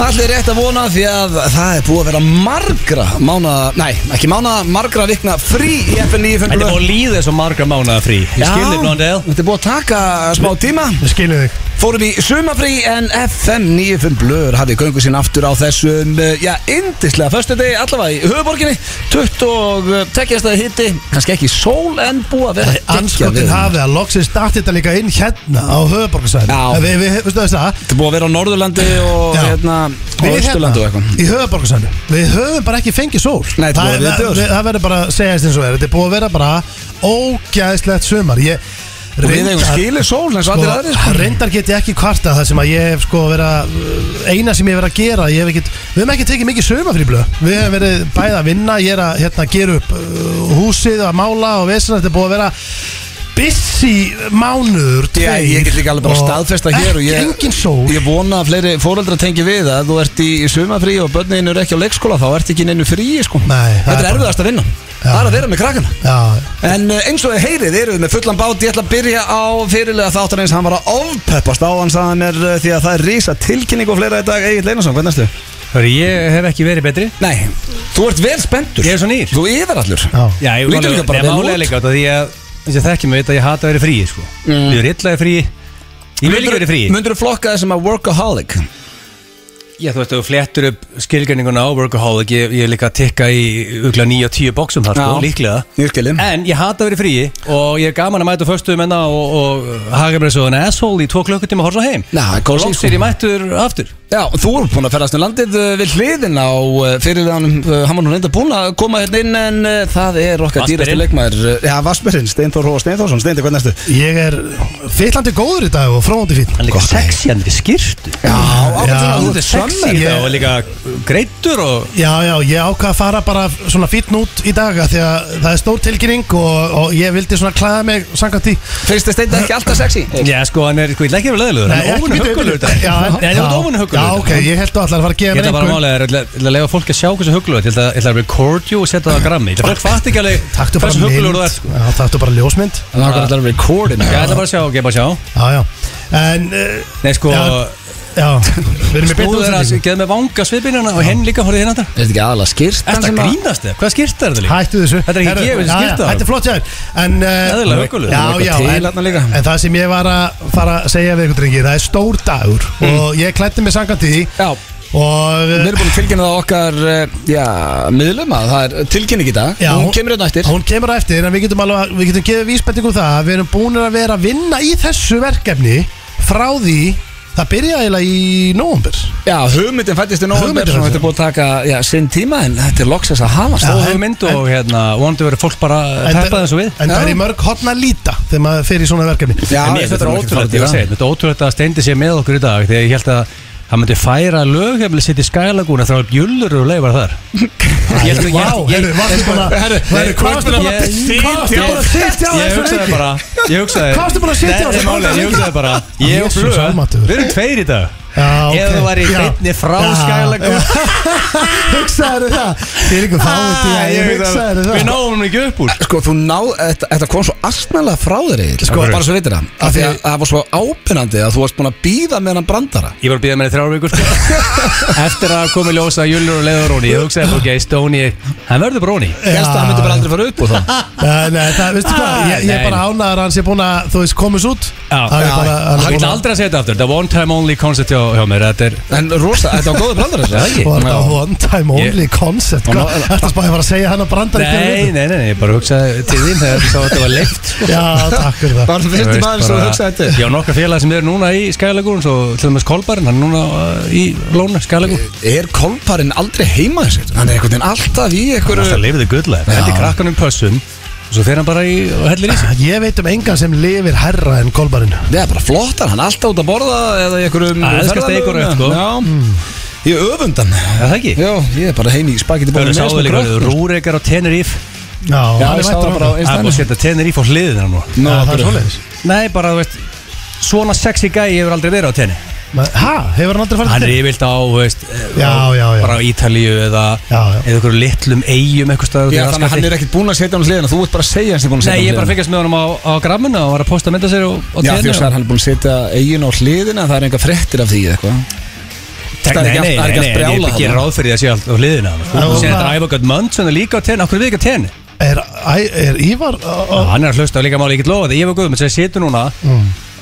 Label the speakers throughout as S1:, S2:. S1: allir rétt að vona því að það er búið að vera margra mána, nei, ekki mána, margra vikna frí í FN 95
S2: Þetta er búin að líða svo marga mánuða frí Ég
S1: Já,
S2: skilði blóndið
S1: Þetta er búið að taka smá tíma
S3: Ég skilja þig
S1: Fórum í sumafrí en FM 95 Blöður hafði göngu sín aftur á þessum eh, Já, indislega Föstu degi allavega í höfuborginni 22 stæði hitti eh, Kannski ekki sól en búið að vera geggjað
S3: Anskotin
S1: veður.
S3: hafið að loksins starti þetta líka inn hérna á
S1: Já.
S3: höfuborgarsæðinu Við, við, veistu þess að
S1: Þetta er búið að vera á Norðurlandi og
S3: Já.
S1: hérna Og
S3: Við
S1: Östurlandi og
S3: hérna,
S1: eitthvað
S3: í höfuborgarsæðinu Við höfum bara ekki fengið sól
S1: Nei, þetta sko. búið að vera döður.
S3: Það er- það- við- Það verður bara að segja þess eins og er Þetta er búið að vera bara ógæðislegt sumar Ég
S1: Og Við eigum
S3: reyndar-
S1: skilið sól eins og allir aðrir
S3: hérna- Sko,
S1: sko.
S3: reyndar get ég ekki kvarta það sem að ég hef sko vera eina sem ég hef verið að gera ég hef ekkit, við hefum ekki tekið mikið sömafrí blöð við hefum verið bæði að vinna ég er að hérna, gera upp uh, húsið að mála og vesina þetta er búið að vera busy mánuður
S1: Já,
S3: tveir,
S1: ég get líka alveg bara
S3: og
S1: staðfesta hér og
S3: ekki,
S1: ég,
S3: engin sól
S1: Ég vona að fleiri fóreldra tengi við að þú ert í sumafrí og börnin eru ekki á leikskóla þá ert ekki í neinu frí sko.
S3: Nei,
S1: Þetta
S3: það er
S1: er
S3: bara-
S1: erfiðast að vinna Það er að vera með krakkana
S3: já,
S1: En eh, eins og þið heyrið erum við með fullan bát Ég ætla að byrja á fyrirlega þáttan eins Hann var að ofpeppast á hann sagðan er Því að það er rísa tilkynning og fleira í dag Egil Einarsson, hvernig erstu?
S2: Hörru, ég hef ekki verið betri
S1: Nei, þú ert vel spenntur
S2: Ég er svo nýr
S1: Þú yfir allur
S3: já,
S2: Já, ég
S1: Lítur líka bara
S2: Nei,
S1: vel
S2: málega
S1: út.
S2: líka út af Því að eins og þekkjum við þetta Ég hata að vera frí, sko
S1: Mm.
S2: Ég er illa í frí Ég vil ekki vera í frí
S1: Mundur þú flokka þessum að workaholic?
S2: Já, þú veist, ef þú flettur upp skilgjörninguna á workaholic Ég, ég er líka að tikka í ugla 9-10 boxum þar, sko,
S1: Já.
S2: líklega
S1: Ég skilji
S2: En ég hata að vera í frí Og ég er gaman að mæta föstuðum enna Og, og haga mér svo en asshole í tvo klukkutíma og horfa heim
S1: Já,
S2: Og
S1: kósí,
S2: loks
S1: sko.
S2: er ég mættur aftur
S1: Já, þú er búin að ferðast um landið eh, við hliðin á eh, fyrirleganum eh, Hann var nú reynda búin að koma hérna inn En eh, það er okkar
S2: Vatnsberinn.
S1: dýrastu leikmaður eh, Já, Vassberinn, Steintor Hóa Steinþórsson Steintor, hvernig erstu?
S3: ég er fyllandi góður í dag og fróðandi
S2: Hann er
S3: fín
S2: líka sexy, hann er skýrtu
S1: Já, ákveðlega,
S3: Já,
S1: þú
S2: Þú
S1: ert
S2: er sexy
S1: summer.
S2: í
S3: ég-
S2: þetta og líka greittur og
S3: Já, já, ég ákvað að fara bara svona fítn út í dag af því að það er stór tilkynning og, og ég vildi svona klæða mig samkvæmt því
S1: Fyrst er Steintor ekki alltaf sexy?
S2: Já sko, hann er, sko, ég vil ekki vera leðilegur Hann
S3: Nei,
S2: er
S3: ekki
S2: óvunni
S3: bíddu,
S2: huggulegur
S3: bíddu.
S2: þetta
S3: Já, en-
S2: Nei, þú ert óvunni
S3: Já,
S2: huggulegur
S3: ok, ég held að allar að fara að gefa
S2: Ég
S3: mér
S2: ætla bara að
S3: einhvern
S2: málega, ég ætla- ég ætla að lega fólk að sjá hversu huggulegur Ég ætla ég ætla að vera cordial og setja það á grammi Ég ætla að fólk fatt ekki alveg
S3: Takktu bara
S2: hversu huggulegur þú
S3: mynd
S2: ert sko.
S3: Já, takktu bara ljósmynd
S1: Hann ákveðlega að recordin
S2: Ég ætla bara að sjá, ok, bara að sjá
S3: Já, já En, eh,
S2: Nei sko,
S3: Já, já Við erum í beint
S2: búður að
S3: útsendingu
S2: geða með vanga svipinuna og henn líka horfið hinn andra
S1: Er þetta ekki aðalega skýrt?
S2: Þetta grínast þið, hvað skýrt er þetta líka?
S3: Hættu þessu
S2: Þetta er ekki
S3: Herru,
S2: gefið,
S3: já, já,
S2: skipta það.
S3: Þetta er flott hjá þér En eh,
S2: Eðlilega huggulegur.
S3: Já,
S1: Það er
S3: já
S1: eitthvað til
S3: en-
S1: þarna líka.
S3: En það sem ég var að fara að segja við ykkur drengir Það er stór dagur
S2: Mm.
S3: Og ég klætti mig samkvæmt því eh,
S1: Já,
S3: Og
S1: við erum búin að tilkynna það á okkar eh, já, miðlum að það er tilkynning í dag
S3: Já,
S1: hún, kemur hérna eftir
S3: Hún kemur á eftir en við getum alveg að- Við getum gefið vísbendingum það að Við erum búin að vera að vinna í þessu verkefni Frá því Það byrjaði eiginlega í nóumbur
S1: Já, hugmyndin fættist í nóvember
S3: Hugmyndin
S1: og
S3: fæddist.
S1: þetta er búin að taka já, sinn tíma en þetta er loksins að hafast
S2: Stóð
S1: já.
S2: hugmynd og hérna, vonandi verið fólk bara
S3: En
S2: peppaði
S3: það-
S2: eins og við
S3: En það er
S1: Já.
S3: í mörg hotna líta Þegar maður fer í svona verkefni
S1: Já,
S2: En mér finnst
S1: þetta
S2: þetta
S1: er
S2: ótrúlegt, ég
S1: ótrúlegt,
S2: var að segja, þetta er ótrúlegt að steindi sé með okkur í dag Þegar ég held að hann myndi færa lög Hefnileg sitt í skælagúna þá er bjullur og leifar þar Ég held að
S3: Vá, heyrðu, varstu búin að
S2: Herru,
S3: Herru, hvað varstu búin að
S2: ég-
S3: Hvað varstu búin að sitja á
S2: Ég
S3: þessu
S2: hugsaði
S3: lengi?
S2: bara Ég hugsaði
S3: Hvað varstu búin að sitja á
S2: Nei,
S3: þessu
S2: nei, málið, Ég
S3: lengi?
S2: hugsaði bara Ég og
S3: Jesus
S2: Blöð
S3: almáttugur.
S2: Við erum tveir í dag
S3: Já, ok.
S2: Ef þú væri í
S3: Já.
S2: beinni frá
S3: Já.
S2: skælagúna
S3: Hugsaðu það Þið er ykkur
S2: Ah,
S3: fáið því að ég hugsaði
S2: Við
S3: það
S2: náum hann ekki upp úr
S1: Sko, þú ná, þetta, þetta kom svo astnælega frá þér Egill,
S3: Sko,
S1: bara svo veitir það af því að
S3: því-
S1: það var svo ápinnandi að þú varst búin að býða með hann brandara
S2: Ég var að býða mér í þrjár vikur sko. Eftir að komi ljósa Jullur og Leður Róni Ég hugsaði, ok, Stóni Hann verður bara Róni
S1: Ég held að hann myndi bara aldrei fara upp úr það
S3: Nei, nei, það, veistu hvað, ég,
S2: Ah,
S3: ég er
S2: Nei.
S3: bara ánæður að hann sé búin að, þú veist, komis út
S2: Já,
S3: Hann er
S2: já,
S3: bara- hann er
S2: hann
S3: búinn
S2: getur
S3: að-
S2: aldrei að segja þetta aftur Það er one time only concert hjá, hjá mér Þetta er,
S1: En rosa, þetta var góður brandara þessu, eða
S3: Og
S1: ekki?
S3: þetta er one time only concept
S2: Og
S3: Hvað,
S2: ná-
S3: ertu að spæði bara að segja hann að branda
S2: nei, nei, nei, nei, ég bara hugsaði til þín þegar ég sá að þetta var sko. leift
S3: Já, takk fyrir það
S1: Bara fyrsti maður sem þú hugsaði þetta
S2: Já, nokkra félag sem eru núna í skæðalegurinn Svo til dæmis Kolbarinn, hann er núna uh, í Lóna, skæðalegur
S1: Er kolparinn aldrei heima þessu? Hann er einhvern veginn alltaf í einhverju
S2: lifið þið gullæð Þetta er krakkanum pössum og Svo fer hann bara í, og hellir í sig
S3: Ég veit um engan sem lifir herra en golbarinn
S1: Það er bara flottar, hann er alltaf út að borða eða í einhverjum
S2: Að elskast einhverju,
S1: ferðalögum.
S2: sko.
S1: Já, ég öfundan
S2: Er það ekki?
S1: Já, ég er bara heim í spagetti
S2: Það
S1: bóðum
S2: eru sáðu líka rúreikar á Teneríf
S3: Já,
S1: Já,
S3: hann
S1: ég
S3: er
S1: sá það
S3: mættur
S1: bara á
S2: Það
S3: á-
S2: er búin að
S1: Instagram
S2: setja Teneríf á hliðina
S1: Nú,
S2: nú
S3: Já, Það er
S1: akkurat.
S3: svoleiðis
S2: Nei, bara, þú veist Svona sexy gæi hefur aldrei verið á Teneríf
S3: Ma- Ha, hefur hann aldrei farið
S2: Hann
S3: til
S2: er yfirlt á, veist, eh,
S3: Já, já, já.
S2: bara á Ítalíu eða
S3: Já, já.
S2: eða einhverju litlum eigum eitthvað staður
S1: Já, þannig að hann er ekkert búinn að setja hann á hliðina Þú ert bara að segja hans er búinn að setja
S2: Nei, ég bara
S1: hann á hliðina
S2: fengast með honum á, á grammuna og var að posta mynda sér á, á
S1: Já, því
S2: tenni
S1: að hann er búinn að setja eigin á hliðina Það er enga frettir af því eða eitthvað Það er ekki allt- það er ekki allt
S2: en ég
S1: brjála
S2: er ekki
S1: þarna.
S2: ráð fyrir því að sé allt á hliðina
S3: Já,
S2: Þú sé
S3: það-
S2: þetta er æfagat mann sem er líka á tenni, okkur er við ekki á tenni
S3: Er, æ- er Ívar
S2: Já,
S3: á- á-
S2: Hann er að hlusta á líka máli, ég get lofa því Ég var guðum, sem situr núna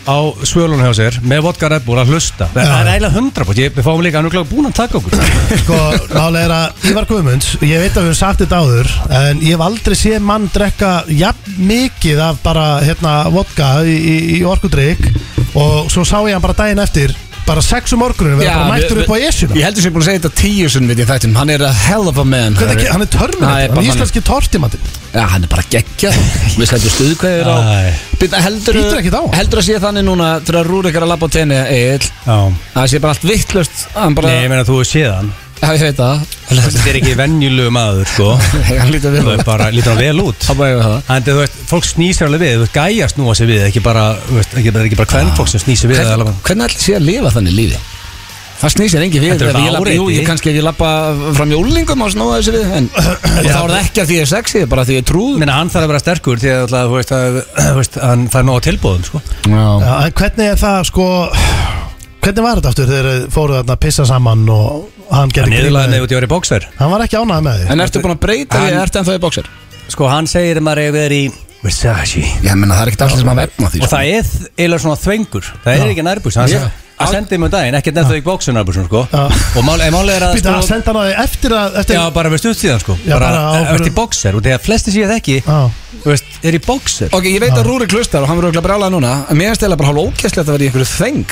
S2: á svölunum hjá sér með vodka Red Bull að hlusta Það það er eiginlega 100% ég- Við fáum líka, hann er kláð búin að taka okkur
S3: Sko, málega er að Ívar Guðmunds Ég veit að við höfum sagt þetta áður En ég hef aldrei séð mann drekka Jafn mikið af bara, hérna, vodka Í, í, í orkudrykk Og svo sá ég hann bara daginn eftir Bara sex um morgunum, við
S1: Já,
S3: erum bara mættur
S1: við-
S3: upp á esjuna
S1: Ég heldur sem ég er búin að segja þetta tíu sunn við í þættum Hann er a hell of a man
S3: Hvernig, ge- hann er
S1: Það er
S3: törminat,
S1: bara
S3: hann
S1: þannig.
S3: er íslenski tortimantin
S1: Já, hann er bara geggjað Við sendum stuðkvæður á
S2: Æ.
S1: Býta, heldur,
S3: Bítur ekkert á hann.
S1: heldur að sé þannig núna Þegar rúr ykkar að labba á tenni Egil
S2: Já.
S1: Það sé bara allt vittlust Hann bara,
S2: Nei, ég meina þú hefur séð hann
S1: já ég veit það
S2: Þetta er ekki venjulegu maður, sko
S1: Hann lítur við
S2: Það er bara, lítur hann vel út
S1: Þá bara ég við það
S2: En þú veist, fólk snýsir alveg við, þú veist, gæjar snúa sér við, ekki bara, þú veist, ekki, það er ekki bara hvern fólk sem snýsir við.
S1: Hvern-
S2: Hvern,
S1: Hvernig ætlir sé að lifa þannig lífi? Það snýst sér engin við
S2: Þetta
S1: ef
S2: er
S1: ég
S2: bara
S1: labba- Jú,
S2: áreiti.
S1: ég kannski ef ég lappa fram jólingum og snóða þessu við en, og þá er það ekki að því ég er sexy, bara að því ég er trúð
S2: Minna, hann þarf að vera sterkur því að, alltaf, þú veist, að, þú veist, hann fær nóg á tilbúðum, sko.
S1: Já,
S3: En hvernig er það, sko Hvernig var þetta aftur þegar þeir fóruð þarna að pissa saman Og hann
S2: Hann
S3: gerði
S2: niðurlaði
S3: grínaði
S2: nefnir út í orði bóksver.
S3: Hann var ekki ánægð með því
S1: En ertu búin að breyta því,
S2: Hann-
S1: ertu ennþá í bóksir?
S2: Sko, hann segir að maður hefur verið í Versace.
S1: Ég menna, það er ekkert allir sem að vefna því
S3: sko-
S2: Og það er eiginlega svona þvengur. Það er ekki nærbús. Hann
S1: Já.
S2: yeah. sendi mig um daginn, ekkert nefnir þau í bóksunarbúsum, sko.
S3: Já.
S2: Og máli mál er að,
S3: Býta, hann
S2: sko,
S3: sendi hann á því eftir að eftir,
S2: já, bara við stuðstíðan, sko.
S3: Já,
S2: Bara,
S3: bara á-
S2: ert í bóksver. Og þegar flesti séu það ekki,
S3: Já.
S2: þú veist, er í bóksver.
S1: Ok, ég veit að Rúri klustar og hann verður auðvitað brjálað núna en mér er stela bara hálf ókesslega að það verði í einhverju þeng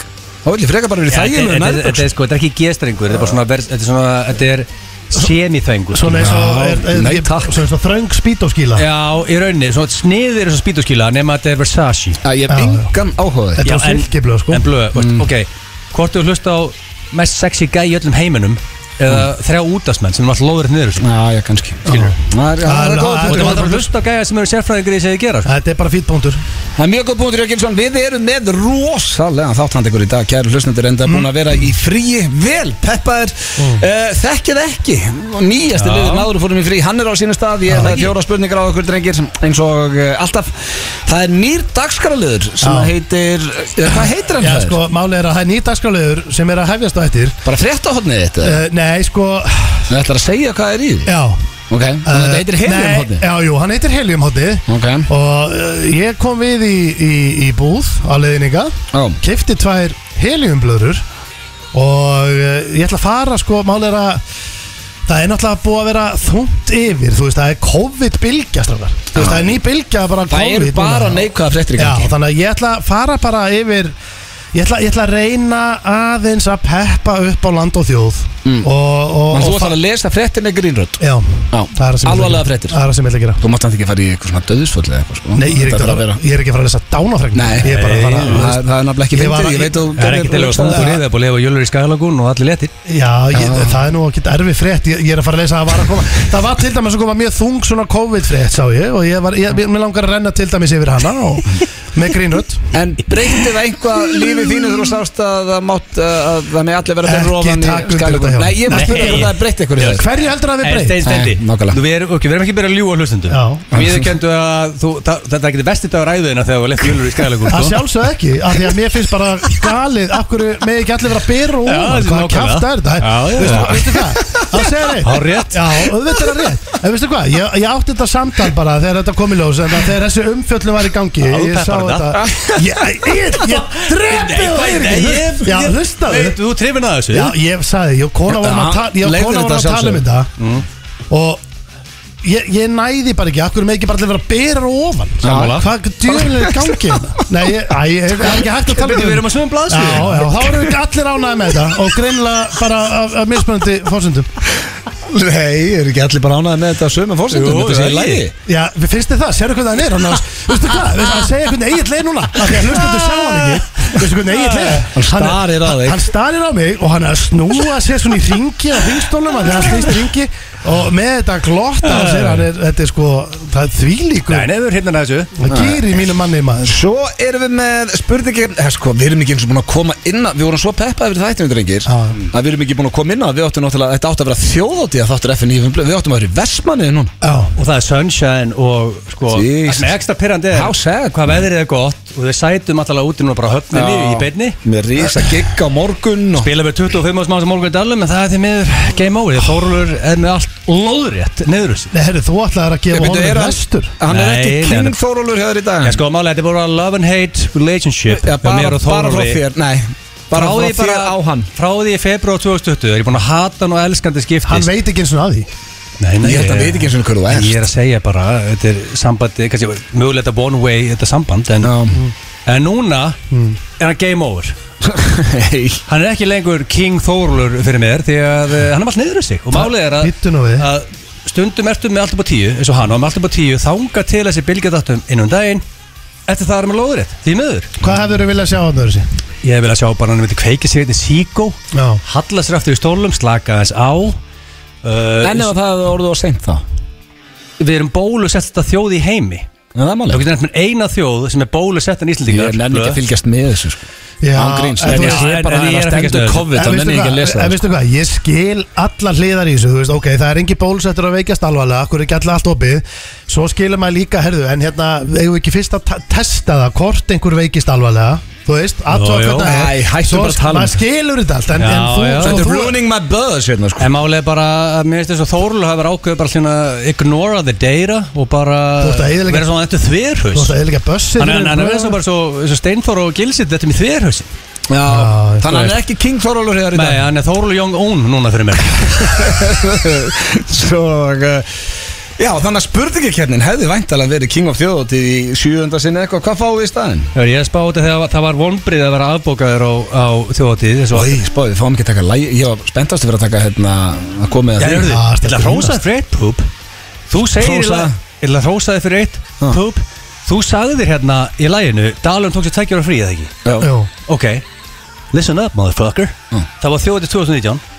S1: þá vil ég frekar bara verið
S2: Já, þetta-
S1: þægilegu
S2: þetta- Þetta
S1: nærböks
S2: er sko, þetta er ekki gestrengur Þetta er bara svona, vers- þetta er svona, þetta er semithvengur
S3: Svona eins og er, er,
S1: nei,
S3: er,
S1: takk.
S3: Svona eins og þröng spýtóskíla
S2: Já, í rauninni, svona sniðir þessu spýtuskíla nema þetta er Versace
S1: Ég hef
S3: Já, já.
S1: engan áhuga á því
S3: Þetta
S2: Já,
S3: var
S2: en-
S3: silkiblöð sko
S2: En blöð, mm. ok Hvort þú hlust á mest sexy gæi í öllum heiminum eða
S3: Mm.
S2: þrjá útastmenn sem er alltaf lóður niður sko. þessu
S1: Já, já, kannski
S2: Skilur.
S1: Það er-
S3: Það
S1: það
S3: er-
S1: er góð
S3: það
S2: Og
S3: er-
S1: punktur
S2: þú maður að hlusta á gæja sem eru sérfræðingur í þessi að gera sko.
S3: Þetta er bara fýtt punktur
S1: Það er mjög góð punktur, Jökilsson Við erum með rosalega þáttandegur í dag Kæru hlustendur enda búin að vera í fríi Vel peppaðir mm. Þekkið ekki Og Nýjasti
S2: Já.
S1: liður náður fórum í frí Hann er á sínu stað Ég er með fjóra spurningar á okkur drengir Eins og uh, alltaf Það er nýr dagskaraliður Sem
S3: Já.
S1: heitir eh, Hvað heitir hann
S3: Já
S1: það?
S3: sko, málið er að það er nýtaskálegur sem er að hefjast á eftir
S1: Bara fréttahotnið þetta
S3: uh, Nei sko,
S1: Þú ætlar að segja hvað er í því
S3: já Eh,
S1: Ok, þannig að þetta heitir
S3: nei,
S1: heliumhotni
S3: Já, jú, hann heitir Heliumhotni
S1: Ok,
S3: Og uh, ég kom við í, í, í búð á leiðninga
S1: já
S3: Kifti tvær heliumblöður Og uh, ég ætla að fara sko, málið er að Það er náttúrulega búið að vera þungt yfir Þú veist, það er COVID-bylgja strákar Þú veist, það er ný bylgja bara
S1: Það
S3: COVID
S1: eru bara
S3: núna.
S1: neikvæða fréttir í
S3: Já,
S1: gangi
S3: þannig að ég ætla að fara bara yfir Ég ætla, ég ætla að reyna aðeins að peppa upp á land og þjóð
S1: Mm.
S3: og, og,
S1: Þannig að
S3: og
S1: þú ætlar að lesa fréttir með grínrödd
S3: Já,
S1: Já,
S3: það er það sem ég ætla að
S1: alvarlega
S3: gera.
S1: fréttir
S3: Það er það sem ég ætla að gera
S1: Þú mátt hann ekki fara í eitthvað svona döðusföll eða eitthvað sko
S3: Nei,
S1: Þetta
S3: ég er ekki að
S1: bara
S3: fara, ég er ekki að fara að lesa dánafregn
S1: Nei,
S3: Ég er bara að fara
S1: það, það er nefnilega ekki
S3: Ég
S1: fyndið,
S3: var að-
S1: ég veit að þú
S2: Það er ekki til að
S1: gerðir-
S2: stungur yfir, það er búið að lifa jölur í Skælagún og allir letir
S3: Já, ég, það er nú ekki erfið frétt ég, ég er að fara að lesa að var að koma Það var til dæmis að koma mjög þung svona COVID frétt sá ég Og ég var, ég, mér langar að renna til dæmis yfir hana og, Með grínrödd
S1: En breytið það einhvað lífið þínu þegar þú sást að það mátt uh, að það með allir vera
S3: Ekki
S1: fyrir ofan í
S3: taka undir
S1: skalagun?
S3: þetta hjá
S1: Nei, ég maður
S2: Nei.
S1: spyrja hvort það er breytið ykkur í þessu
S3: Hverju heldur að við
S2: En
S3: breytt?
S2: stein steindi
S1: Nei, nákvæmlega.
S2: Nú, Við erum ok, við erum ekki byrjað að ljúa hlustundum
S3: Já.
S2: Við kendu að þú, það, það er ekki vestið dagur æðina þegar við lefum jölur í sko. skæðalagum
S3: Það sjálfsög ekki, af því að mér finnst bara galið, af hverju með ekki allir vera að byrja og
S2: Já,
S3: ofan,
S2: þessi
S3: hvað
S2: nákvæmlega.
S3: kæft er þetta?
S2: Já, já.
S3: Veistu- Veistu það? Það segir eitt.
S2: Há rétt.
S3: Já, auðvitað er það rétt. En veistu hvað, ég, ég átti þetta samtal bara þegar þetta kom í ljós, en það- þegar þessi umfjöllum var í gangi,
S2: þú
S3: ég sá
S2: peppar
S3: þetta. Ég, ég, ég drepi
S2: Nei,
S3: það,
S2: nei,
S3: Eiríkur.
S2: nei, ég-
S3: Já,
S2: ég-
S3: hlustaðu.
S2: Veit, Þú trefin að þessu
S3: Já, ég sagði, ég og kona vorum að, ta ég og
S1: Leyfðu
S3: kona
S1: þetta
S3: vorum að tala um þetta og ég, ég næði bara ekki, akkur með ekki bara allir vera að bera ofan
S2: Sammála.
S3: Hvað djöfnir er gangi hérna? Nei, ég, æ, ég, ég er ekki hægt að tala um
S2: Við erum á sömu
S3: Já,
S2: blaðsíðu.
S3: já, þá erum við allir ánæði með þetta og greinlega bara af, af mismunandi fórsöndum
S1: Nei, eru ekki allir bara ánaði með þetta sömu fórsendum?
S2: Jú,
S1: Þetta sé í
S2: það er
S1: lagi
S2: ég.
S3: Já, við finnst þið það, sérðu hvernig hann er hann Vistu hvað, við að segja hvernig eigin leið núna af Því að hlustandu sjá hann ekki Vistu hvernig eigin leið
S1: Hann starir á þig.
S3: Hann starir á mig og hann er að snúa sér svona í ringi á ringstólum Þannig að hann snýst í ringi Og með þetta glotta á sér hann er, Þetta er sko, það er því líku
S2: Nei, nefnur hérna þessu
S3: Það gýr í mínu manni maður
S1: Svo erum við með spurningin eh, sko, Við erum ekki eins og búin að koma inn að- Við vorum svo peppaði fyrir þættinu drengir
S3: Já.
S1: Að við erum ekki búin að koma inn að Við áttum náttúrulega Þetta átti að vera þjóðóti að þáttur FN Við áttum að vera í Vestmanni núna
S3: Já,
S2: Og það er sunshine og sko
S1: Jesus.
S2: Það sem er ekstra pyrrandi
S1: How sad.
S2: Hvað veðrið er gott Og þeir sætum alltaf út í núna bara höfninni í beinni
S1: Með risa gigg á morgun og...
S2: Bila með 25 ás mann sem morgun dalum En það er því miður game over Þórulur er með allt lóðrétt Neður þessu
S3: Nei, herru, þú ætlaðir
S1: Ég,
S3: að gefa
S1: byrju,
S3: honum
S1: er hann-
S3: vestur
S1: Hann er
S2: Nei,
S1: ekki
S2: nei,
S1: King
S2: hann-
S1: Þórólur hér í dag
S2: Já sko, málega þetta er bara love and hate relationship
S1: Já,
S2: hjá mér
S1: bara,
S2: og
S1: bara frá
S2: Þórólfi.
S1: þér Nei, bara
S2: Frá
S1: frá
S2: því
S1: þér
S2: bara-
S1: á hann
S2: Frá því í februar 2020 er ég búin að hata hann og elskandi skiptist
S3: Hann veit ekki eins og að því
S2: Nei, nei,
S1: Ég held að hann veit ekki eins og hver þú
S2: En
S1: ert.
S2: Ég er að segja bara, þetta er sambandi, kannski mögulega þetta one way, þetta samband En,
S1: Já. Hmm.
S2: en núna er hann game over
S1: Hey.
S2: Hann er ekki lengur King Þórlur fyrir mér Því að uh, hann er allt niður í sig Og málið er
S3: Bíddu nú
S2: að,
S3: við.
S2: að stundum ertu með alltaf á tíu eins og hann og með alltaf á tíu þanga til þessi bylgjadattum innum daginn Eftir það er með lóðrétt, því miður
S3: Hvað hefur þú viljað sjá hann öðru sér?
S2: Ég vil að sjá bara hann myndi kveiki sig þetta hérna síkó
S3: Já
S2: Halla sér aftur í stólum, slaka þess á uh,
S1: En ef það orðið á seint þá
S2: Við erum bólusett þetta þjóð í heimi
S1: En það er
S2: Þú
S1: máli
S2: getur nefnt mér eina þjóð sem er bólusett en
S1: Ég
S2: Íslendingar
S1: er nenni ekki að fylgjast með þessu sko.
S3: Já,
S1: Án gríns
S3: en
S1: En
S3: þú
S1: ég
S3: veist-
S1: sé
S2: en-
S1: bara
S2: en
S1: að
S2: ég
S1: hann
S2: er að fylgjast
S1: stendur
S2: með þessu.
S1: COVID
S3: En
S1: Þá nenni
S3: veistu
S1: ég ekki að
S3: hvað,
S1: lesa
S3: en
S1: það sko.
S3: veistu hvað, ég skil allar hliðar í þessu, þú veist, ok, það er engin bólusettur að veikjast alvarlega, akkur er ekki allar allt opið svo skilur maður líka, herðu, en hérna eigum við ekki fyrst að ta- testa það hvort einhver veikist alvarlega, þú veist
S2: Jó,
S3: athuga
S2: jó.
S3: hvernig það
S1: Æ,
S3: er.
S1: hættum
S3: Svo
S1: bara að tala um
S3: maður skilur þetta allt, en,
S2: Já,
S3: en þú,
S2: já.
S3: svo
S1: Þetta er
S3: þú
S1: ruining my buzz hérna sko
S2: En málega bara, að mér finnst þess að Þórl hafa ákveðið bara svona ignora the data og bara
S3: Þú ert að eyðileggja-
S2: vera svona þetta
S3: þú
S2: þverhaus
S3: veist, það er líka bussið
S2: Þannig að hann er svona bara svo, svo steinþór og gilsitt þetta með þverhausin
S1: Já,
S3: Já,
S1: þannig að
S2: þú
S1: hann
S2: veist.
S1: er ekki King Þorólur hér í
S2: Nei,
S1: dag
S2: hann er Þórl Young Un núna fyrir mér
S1: Svo uh, Já, þannig að spurningakernin hefði væntalega verið King of Þjóðótið í sjöunda sinni eitthvað Hvað fáið í staðinn?
S2: Þegar ég spáði þetta þegar það var vonbrið að vera afbókaður á, á þjóðatíð þessu
S1: Í, spáði, við fáum ekki að taka lægi Ég var spenntast fyrir að taka hérna að koma með
S2: Já,
S1: að
S2: hörðu,
S3: Já,
S2: ég
S3: þetta
S2: ætla
S3: er
S2: að hrósa þér fyrir eitt púp Þú segir
S1: Hrósa.
S2: Hrósa- Ég ætla að hrósa þér fyrir eitt
S1: Já.
S2: púp Þú sagði þér hérna í læginu Dalun tók sér tækjur á frí, eða ekki?
S1: því
S3: Jú,
S2: Ok, listen up motherfucker
S1: Já.
S2: Það var þjóðatíð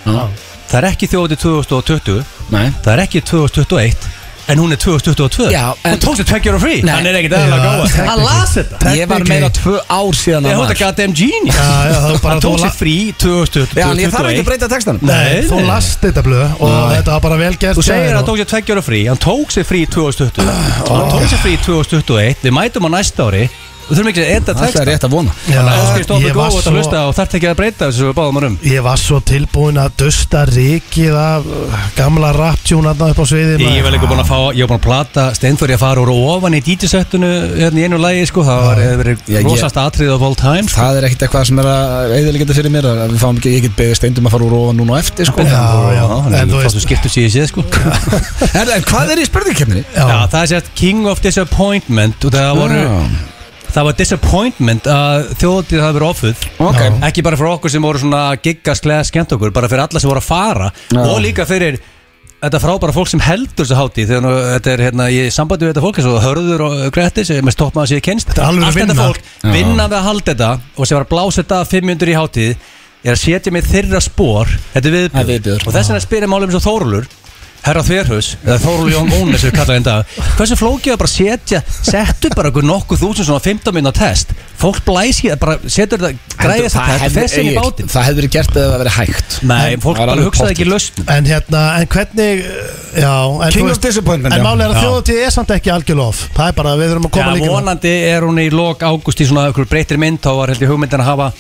S2: 2019
S1: Já.
S2: Það er ekki þjóðatíð 2020
S1: Nei
S2: Það er ekki 2021 En hún er 2022
S1: Já, en-
S2: Hún tók sér tækjur á frí
S1: Nei.
S2: Hann er ekkert aðeins
S3: Já,
S2: að góða Hann
S3: technically.
S2: las þetta
S1: Ég var meira tvö ár síðan
S2: Ég
S1: að
S2: hóta
S1: var
S2: goddamn genius
S3: Já, já, það var bara
S2: Hann tók
S3: þú la-
S2: sér frí 2021
S1: Já, en ég þarf ekki að breyta textanum
S3: nei,
S2: Nei,
S3: þú
S2: nei.
S3: last þetta blöð og þetta var bara vel gert
S2: Þú
S3: hjá
S2: segir Ah,
S3: þér
S2: að hann
S3: og-
S2: tók sér tveggjóra frí Hann tók sér frí í 2020 Hann tók sér frí í 2021 Við mætum á næsta ári Við þurfum ekki að etta
S1: Það er
S2: texta
S1: rétt að vona
S3: Já,
S2: Þannig að Áskir
S3: ég
S2: Stóttur
S3: var
S2: góð út
S3: svo-
S2: að hlusta og þarf ekki að breyta þessu sem við báðum hann um
S3: Ég var svo tilbúin að dusta rikið af uh, gamla raptjúnarna upp á sviði
S2: Ég var líka búin að fá, ég var búin að plata Steinþór ég að fara úr ofan í DJ-settunu hérna í einu lagi sko, það var hefur verið
S1: Já, ég-
S2: rosast atrið of all time sko.
S1: Það er ekkit eitthvað sem er að eðalega fyrir mér að Við fáum ekki, ég get beðið steindum að fara úr ofan núna á eftir sko.
S3: Já, já, en
S2: en
S3: þú
S2: þú
S3: veist-
S2: fórstu skiptu síðan síðan sko
S1: Herra, En hvað er í spurningakefninni?
S3: Já.
S2: Já, það er sérst King of Disappointment og það voru, það var disappointment að þjóðatíð hafi verið offuð
S1: Ok
S3: Já.
S2: ekki bara fyrir okkur sem voru svona gigga, sleða, skemmt okkur, bara fyrir alla sem voru að fara
S1: Já.
S2: og líka fyrir þetta frábæra fólk sem heldur þessu hátíð þegar nú, þetta er hérna, ég er í sambandi við þetta fólk eins og Hörður og Gretti sem er með stoppmaður sem ég kennst
S3: er alvöru
S2: allt þetta
S3: vinna.
S2: fólk
S1: Já.
S2: vinna við að halda þetta og sem var að blása þetta 500 í hátíð er að setja mig þeirra spór þetta
S1: Það
S2: er
S1: er
S2: viðbjör,
S1: viðbjóður.
S2: og þess vegna spyrir málum um eins og Þórulur Herra Þverhus, eða Þórul Jón Ónes við kallaði þetta, hversu flókið að bara setja settu bara okkur nokkuð þúsund svona 15 minna test, fólk blæsi bara setur þetta, græði þess að þetta þessin í
S1: Egill,
S2: bátinn
S1: Það hefði verið gert eða það verið hægt
S2: Nei, fólk
S1: Það er
S2: bara
S1: alveg
S2: hugsaði
S1: pottet.
S2: ekki lausnum
S3: En hérna, en hvernig uh, Já, en
S1: King
S3: þú
S1: of
S3: veist-
S1: disappointment,
S3: En
S1: já.
S3: máli er að
S2: Já.
S3: þjóðatíð er samt ekki algjörlof Það er bara að við þurfum að
S2: Já,
S3: koma líka með-
S2: vonandi er hún í lok ágúst í svona okkur breytir mynd, þá var held ég hugmyndin að hafa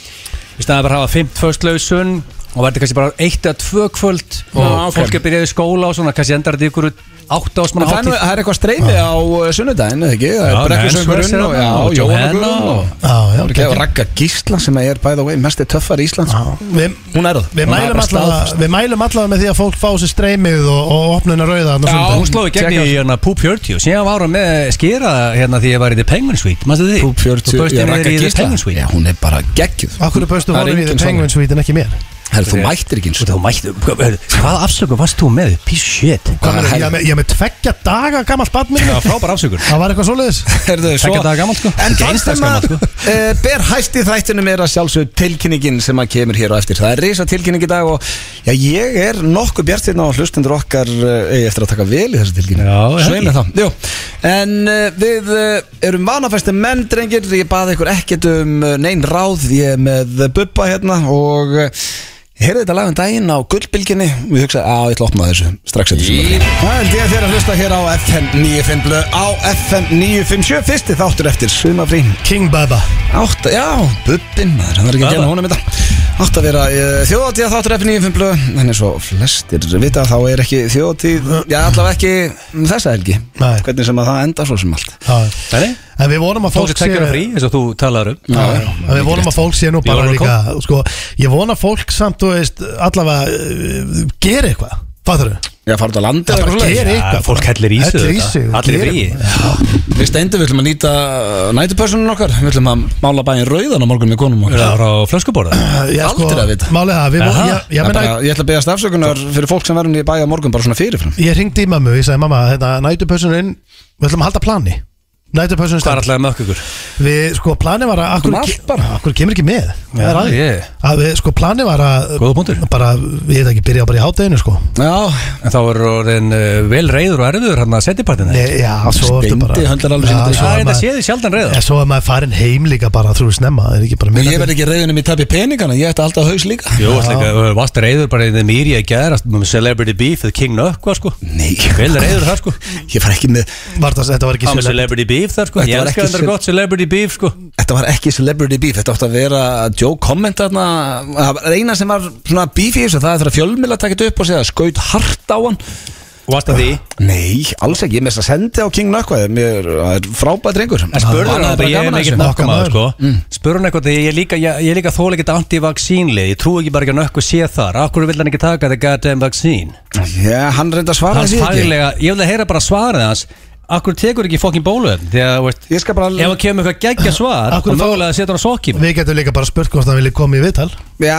S2: í staðið bara að hafa 5 föstlausun og verði kannski bara eitt eða tvö kvöld og
S1: Já, ok.
S2: fólk er byrjaði í skóla og svona, kannski endar þetta í ykkur átt
S1: En
S2: ásmanna
S1: Það er, nú,
S2: hátíð
S1: það er eitthvað streymi á uh, sunnudaginn, eða ekki? Það
S2: Já,
S1: er
S2: Nance
S1: brekkusöngurinn
S2: Verse
S1: og,
S2: er
S1: já,
S2: þarna og
S1: og
S2: Johanna
S1: Jóhanna
S2: og-
S1: og,
S3: Já, já,
S1: og, og Ragga Gísla sem er by the way mest töffar í Íslands
S3: Við,
S1: Hún er það Hún
S3: við,
S1: er
S3: mælum
S1: bara
S3: allavega,
S1: staðfest.
S3: við mælum allavega með því að fólk fá sér streymið og, og opnuna rauða þarna á
S2: Já,
S3: sunnudaginn.
S2: hún sló í gegn í
S1: Checkout.
S2: hérna Poop 40 síðan var hún með skera hérna því ég var í The Penguin Suite, mannstu því?
S1: Púp
S2: Þú
S1: 40,
S2: bauðst
S1: já,
S2: henni
S1: Ragga
S2: niður í The Penguin
S1: Gísla
S2: Suite
S1: Já, hún er bara geggjuð
S3: Af hverju baustu
S1: Það er
S3: honum í The
S1: engin
S3: Penguin Suite en ekki mér?
S1: Herðu, þú mættir ekki eins
S2: Og þú mætti, hvað afsökun varst þú með? Piece of shit
S1: Hvað er
S3: Ég er
S1: hægt?
S3: með, ég er með tveggja daga gamalt badminni
S2: Það var frábær afsökun
S3: Það var eitthvað svoleiðis
S1: Herðu,
S2: Svo- Ekki að það er gamalt, sko.
S1: En
S2: Ekki
S1: það sem
S2: einstaklega
S1: að
S2: gamalt,
S1: eh, ber hæst í þættinum er að sjálfsög tilkynningin sem að kemur hér á eftir Það er risa tilkynning í dag og já, ég er nokkuð bjartirna á hlustundur okkar eh, eigi eftir að taka vel í þessa tilkynning
S2: Já, er það
S1: Svei mér
S2: ekki?
S1: það Jú, En uh, við uh, erum vanafæstu menn, drengir Ég baði ykkur ekkert um uh, neinn ráð Ég er með uh, Bubba hérna Og uh, heyrði þetta lag um daginn á gullbylginni Við hugsaði að ég ætla að opna þessu strax eftir sjónvarpið. Það held ég að þér að hlusta hér á FM 95 blöð, Á FM 957 Fyrsti þáttur eftir sumafrí
S3: King Baba
S1: Átta, já, Bubbin maður, hann er ekki að
S2: Bubba.
S1: gera honum þetta Átt að vera uh, þjóðatíða þáttur F95 blöð En eins og flestir vita þá er ekki þjóðatíð Já, allavega ekki um þessa helgi
S3: Nei.
S1: Hvernig sem að það enda svo sem allt
S3: Já.
S2: Nei,
S3: En við vonum að
S2: tók
S3: fólk
S2: sér tekjara frí eins og þú talaður um
S3: Já, já, en við vonum að fólk sé nú bara
S2: Jólarókó.
S3: líka sko, Ég vona að fólk samt, þú veist, allavega uh, gera eitthvað Fattur þau?
S1: Já, fara út á landi
S3: Það
S1: eða
S3: bara
S1: eitthvað svoleiðis.
S3: gera
S2: Já,
S3: eitthvað
S2: fólk hellir í sig
S3: Hellir í
S2: þetta.
S3: sig og
S2: Allir í
S3: gerir-
S2: fríi.
S1: Við steindu, við ætlum að nýta uh, nætupörsunum okkar Við ætlum að mála bæinn rauðan á morgun með konum
S2: Er
S1: okkar
S2: það á flöskuborða?
S3: Já, sko,
S1: Aldrei að vita.
S3: Málið það, við
S2: Aha.
S3: vonum Ég,
S1: Ég,
S3: ég,
S1: bara,
S3: meina,
S1: ég ætla að beðast afsökunar fyrir fólk sem verður í bæja morgun bara svona fyrirfram
S3: ég ringdi í mammu, ég sagði mamma, hérna, þetta nætupössuninn Við ætlum að halda plani Nætupössuninn
S2: Hvað er
S3: stendur
S2: alltaf með okkur?
S3: Við, sko, planið var að akkur,
S1: Um allt bara.
S3: akkur kemur ekki með Það er aðeins.
S2: ég.
S3: að við, Sko, planið var að
S2: Góða punktur.
S3: Bara, ég veit ekki, byrja bara í hátæðinu, sko
S1: Já,
S2: En þá er orðin eh, vel reyður og erfiður hérna hann að setja partinn
S3: Nei, já, svo ertu bara
S1: Steindi höndlar alveg
S3: Já,
S1: sína degi.
S2: Það
S3: svo er
S2: er þetta
S3: maður-
S2: séði sjaldan
S3: En
S2: reyða
S3: svo er maður farin heim líka bara Þú veist snemma, það er ekki bara
S1: en
S3: minna
S1: ég verð ekki rauðinum í tappi peningana Ég ætti alltaf haus líka
S2: Jú, alltaf varst reyður bara í þeim mýri að gera Celebrity Beef eða King Nökkva sko
S1: Nei,
S2: Vel reyður þar sko
S1: ég far ekki með
S3: var það, Þetta var ekki
S2: Hann með
S3: sérlega
S2: Celebrity Beef þar sko
S1: Þetta
S2: Ég
S1: var
S2: elskar
S1: ekki
S2: þetta
S1: cel-
S2: gott Celebrity Beef sko
S1: Þetta var ekki celebrity beef, þetta átti að vera Joe comment þarna, það var eina sem var svona beef í þessu, það er þegar fjölmila takit upp og segja skaut hart á hann
S2: Varst að því
S1: Nei, alls ekki, ég mest að sendi á King Nökkvæði, mér það er frábæð drengur
S2: En spurður hann
S1: er
S2: bara, ég er
S1: gaman að
S2: mikill
S1: þessu.
S2: nökkumaður
S3: Okkar
S2: sko Spurður hann eitthvað, ég er líka, ég, ég er líka þóla ekkert anti-vaccínli Ég trúi ekki bara ekki að nökku sé þar Akkur vil hann ekki taka þetta goddamn vaccín
S1: Já, hann reynda að svara
S2: Hans
S1: þessu ekki
S2: faglega, ég vil að heyra bara svarið hans Akkur tekur ekki fokkin bóluefn Því að, veist,
S1: Ég skal bara,
S2: ef hann kemur eitthvað geggja svar
S3: Af hverju
S2: Og
S3: fá-
S2: mögulega að setja hann á sokkim
S3: Við getum líka bara spurt hvort það vilja koma í viðtal
S1: já,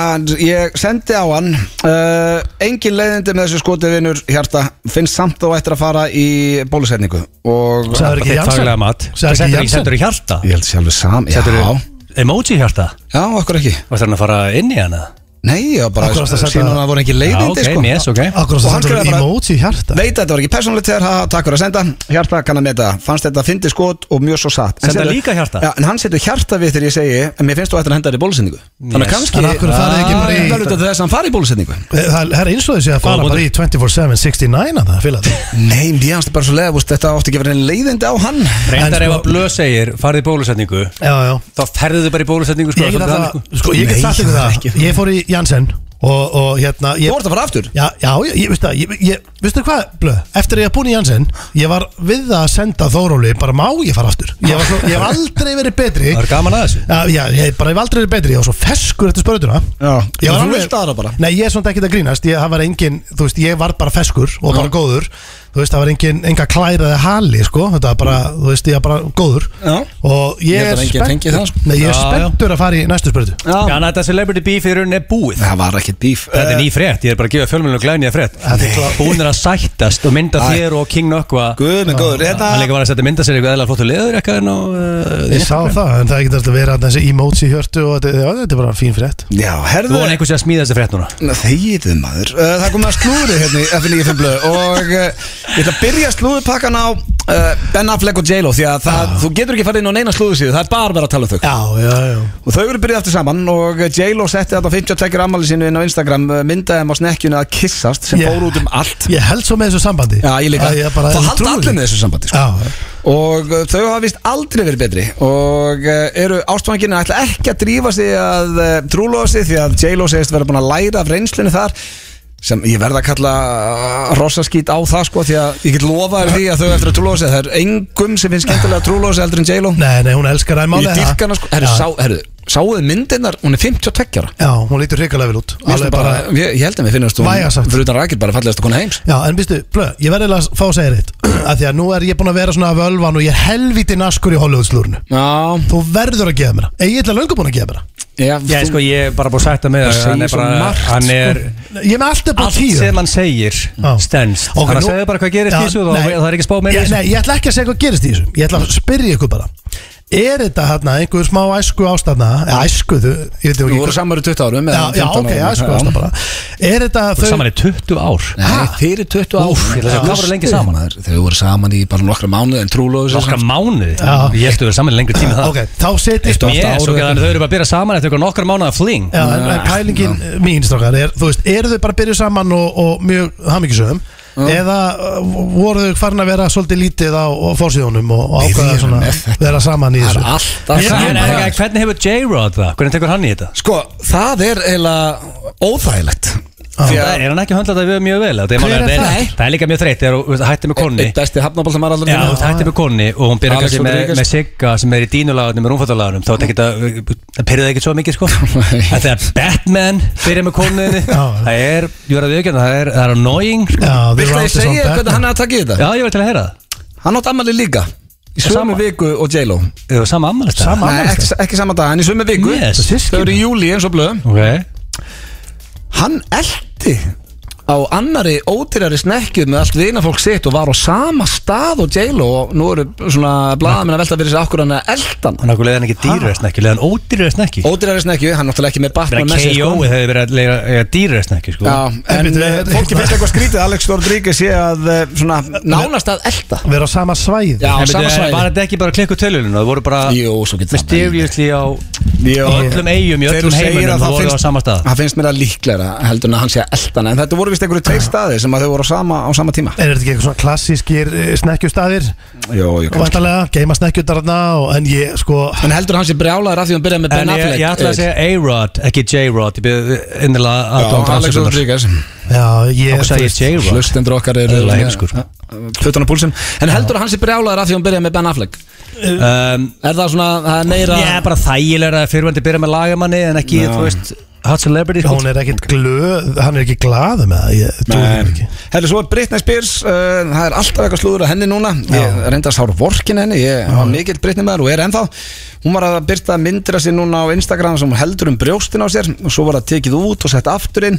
S1: ég sendi á hann uh, Engin leiðindi með þessu skotivinur hjarta, finnst samt þó eftir að fara í bólusetningu og
S3: Sagður ekki
S2: Þitt
S3: Janssen?
S2: faglega mat
S3: Sagði ekki
S2: Settur í- settur
S3: Janssen?
S2: í hjarta
S1: Ég held sjálfur sam, já,
S2: Settur emoji hjarta
S1: já, okkur ekki
S2: Varst hann að fara inn í hana?
S1: Nei, ég var bara
S3: Akkur varstu að
S1: að
S3: setja-
S1: sína hann að voru ekki
S2: Já,
S1: leiðindi
S2: ok,
S1: sko.
S2: yes, ok
S3: Akkur
S1: Og hann
S3: á þess að það
S1: skrifaði
S3: er
S1: bara-
S3: emoji í hjarta
S1: Veit að þetta var ekki persónulegt þegar ha, takk fyrir að senda Hjarta kann að meta, fannst þetta fyndi skot og mjög svo satt En
S2: Senda
S1: setur-
S2: líka hjarta?
S1: Já, en hann setur hjarta við þegar ég segi En mér finnst þú ættir að henda þér í bólusetningu Þannig að
S2: Yes.
S1: kannski
S3: En af hverju farið þið ekki bara í-
S1: Það er út af þess að hann fari í bólusetningu
S3: Það það er eins og þessi að fara
S2: Góða
S3: bara í 24-7-69 að það, fylg að það
S1: Nei, mér finnst bara svo leið veist, Þetta átti ekki að vera einn leiðindi á hann
S2: Reyndar
S3: En
S2: ef
S3: sko-
S2: að blöð segir farið í bólusetningu
S3: Já, já
S2: Þá ferðu þið bara í bólusetningu sko,
S3: Ég get
S2: svolítið þannig,
S3: alltaf,
S2: sko.
S3: sko, ég get
S1: Nei,
S3: sagt ykkur
S1: það er
S3: það
S1: ekki.
S3: Ég fór í Janssen og, og hérna
S1: Þú
S3: ég,
S1: ert að fara aftur
S3: Já, já, ég, ég veistu það, ég, ég, veistu hvað, blöð, eftir að ég haf búin í Janssen, ég var við það að senda Þóróli, bara má ég fara aftur, ég, var svo, ég hef aldrei verið betri,
S2: Það er gaman að þessu
S3: já, já, ég hef bara hef aldrei verið betri, ég var svo feskur eftir spörðuna,
S1: Já,
S3: ég var
S1: þú vilt aðra bara
S3: nei, ég er svona ekkert að grínast, ég, það var engin, þú veist, ég var bara feskur og bara góður, þú veist, það var engin, enga klæraði hali, sko, þetta var bara, þú veist, ég var bara góður
S1: Já.
S3: og
S1: Ég
S3: ég
S1: held
S3: er
S1: að enginn fengi það,
S3: spenntur,
S1: sko.
S3: nei, ég er
S2: Já, já.
S3: spenntur að fara í næstu spörðu.
S1: Já.
S2: Þannig að þetta celebrity beef í rauninni er búið
S1: Það var ekkit bíf
S2: Þetta er ný frétt, ég er bara að gefa fjölmjölinu glænýja frétt
S3: Þetta Eh, er klart.
S2: Búnir að sættast og mynda
S1: Æ.
S2: þér og King Nökkva
S1: Guð minn góður hérna- Þetta
S2: Ah. Hann líka var að setja mynda sér eitthvað eðla flottu leður eitthvað og
S3: Ég
S2: uh,
S3: sá það, en það getur alltaf verið að þessi emoji hjörtu og þetta, já, þetta er bara fín frétt
S1: Já,
S2: Þú
S1: herðu
S2: var einhversi að smíða þessi frétt núna
S1: Þegiðu maður uh, Það kom að slúðri hérna í F95 blöð Og uh, ég ætla að byrja slúðupakkan á uh, Ben Affleck og J-Lo Því að það, þú getur ekki farið inn á neina slúðusíðu Það er bara verið að tala um þau
S3: Já, já, já
S1: Og þau eru byrjað aftur saman Og eh, J-Lo setti þetta á 52 ammali sínu inn á Instagram eh, Myndaði þeim á snekkjunu að kissast Sem
S3: Yeah.
S1: fór út um allt
S3: Ég held svo með þessu sambandi
S1: Já, ég líka
S3: Að ég bara,
S1: Það halda allir með þessu sambandi sko.
S3: Já,
S1: Og uh, þau hafa vist aldrei verið betri Og uh, eru ástfanginu ætla ekki að drífa sig að uh, trúlóða sig Því að J-Lo segist vera búin að læra af reynslunni þar sem ég verða að kalla uh, rossaskít á það sko því að ég get lofa þér því að þau eftir að trúlóða sig það er engum sem finnst skemmtilega að trúlóða sig heldur en J-Lo
S3: nei, nei, hún elskar það
S1: ég
S3: málið það.
S1: dýrka hana sko herru,
S3: Já.
S1: sá, herru, sáuðu myndinnar, hún er 52 ára
S3: Já, hún lítur hrikalega vel út
S1: Mér finnst
S3: Alveg
S1: hún bara,
S3: bara-
S1: ég, ég held að mér finnast hún
S3: Vægast sagt.
S1: fyrir utan rækir bara fallegast að kona heims
S3: Já, en býstu, blöð, ég verði að fá að segja þér eitt Af því að nú er ég búin að vera svona völvan og ég er helviti naskur í Hollywoodslúrinu
S1: Já,
S3: Þú verður að gefa mér það Ég ætla löngu búin að gefa mér það
S1: já,
S2: Já, sko, ég er bara búin að sætta með
S1: Það segir
S2: það Hann er
S1: svo
S2: bara,
S1: margt,
S2: hann er
S3: Ég er með allt upp sko. á
S2: Allt
S3: tíu
S2: sem hann segir stendst
S3: Ok,
S2: Þannig að
S3: nú-
S2: segja bara hvað gerist
S3: Já,
S2: í þessu og
S3: nei.
S2: það er ekki að spá með
S3: Já,
S2: þessu
S3: Nei, ég ætla ekki að segja hvað gerist í þessu Ég ætla að spyrja ykkur bara er þetta hérna einhver smá æsku ástafna eða æsku þú, ég veit
S1: Þú
S3: ekki
S1: voru um
S3: hvað-
S1: samar í 20 árum
S3: já,
S1: eða
S3: já, sko,
S1: 15
S3: ok,
S1: árum.
S3: æsku ástafna bara er þetta
S2: Þau...
S3: þau
S2: Saman í 20 ár
S1: Nei, fyrir 20 árum
S2: Úff, ég ætla að segja, hvað voru lengi saman?
S1: Maður, Þau voru saman í bara nokkra mánuði en trúlóðu sér
S2: Nokkra mánuði
S3: Já.
S2: Ég ætti að vera saman í lengri tími en það
S3: ok, þá setjast
S1: Eitt og-
S2: Yes,
S1: ára
S2: ok,
S1: eða
S2: þannig að þau eru bara að byrja saman eftir eitthvað nokkar mánuða fling
S3: Já, en, en pælingin mín strákar er, þú veist, eru þau bara byrjuð saman og, og mjög hamingisöðum eða uh, voru þau farin að vera svolítið lítið á, á fórsíðunum og, og
S1: Nei, við
S3: ákvaða
S1: erum
S3: svona
S1: með þetta.
S3: vera saman í
S1: Það
S3: þessu
S1: er alltaf
S3: Ég-
S2: En
S1: saman
S2: en- en hvernig hefur J-Rod það? Hvernig tekur hann í þetta?
S1: Sko, það er eiginlega óþægilegt Því
S2: Það
S1: að
S2: er hann ekki að höndla þetta við mjög vel það er,
S3: Hver
S2: málið að
S3: er
S2: það,
S3: það?
S2: er, það er líka mjög þreytt þegar þú veist, hættir með konni
S1: Eitt besti hafnabóltamar allar
S2: Já, þú hættir með konni og hún byrjar
S1: Alex
S2: kannski með,
S1: Rodriguez.
S2: með Sigga sem er í dínulagunum og rúmfattalagunum þá er þetta ekkert að- það pyrrið ekki svo mikið sko
S1: Nei.
S2: En þegar Batman byrjar með konniðinni
S3: Já.
S2: það er, ég verður að viðkjönda, það er, það er annoying sko.
S3: Já, The
S1: Vilt
S3: Round
S1: að ég
S3: is on
S1: segja
S3: back.
S1: hvernig hann er að taka í þetta?
S2: Já, ég verður til að heyra það
S1: Hann átt ammali líka Í sömu
S2: Sama.
S1: viku og J-Lo
S2: Þau eru sama ammælst
S3: Sama
S1: Nei,
S3: afmælisdag?
S1: ekki, ekki sama dag, en í sömu viku
S2: Yes.
S1: Þau eru í júli eins og blöð
S2: Ok
S1: Hann eldi á annari ódýrari snekkju með allt vinafólk sitt og var á sama stað og J-Lo og nú eru svona blaðamenn að velta fyrir sig okkur hann að elda hann
S2: Hann okkur leiðan ekki dýrari snekki, leiðan ódýrari snekki
S1: Ódýrari snekkju, hann náttúrulega ekki með
S2: Bara
S1: Batman með sér sko.
S2: KO-ið hefur verið að leiða- eiga dýrari snekki sko
S1: Já,
S3: En
S1: en
S3: bíddu,
S1: eh,
S3: er-
S1: fólki finnst eitthvað skrítið að Alex Rodríguez sé að eh, svona nánast að elda
S3: vera á sama svæð
S1: Já,
S2: En
S1: sama
S2: byrju,
S1: svæði.
S2: Var þetta ekki bara klikku tölunum, það voru bara
S1: Jú, svo getur það verið.
S2: mysteriously á
S1: Jó.
S2: öllum eigum í
S1: Þegar þú
S2: öllum
S1: segir
S2: heiminum
S1: að
S2: þú
S1: það
S2: voru á
S1: finnst-
S2: sama stað
S1: Það finnst mér að líklegra heldur en að hann sé að elda hann en þetta voru vist einhverju tveir staði sem að þau voru á sama, á sama tíma
S3: Er þetta ekki eitthvað svona klassískir eh, snekkjustaðir
S1: Jó, jú,
S3: og vantarlega, geima snekkjutarna og, en ég sko
S1: En heldur hann sé brjálaður af því að hann byrjaði með
S2: En
S1: Ben
S2: ég,
S1: Affleck
S2: ég ætla að
S1: Egill?
S2: segja A-Rod, ekki J-Rod Ég byrði innilega að
S1: Já,
S2: þú átt
S1: Alex
S2: afsökunar.
S1: Rodríguez
S3: Já, ég
S2: Af hverju sagði ég J-Rod
S1: Hlustendur okkar er
S2: Eðlilega heimskur.
S1: Fötun á púlsinn En heldur hann sé brjálaður af því að hann byrjaði með Ben Affleck
S2: Um,
S1: Er það svona, það er meira
S2: Ég er bara þægilega að fyrrvandi byrja með lagamanni En ekki,
S1: Já.
S2: þú veist, hot celebrity sko.
S3: Hún er ekkit glöð, hann er ekki glað með það Ég trúi því ekki
S1: Herri, svo er Britney Spears uh, Það er alltaf eitthvað slúður að henni núna Ég
S3: Já.
S1: reyndi að sára vorkin henni Ég var mikill Britney maður og er ennþá Hún var að byrta myndra sér núna á Instagram sem hún heldur um brjóstin á sér og svo var það tekið út og sett aftur inn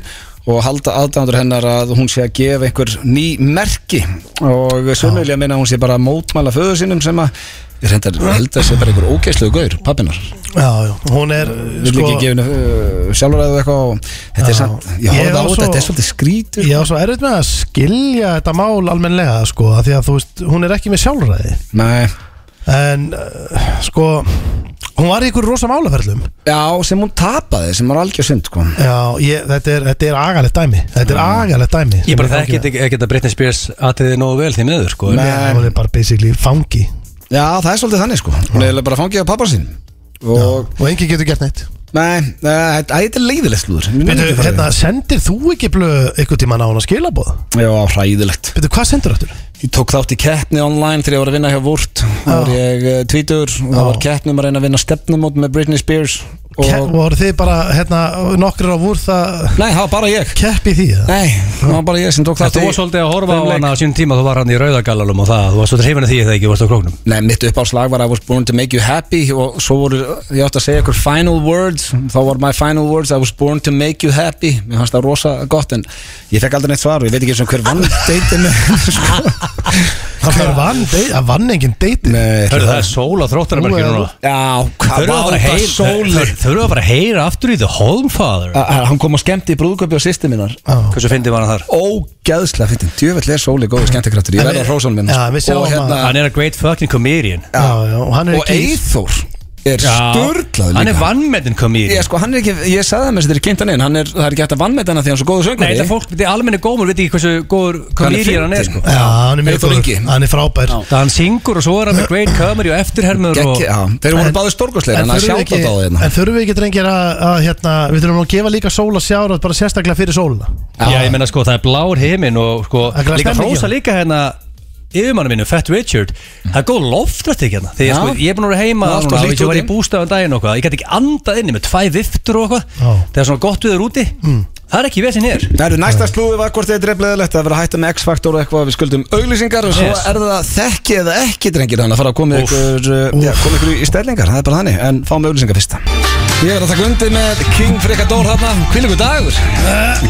S1: og halda aðdæmandur hennar að hún sé að gefa einhver ný merki og sömulega meina að hún sé bara að mótmæla föður sínum sem að ég reyndar held að sé bara einhver ógeðsluðu gaur, pappinar
S3: Já, já, hún er sko-
S1: vil ekki gefa henni uh, sjálfræðu eitthvað og þetta er
S3: Já.
S1: samt, ég
S3: Ég
S1: horfði á
S3: var
S1: þetta,
S3: svo-
S1: þetta er svolítið sko. skrítur
S3: Ég á svo erfitt með að skilja þetta mál almenlega sko, af því að þú veist, hún er ekki með sjálfræði
S1: Nei,
S3: en uh, sko hún var í ykkur rosa málaferlum
S1: Já, sem hún tapaði, sem var algjör synd sko.
S3: Já, ég, þetta, er, þetta er agalegt dæmi þetta er agalegt dæmi
S2: Ég bara þekki ekki- ekki að Britney Spears atriði nógu vel því miður sko.
S1: Nei.
S3: Nei, hún er bara basically fangi
S1: Já, það er svolítið þannig sko Hún er eiginlega bara fangið á pappa sín Og,
S3: og enginn getur gert neitt
S1: nei, eh, þetta æ, þetta er leiðilegt slúður Mér nenni
S3: Beidu,
S1: ekki að fara
S3: hérna, sendir þú ekki blöð einhvern tímann á hún að skilabóð?
S1: í- Já, hræðilegt
S3: Beidu, hvað sendur þetta?
S1: Ég tók þátt í keppni online þegar ég var að vinna hjá Vort Þá var ég eh, tvítugur og það var keppni um að reyna að vinna stefnumót með Britney Spears
S3: Og
S1: og,
S3: voru þið bara hérna, nokkrir á vúr það
S1: Nei, það var bara ég
S3: keppi í því eða?
S1: Nei, það var bara ég sem tók
S2: Það
S1: þátt
S2: þú var svolítið að horfa á
S1: þeim leik.
S2: hana á sínum tíma Þú var hann í rauðagallalum og það Þú varst svolítið hrifin af því þegar ekki varst á króknum
S1: Nei, mitt uppáðslag var I was born to make you happy og svo voru, ég átti að segja ykkur final words þá var my final words I was born to make you happy mér fannst það rosa gott en ég fekk aldrei neitt svar og ég veit ekki eins og hver vann deitinu sko.
S3: Það var vann, dei- það vann enginn deiti
S1: Nei,
S2: Hörru það er sól á þróttarabækju
S3: Nú er-
S2: núna
S1: Já,
S2: Þau
S1: hvað
S2: eru að fara
S1: var
S2: að
S1: það
S2: heyra-
S1: sóli
S2: þau- þau eru að fara að heyra aftur í The Homefather
S1: Hann kom og skemmti í brúðköpi á sýsti minnar
S2: Hversu Ah, fyndið var hann þar?
S1: Ógæðslega fyrir, djöfell er sóli góði skemmtikrættur ég
S3: En
S1: verði
S3: við-
S1: að hrósanum minna
S3: Já,
S4: sko.
S3: við sjáum
S1: og, hérna-
S2: Hann er a great fucking comedian
S3: Já, já, og hann er
S1: og
S3: ekki
S1: Eithór er
S2: Já.
S1: störglað
S2: Hann er vannmennin
S1: Ég,
S2: comedian
S1: sko, hann er ekki, ég sagði það með þess að þetta er kynnt hann inn hann er, það er ekki hægt að vannmeta hann því hann er svo góðu
S2: Nei,
S1: söngveri
S2: þetta fólk, þetta er almenni gómur, veit ekki hversu góður comedian hann er
S1: fyndinn.
S2: sko
S3: Já, hann er mjög
S1: Eyþór Ingi.
S3: góður, hann er frábær
S1: Já.
S2: Það hann syngur og svo er hann með great comedy og eftirhermur og
S1: Gekki, já, þeir voru báðið stórkostlega en það
S3: þurfum
S1: sjátt á
S3: við ekki-
S1: það hérna
S3: en þurfum við ekki drengir að, að hérna, við þurfum að gefa líka sól að sjára bara sérstaklega fyrir sóluna
S2: Já, ég meina sko, það er blár heiminn og sko,
S3: Það er glatt
S2: líka
S3: stemning,
S2: frósa
S3: já.
S2: líka hérna yfirmannu mínu, Fat Richard það er góð loftrætt ekki hérna þegar
S1: Já.
S2: sko, ég er búin að vera heima
S1: Það er allt
S2: núna
S1: of
S2: og
S1: hlýtt
S2: ég var í
S1: úti.
S2: bústafan daginn og eitthvað ég gæti ekki andað inni með tvæ viftur og eitthvað
S3: Já.
S2: þegar svona gott viður úti það er ekki vesinn hér
S1: Það eru næsta slúði var hvort þetta er bleðilegt að vera að hætta með X-faktor og eitthvað við skuldum auglýsingar og svo
S2: Yes.
S1: er það þekki eða ekki drengir þannig að fara að koma
S2: Úff.
S1: ykkur, uh, já, koma ykkur í stellingar það er bara þannig en fáum auglýsingar fyrst Ég verð að taka undir með King Frikador þarna Hvílíku dagur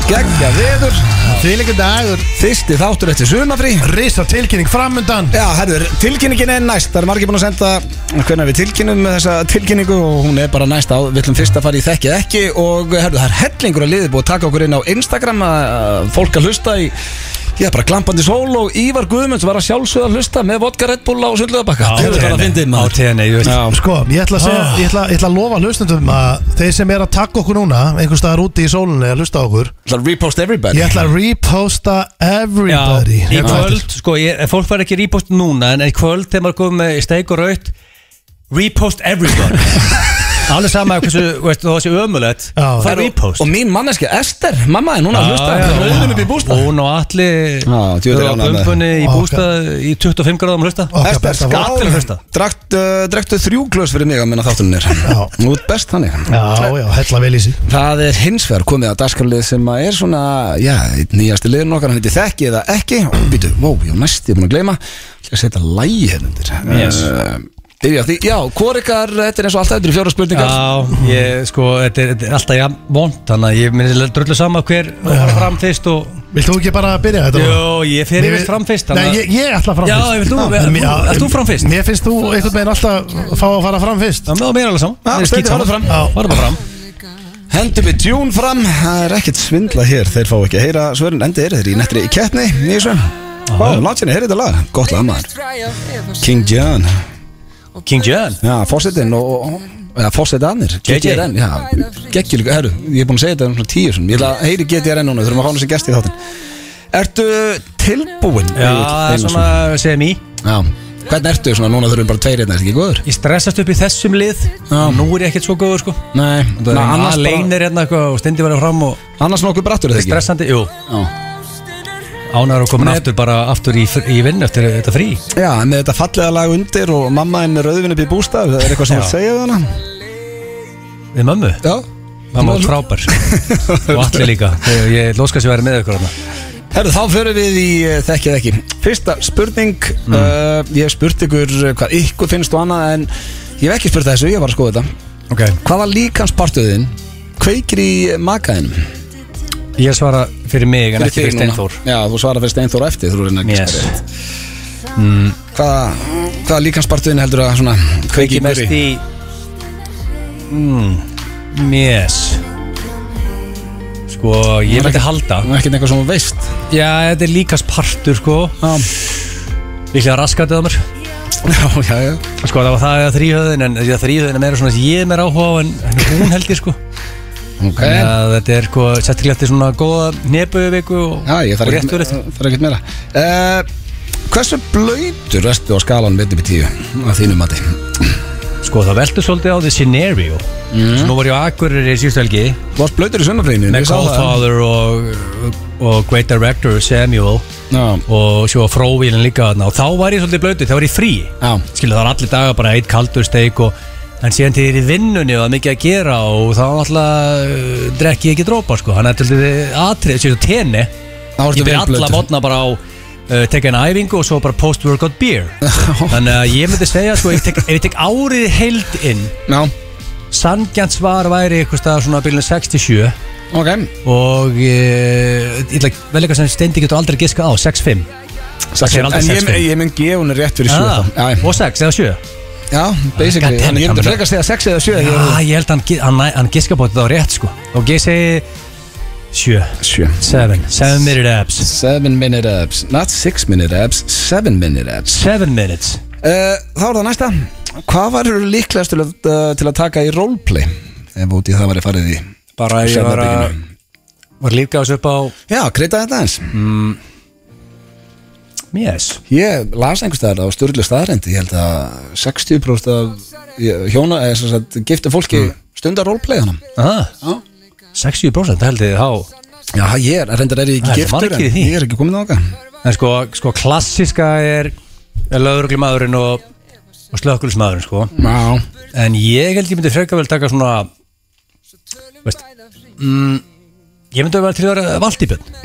S1: Geggja viður
S3: Þvílíku dagur
S1: Fyrsti þáttur eftir sumafrí
S3: Risa tilkynning framundan
S1: Já, herður, tilkynningin er næst Það er margir búin að senda hvernig við tilkynnum með þessa tilkynningu og hún er bara næst á Við ætlum fyrst að fara í þekkið ekki og herðu, það er hellingur að liði búið að taka okkur inn á Instagram að að fólk að hlusta í Já, bara glampandi sól og Ívar Guðmunds var að sjálfsögða að hlusta með vodka Red Bull á E. sundlöðabakka
S2: Á TNI, á TNI, ég veist
S1: Já,
S3: Sko, ég ætla að segja, ég ætla, ég ætla að lofa hlustendum að þeir sem er að taka okkur núna einhvers staðar úti í sólunni að hlusta á okkur
S1: ætla að repost everybody
S3: Ég ætla að reposta
S2: Já,
S3: everybody
S2: í
S3: Hérna eftir.
S2: kvöld, sko, ég, fólk var ekki repost núna en í kvöld þegar maður komið með steik og raut repost everybody alveg sama hversu, veist, það var sér ömulegt
S3: Já.
S2: það er repost
S1: Og mín manneskja Ester, mamma er núna að hlusta
S2: Ah, Já, já,
S1: Hún er
S2: já.
S1: auðvitað upp í bústa
S2: Hún og allir
S1: Já, djöfull er
S2: eru á
S1: ánægð með
S2: gumbunni í
S3: Ó,
S2: bústað í 25 gráðum hlusta
S3: Okkar
S1: Ester,
S3: besta
S1: skál.
S2: Allir hlusta
S1: Drakt, uh, draktu þrjú glös fyrir mig að minna þáttunir
S3: Já.
S1: Nú er best þannig
S3: Já, já, hella vel í sig
S1: Það er hins vegar komið að dagskarlið sem að er svona, já, einn nýjasti liðin okkar, hann heitir Þekki eða ekki og býtu, vó, já, næst, ég er búin að gleyma Ég að setja lægi hérna undir
S2: Yes.
S1: uh, Byrja á því, já, hvor ykkar, þetta er eins og alltaf, þetta eru fjóra spurningar
S2: Já, ég, sko, þetta er, þetta er alltaf jafn vond Þannig að ég minni drullu sama hver fara fram fyrst og
S3: Vilt þú ekki bara byrja þetta?
S2: Jó, ég fer yfir fram fyrst
S3: Nei,
S2: þannig að-
S3: ég, ég ætla fram
S2: Já,
S3: fyrst
S2: ég vil þú-
S3: Já,
S2: þú-
S3: mér- já,
S2: ert þú fram fyrst?
S3: Mér finnst þú einhvern veginn alltaf fá að fara fram fyrst
S2: Já, með og mér er
S1: Já,
S2: alveg saman Mér er
S1: Steindi,
S2: skítsaman.
S1: farðu fram.
S2: Já, farðu bara fram
S1: Hendum við tjún fram, það er ekkert svindla hér, þeir fá ekki að heyra svörin Endi er þeir í nettri keppni, nýjum svön Vá, látt sinni, heyri þetta lag, gott lag maður King John,
S2: King John
S1: já, fórsetin og, og Já, fórsetanir,
S2: JJ.
S1: GTRN, já, geggjulíka, herru, ég er búin að segja þetta um svona tíu svona, ég ætla að heyri GTRN núna, þurfum að fá hann sem gest í þáttinn. Ertu tilbúinn?
S2: Já,
S1: Egill
S2: það er
S1: Einarsson?
S2: svona sem í
S1: Já, hvernig ertu svona, núna þurfum bara tveir hérna, er þetta ekki góður?
S2: Ég stressast upp í þessum lið
S1: Já.
S2: Nú er ég ekkert svo góður sko
S1: Nei, það er
S2: Ná,
S1: annars
S2: Lein
S1: bara,
S2: er hérna eitthvað og stendi verið fram og
S1: annars nokkuð brattur er þetta ekki?
S2: stressandi Jú,
S1: Já,
S2: ánæður að koma aftur bara aftur í, fr- í vinn eftir þetta frí
S1: já en með þetta fallega lag undir og mamma henn er rauðvinn upp í bústaf, það er eitthvað sem
S2: Já.
S1: þú segja við hana?
S2: Við mömmu
S1: Já.
S2: Mamma var frábær Og allir líka Ég- Ég lóskast ég væri með ykkur hana
S1: Herru, þá förum við í eh, þekkið ekki. Fyrsta spurning,
S2: Mm.
S1: uh, ég hef spurt ykkur eh, hvað ykkur finnst og annað en ég hef ekki spurt að þessu, ég var að skoða þetta.
S2: Ok
S1: Hvaða líkanspartuðin kveikir í makaðinum?
S2: Ég svara fyrir mig en ekki fyrir
S1: þig núna.
S2: Steinþór
S1: Já, þú svarar fyrir Steinþór á eftir, þú reynir ekki
S2: Yes.
S1: spyrja rétt. Hvaða, hvaða líkanspartuðin heldur að svona kveiki
S2: Ekki mest
S1: í?
S2: í Mm Yes Sko, ég myndi halda
S1: Það er ekkert eitthvað sem þú veist.
S2: Já, þetta er líkast partur sko
S1: Já,
S2: Líklega raskatið á mér
S1: já, já. já.
S2: Sko, það var það að þrýhöðin En því að þrýhöðin er meira svona sem ég er meira áhuga á En, en hún held ég sko
S1: Ok.
S2: Þannig að þetta er sko Settilega eftir svona góða nebuviku og,
S1: Já, ég
S2: og
S1: þarf
S2: rétt
S1: ekkert
S2: verið
S1: þarf ekkert meira. Uh, hversu blöytur restu á skalan 1 upp í 10 að þínu mati?
S2: Sko, það veldur svolítið á því scenario
S1: Mm.
S2: Svo nú var ég á Akureyri í síðustu helgi
S1: Þú varst blöytur í sunnafrínu.
S2: Með Godfather og, og Great Director Samuel
S1: Já,
S2: Og svo Fróvílin líka þarna Og þá var ég svolítið blötið, þá var ég frí
S1: já.
S2: skilu það var allir dagar bara eitt kaldur steik og en síðan til þér í vinnunni og það er mikið að gera og þá alltaf uh, drekki ég ekki drópa sko, hann er til þið atrið þessu tenni,
S1: Þá ertu
S2: ég byrja
S1: vel
S2: alla
S1: blautur.
S2: mótna bara á uh, tekja eina æfingu og svo bara post-workout beer þannig að ég myndi segja sko, ef ég tek, ef ég tek árið heild inn
S1: Já,
S2: sangjant svar væri eitthvað staðar svona byrjun 67
S1: ok.
S2: og uh, ég ætla að velja eitthvað sem steindi getur aldrei giska á 6-5 Það er aldrei
S1: En ég,
S2: 6-5
S1: ég mynd gefa hún rétt fyrir 7
S2: Ah,
S1: Já,
S2: og 6 eða 7
S1: Já, basically
S2: God damn
S1: Þannig
S2: it,
S1: ég myndi
S2: Kamil.
S1: frekar segja 6 eða 7
S2: Já, Ah, ég held að hann, gi- hann, næ- hann giska bótið á rétt sko Og ég segi 7,
S1: 7
S2: 7, 7 minute abs
S1: 7 minute abs Not 6 minute abs 7 minute abs
S2: 7 minutes
S1: uh, Þá er það næsta Hvað var líklegast til, að- uh, til að taka í roleplay? Ef út í það væri farið í
S2: Bara
S1: ég var að-
S2: Var líka þessu upp á
S1: Já, kreita þetta eins
S2: Yes
S1: Ég las einhverstaðar á styrlu staðarendi Ég held að 60% af ég- hjóna eða sem sagt gifta fólki stundar roleplay hann
S2: ah, 60% held ég þá
S1: Já, ég er, reyndar er ég
S2: Það
S1: ekki
S2: er
S1: giftur
S2: margir í
S1: en
S2: því.
S1: Ég er ekki komin á
S2: En sko, sko klassiska er Er lögreglumadurinn og, og slökkulismadurinn sko
S1: Já,
S2: En ég held ég myndi frekar vel taka svona Veist mm, Ég myndi vel til að vera valdýbjörn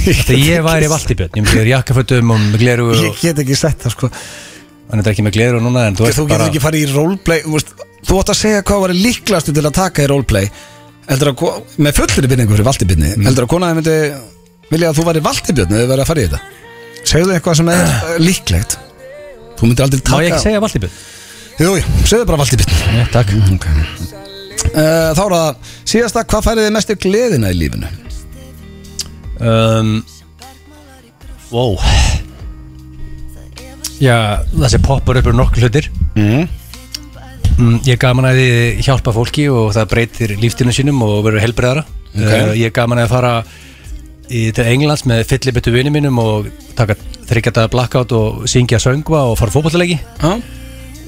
S2: Þegar ég væri valdýbjörn Ég myndi vera í jakkafötum og með gleru og
S1: ég get ekki sett það sko
S2: hann er ekki með gleru núna en þú
S1: Þú,
S2: veist
S1: þú getur
S2: bara
S1: ekki farið í roleplay þú veist,
S4: þú átt að segja hvað var líklastu til að taka í roleplay heldur að, ko- með fullri byrningu fyrir valtibyrni
S1: Mm.
S4: heldur að konaði myndi vilja að þú væri valtibjörn eða verið að fara í þetta segðu eitthvað sem er eh, líklegt þú myndir aldrei
S2: Má
S4: taka
S2: ég ekki segja vallibið?
S4: Jú, jú, segðu bara valtibjörn
S2: Nei, takk
S4: okay. uh, Þá er það síðasta, hvað færið þið mestu gleðina í lífinu?
S2: um, Wow Já, það sem poppar upp eru nokkur hlutir
S4: Mm.
S2: Mm, Ég er gaman að þið hjálpa fólki og það breytir líftíðinu sínum og verður helbriðara okay. Ég er gaman að fara í, til Englands með fyllibittu vinni mínum og taka þryggjataða blackout og syngja söngva og fara fótballleiki
S4: Ha?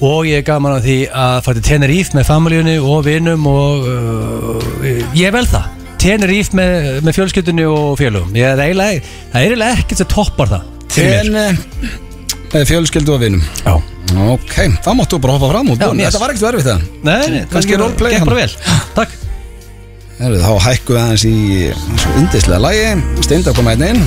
S2: og ég er gaman að því að fara til Tenerife með familíunni og vinum og uh, ég vel það Tenerife með, með fjölskyldunni og félögum ég er eiginlega, það er eiginlega ekkert sem toppar það fyrir mér.
S4: En uh, fjölskyldu og vinum
S2: Já.
S4: Ok, það máttu bara hoppa fram út
S2: Já,
S4: Bonni.
S2: yes.
S4: Þetta var ekkert verfið það
S2: Nei, nei,
S4: Kannski
S2: bara-
S4: roleplay
S2: Gekk
S4: hann.
S2: bara vel, takk
S4: Heru, Þá hækkuðu aðeins í svo yndislega lagi Steinda koma einn inn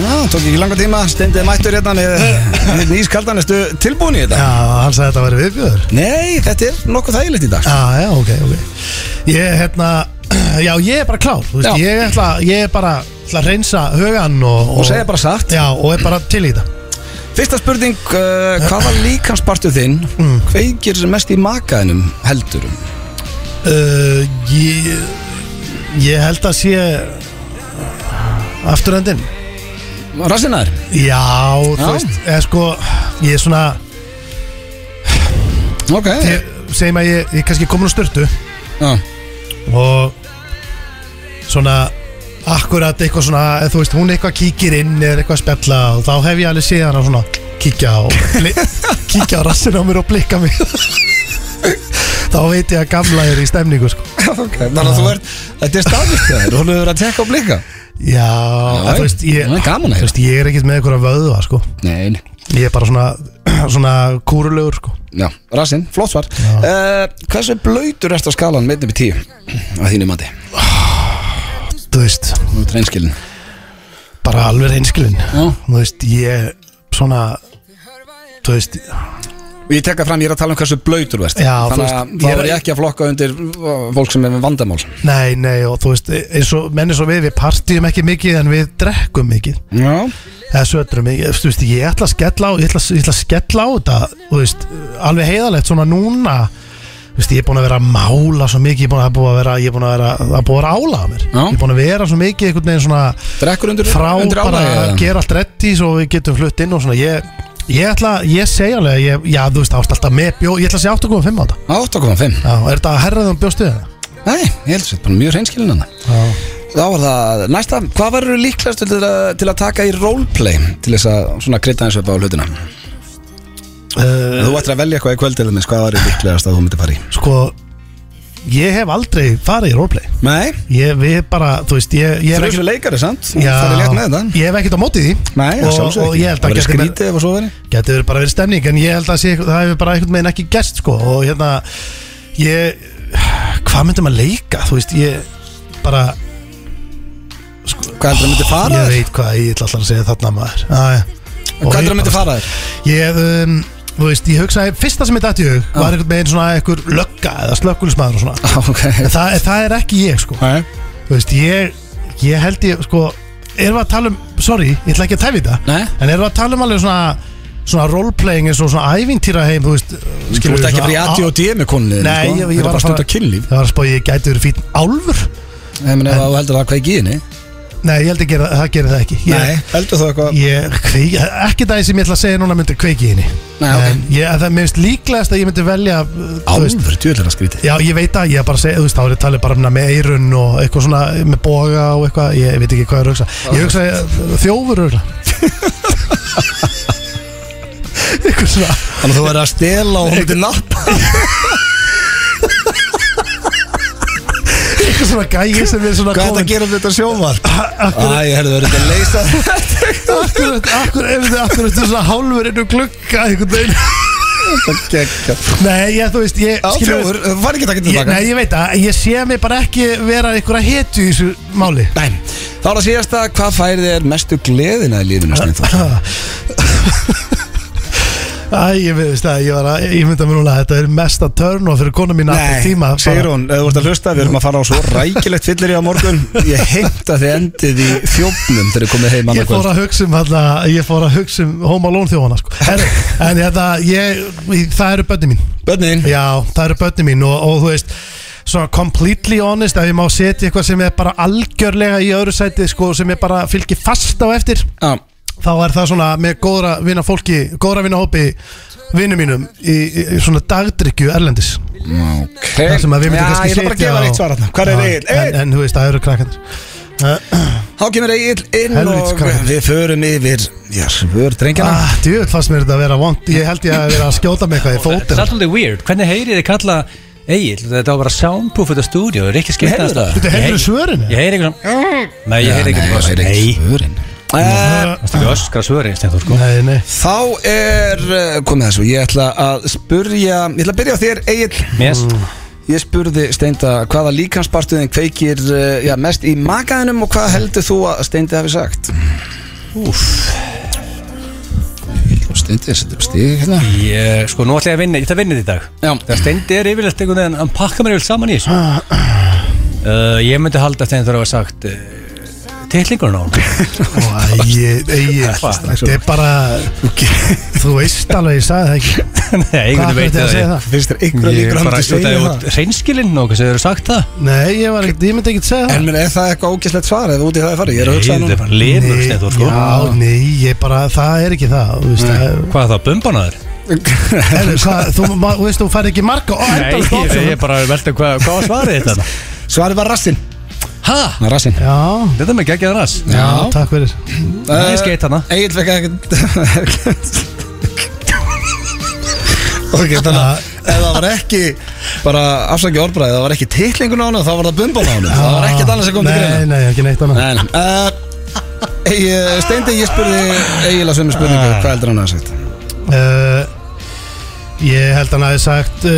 S4: Já, tók ekki langa tíma Steindið mættur hérna með nýskaldan Erstu tilbúin í þetta?
S3: Já, hann sagði að þetta væri viðbjöður
S4: Nei, þetta er nokkuð þægilegt í dag
S3: Já, já, ok, ok Ég, hérna, já, ég er bara klár Þú veist,
S4: Já.
S3: ég ætla, ég er bara ætla að reynsa hugan og
S4: Og segja bara satt
S3: Já, og er bara til í þetta
S4: Fyrsta spurning, uh, hvaða líkanspartur þinn
S3: Mm.
S4: kveikir mest í makaðinum heldurum?
S3: Uh, ég, ég held að sé Afturöndin
S4: Rassinar?
S3: Já,
S4: Já.
S3: þú veist, eða sko Ég er svona,
S4: Ok
S3: ég, segjum að ég, ég kannski komin úr styrtu
S4: Já.
S3: Og svona Akkurat eitthvað svona, eða þú veist, hún eitthvað kíkir inn Eða eitthvað að spjalla og þá hef ég alveg séð hana svona Kíkja á bli- Kíkja á rassin á mér og blikka mig Þá veit ég að gamla er í stemningu sko
S4: ok, þannig að þú ert, þetta er staðvist það er, hún hefur verið að tekka á blika
S3: Já,
S4: Já,
S3: já þú veist, ég,
S4: það er gaman að
S3: þú
S4: heyra.
S3: veist, ég er ekkert með eitthvað að vöðva sko
S4: Nei, nei.
S3: Ég er bara svona, svona kúrulegur sko
S4: já, rassin, flott svar uh, Hversu blöytur ertu á skalan með upp í tíu? Að þínu mati,
S3: Þú veist,
S4: þú ert reynskilin
S3: bara alveg reynskilin
S4: Já.
S3: Þú veist, ég svona Þú veist,
S4: Og ég tekka fram, ég er að tala um hversu blöytur þú ert
S3: Já, þú
S4: Þannig
S3: veist,
S4: að
S3: ég
S4: þá
S3: er-
S4: er ég ekki að flokka undir uh, fólk sem er með vandamál
S3: nei, nei og þú veist eins og menn eins og við, við partíum ekki mikið en við drekkum mikið
S4: Já,
S3: eða sötrum mikið, þú veist, ég ætla að skella á ég ætla, ég ætla að skella á þetta þú veist, alveg heiðalegt svona núna þú veist, ég er búin að vera að mála svo mikið, ég er búin að, búin að vera ég er búin að vera, það er búin að vera ála að mér
S4: Já.
S3: ég er búin að vera svo mikið einhvern veginn svona
S4: drekkur undir,
S3: frá
S4: undir
S3: bara
S4: álagi
S3: að
S4: eða?
S3: gera allt reddi svo við getum flutt inn og svona ég, ég ætla, ég segja alveg ég, já þú veist, ást alltaf með bjó, ég ætla að segja 8.5 á þetta
S4: 8,5
S3: já, er þetta að herraðum bjóstuðið það?
S4: Nei, ég held að þetta er bara mjög reynskilin hana
S3: já,
S4: Þá var það næsta, hvað verður líklegast til að, til að taka í roleplay til þess að svona krydda eins upp á hlutina
S3: uh,
S4: Þú ættir að velja eitthvað í kvöld til þess, hvað verður líklegast að þú myndir fara í
S3: sko ég hef aldrei farið í roleplay
S4: Nei,
S3: ég, við bara, þú veist, ég, ég er
S4: þú eru
S3: ekkert
S4: svo leikari, sant?
S3: Já,
S4: Það er létt með þetta
S3: ég hef ekkert á móti því
S4: Nei, að
S3: og,
S4: sjálfsögðu
S3: og
S4: ekki.
S3: ég held
S4: Það
S3: að
S4: verður
S3: geti verið-
S4: skrítið ef að svo verið
S3: geti verið bara verið stemning en ég held að sé, það hefur bara einhvern veginn ekki gerst sko og hérna ég, hvað myndum að leika þú veist ég bara
S4: Hvað heldur það myndir fara
S3: ég
S4: þér?
S3: veit hvað ég ætla alltaf að segja þarna maður Æ,
S4: Hvað heldur það myndir fara þér?
S3: ég, um, þú veist, ég hugsaði fyrsta sem ég dætti hug var einhvern veginn svona einhver lögga eða slökkulismæður og svona
S4: Á, Ok
S3: en það, en það er ekki ég sko
S4: Nei.
S3: þú veist ég, ég held ég sko erum við að tala um, sorry, ég ætla ekki að tæfi þetta
S4: Nei.
S3: en erum við að tala um alveg svona svona roleplaying eins og svona ævintýra heim þú veist, uh,
S4: Þú ert ekki að fara í ADOD með konunni
S3: Nei, ég- ég var
S4: Þú bara
S3: að
S4: að
S3: fara-
S4: stunda kynlíf
S3: Það var að spá ég gæti verið fín álfur
S4: Nei, menn ef þú heldur það hvað í gíðinni
S3: Nei, ég held ekki að það gerir það ekki
S4: Nei,
S3: ég,
S4: heldur það eitthvað
S3: ég, kveik, Ekki það sem ég ætla að segja núna myndi kveiki henni
S4: Nei, ok.
S3: En ég, það er minnst líklegast að ég myndi velja uh, þú veist,
S4: Álfur, djöðlega skrítið
S3: Já, ég veit að ég er bara að segja, þú veist, þá er ég talið bara um það með eirun og eitthvað svona með boga og eitthvað, ég veit ekki hvað ég er að hugsa Ég hugsa uh, þjófur auðvitað Eitthvað svona
S4: Þannig að þú verður að stela og hún myndir nappa
S3: Eitthvað svona gæi sem er svona
S4: Hvað er þetta að
S3: kominn-
S4: gera um þetta sjónvarp? Æ, ég herðu verið að leysa
S3: Akkurat, akkurat, ef þið akkurat þú svona hálfur inn og glugga einhvern veginn
S4: Á,
S3: Nei, ég, þú veist, ég skilur-
S4: fjóður, þú fari ekki að taka
S3: ég,
S4: tilbaka
S3: Nei, ég veit að ég sé mig bara ekki vera einhverja hetu í þessu máli
S4: Nei, þá er það síðast að hvað færið er mestu gleðina í lífinu Steinþór?
S3: Ha. Æ, ég veist það, ég var að, ég mynda mér núna að þetta er mesta törn og fyrir konu mín aftur tíma bara-
S1: Sigrún, ef þú ert að hlusta, við erum að fara á svo rækilegt fyllir á morgun Ég heimta þið endið í fjófnum þegar þið komið heim
S3: Ég fór
S1: annarkvöld
S3: að hugsa um hérna, ég fór að hugsa um Home Alone þjóðana sko En, en hérna, ég, það eru bönni mín
S1: Bönnin,
S3: Já, það eru bönni mín og, og þú veist Svona completely honest Ef ég má setja eitthvað sem er bara algjörlega í öðru sæti sko, Sem ég bara fylgir fast á eftir
S1: já,
S3: Þá er það svona með góðra vinna fólki Góðra vinna hópi vinnu mínum í, í, í svona dagdrykju erlendis
S1: ok
S3: Það sem að við myndum
S1: Já,
S3: kannski
S1: ég ætla bara að gefa
S3: á-
S1: þér eitt svar hérna Hvar er
S3: Já,
S1: Egil?
S3: En, en þú veist, það eru krakkandir
S1: Þá kemur Egil inn
S3: Helvítis
S1: og
S3: krakki.
S1: við förum yfir Já, svör drengjana
S3: ah, Djöfull fannst mér þetta að vera vond Ég held ég að vera að skjóta með eitthvað í
S2: Það er
S3: fótinn
S2: alltaf weird, hvernig heyrið þið kalla Egil, þetta var bara soundproof þetta stúdíu, það er ekki skipt
S1: Heyrðu
S2: að staða
S1: það?
S3: Þetta heyrðu
S2: Ég-
S3: svörin
S2: Ég heyri eitthvað svona Nei, ég heyri eitthvað svona Nei,
S1: svörin
S2: það er ekki öskra svöri Stenþór, sko
S3: Nei, nei
S1: Þá er, eh, komið þessu, ég ætla að spurja, ég ætla að byrja á þér Egil
S2: Mér,
S1: Ég spurði Steinda hvaða líkanspartuðin kveikir eh, já, mest í makaðinum og hvað heldur þú að Steindi hafi sagt? Úf Steindi, setja upp stíð hérna
S2: ég, sko, nú ætla ég að vinna, ég ætla að vinna þetta í dag
S1: Já.
S2: Þegar steindi er yfirleitt einhvern veginn, hann pakka mér yfirleitt saman í þessu uh, Ég myndi halda að Stenþór hafa sagt uh, Tillingurinn á hann
S3: Æ, ég, ég, þetta er bara Þú veist alveg, ég sagði það ekki
S2: Nei,
S3: Hvað
S2: einhvern
S3: fyrir
S2: veit
S3: þetta að segja það?
S1: Finnst þér einhverja
S2: Ég
S1: líkur
S2: er
S1: hann
S2: bara
S1: til
S2: út
S1: segja
S2: af
S1: það?
S2: reynskilinn og hvað sem eru sagt það
S3: Nei, ég, var, ekkert- ég myndi ekki að segja það
S1: En minn, er það eitthvað ógæslegt svar eða út í það er farið? Ég er að
S2: Nei,
S1: hugsa það
S2: þetta er
S1: núna
S2: bara limur
S3: Nei,
S2: Stenþór, sko
S3: Já, nei, ég bara, það er ekki það Þú veist, það er-
S2: Hvað þá, bumbanaður?
S3: Herru, hvað, þú ma- þú veist, þú fær ekki marga Ó,
S2: Nei,
S3: endalaust
S2: ég
S3: option.
S2: ég er bara að velta hvað hvað var svarið þetta
S1: Svarið var rassin
S2: Hæ?
S1: Na, rassin
S3: Já,
S2: Þetta með geggjaðan rass
S3: já,
S1: Já.
S3: takk fyrir
S2: Ég skeit hana
S1: Egil fekk ekkert Ok, þannig að
S3: Ah.
S1: ef það var ekki bara afsakið orðbræðið, það var ekki titlingun á hana þá var það bumban á hana, það var ekkert annað sem kom til
S3: Nei, nei, ekki neitt annað
S1: greina Nei, nei uh, Ey, Steindi, ég spurði Egil að sömu spurningu,
S2: Ah.
S1: hvað heldur hann að hafa sagt?
S3: Uh, Ég held hann hafi sagt uh,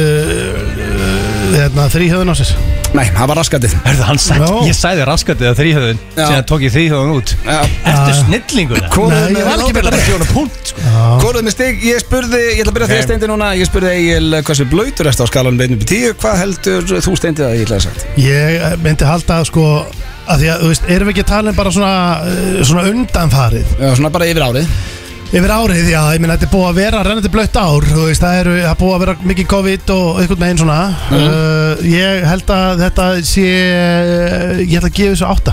S3: Þarna, þrýhjöðun á sér
S1: Nei, það var raskatið
S2: Hörðu, hann sagt,
S3: Já.
S2: ég sæði raskatið að
S1: Já.
S2: þrýhöðun síðan tók ég þrýhöðun út
S1: Já.
S2: Ertu snillinguna?
S1: Koruðu
S3: Nei, ég var
S1: með
S3: ekki
S1: ábyrgð.
S2: Sjóna punkt sko.
S1: Koruðu með stig, ég spurði, ég ætla að byrja okay.
S2: Ok.
S1: þér Steindi núna Ég spurði Egil hversu blöytur eftir á skalanum 1.10 Hvað heldur þú Steindi að Egil hafa sagt?
S3: Ég eh, myndi halda að sko að Því að, þú veist, erum við ekki að tala um bara svona eh, Svona undanfarið
S1: Já, svona bara yfir árið
S3: Yfir árið, já, ég meina þetta er búið að vera rennandi blött ár, þú veist, það er, það er búið að vera mikið COVID og einhvern veginn svona
S2: Mhm.
S3: uh, Ég held að þetta sé, eh, ég held að gefa þessu átta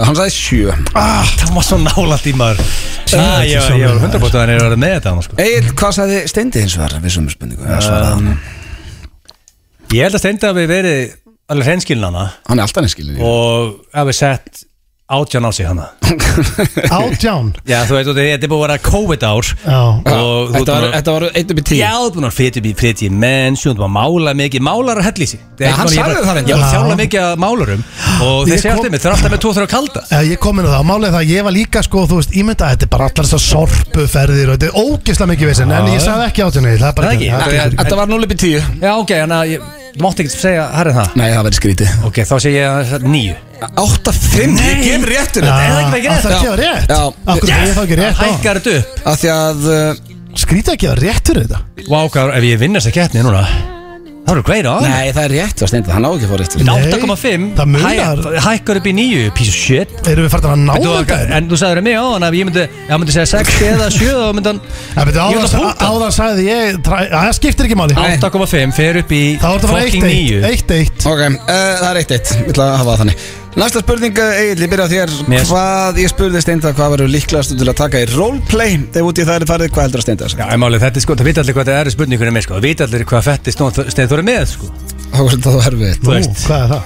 S1: Hann sagði sjö
S2: ah, Það var svo nálat í maður ah, Ég
S3: þetta er
S2: ég var
S3: sjálfur.
S2: 100% að hann er að vera með þetta annars, sko.
S1: Egil, hvað sagði Steindi hins vegar við sömu spurningu? Eða svaraði hann?
S2: Ég held að stenda að við verið alveg hreinskilnana
S1: Hann er alltaf neinskilin
S2: og að við sett átján á sig hana
S3: Átján,
S2: Já, þú veit, þú veit, þetta er búið að vera COVID-ár
S3: já,
S2: og
S1: Þetta
S2: þú
S1: var,
S2: ert búin að-
S1: þetta var einn upp í tíu
S2: Já, þú ert búin að flytja upp í flytja í mennsjón, þú búin að mála mikið, málar að hellísi
S1: Já, hann sagði það reyndar.
S2: Ég var að þjála mikið að málarum og þeir
S3: Ég
S2: segja um
S3: kom-
S2: alltaf með, þeir eru alltaf með 2-3 kalda
S3: Já, ég kom inn á það, málið er það, að ég var líka sko, þú veist, ég myndi að þetta er bara allar þessar sorpuferðir og þetta er ógeðslega mikið vissinn En ég sagði ekki átján, nei, það er bara
S2: Það ekki?
S3: það er
S2: Nei,
S1: Þetta var 0 upp í tíu
S2: Já, ok, þannig að ég þú mátti ekki segja herrið það
S1: Nei, það verður skrítið
S2: Ok, þá sé ég að nýju
S1: 8-5, ég gef réttur
S3: Já,
S2: er það ekki bara rétt?
S3: að Það er ekki að rétt,
S1: Já.
S3: akkur er ég þá ekki rétt á
S2: Hækkar þetta upp
S1: Af því að uh,
S3: Skrítið ekki að rétt fyrir þetta
S2: Vá, hvað, ef ég vinnast að getni núna Það eru greið á
S1: Nei, það er rétt var Steindi, hann á ekki að fá réttur
S3: Nei,
S2: 8,5
S3: það munar.
S2: hæ- Hækkar upp í nýju, piece of shit
S3: Erum við farin að ná
S2: Veitu þú,
S3: þetta?
S2: En þú sagður mig á hann að ég myndi Ég myndi segja 6 eða 7 og myndi hann
S3: Það
S2: Ég
S3: betur
S2: ætla að
S3: áðan,
S2: punkta.
S3: áðan sagði ég træ- að Það skiptir ekki máli
S1: Nei.
S2: 8,5 fer upp í
S3: Það voru bara
S2: fucking
S3: 1-1
S2: 9
S3: 1-1
S1: Ok, uh, það er 1-1, ég ætla að hafa það þannig Næsta spurning, uh, Egil, ég byrja á þér
S2: Mér.
S1: Hvað, ég spurði Steinda hvað verður líklegast til að taka í roleplay Þegar út í það er farið, hvað heldur að Steindi að
S2: Já,
S1: segja?
S2: en málið, þetta er sko, það vita allir hvað þetta er í spurningunum með, sko, það vita allir hvað fetti stegð þú eru með, sko.
S1: Það var þetta erfitt
S3: Nú,
S2: Þú veist.
S3: hvað er það?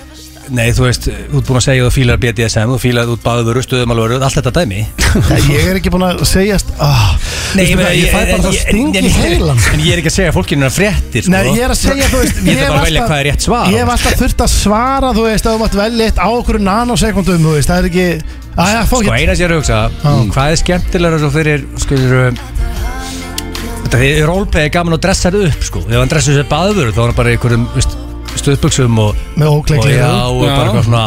S2: Nei, þú veist, þú ert búin að segja að þú fílar BDSM, þú fílar út baður, stuðum alveg, allt þetta dæmi.
S3: Nei, Ég er ekki búin að segjast ah, Nei, ég, ég, fæ bara það sting í heilan
S2: En ég er ekki að segja fólkinu að fréttir, sko.
S3: Nei, ég er að segja, þú veist
S2: Ég ætla bara að velja hvað er rétt svar.
S3: Ég hef alltaf þurft að svara, þú veist, að þú mátt velja eitt á okkur nanosekundum, þú veist, það er ekki Æja, fók
S2: Sko
S3: ég
S2: eina sem ég er að hugsa mm, Hvað er skemmtilega svo fyrir Skulur Þetta er rólpegi gaman að dressa þetta upp sko Ef hann dressa þessi baður þá er hann bara í einhverjum veist, Stuðbuxum og,
S3: Með
S2: og,
S3: ókleikli
S2: Sko, já, og
S1: Já.
S2: bara eitthvað svona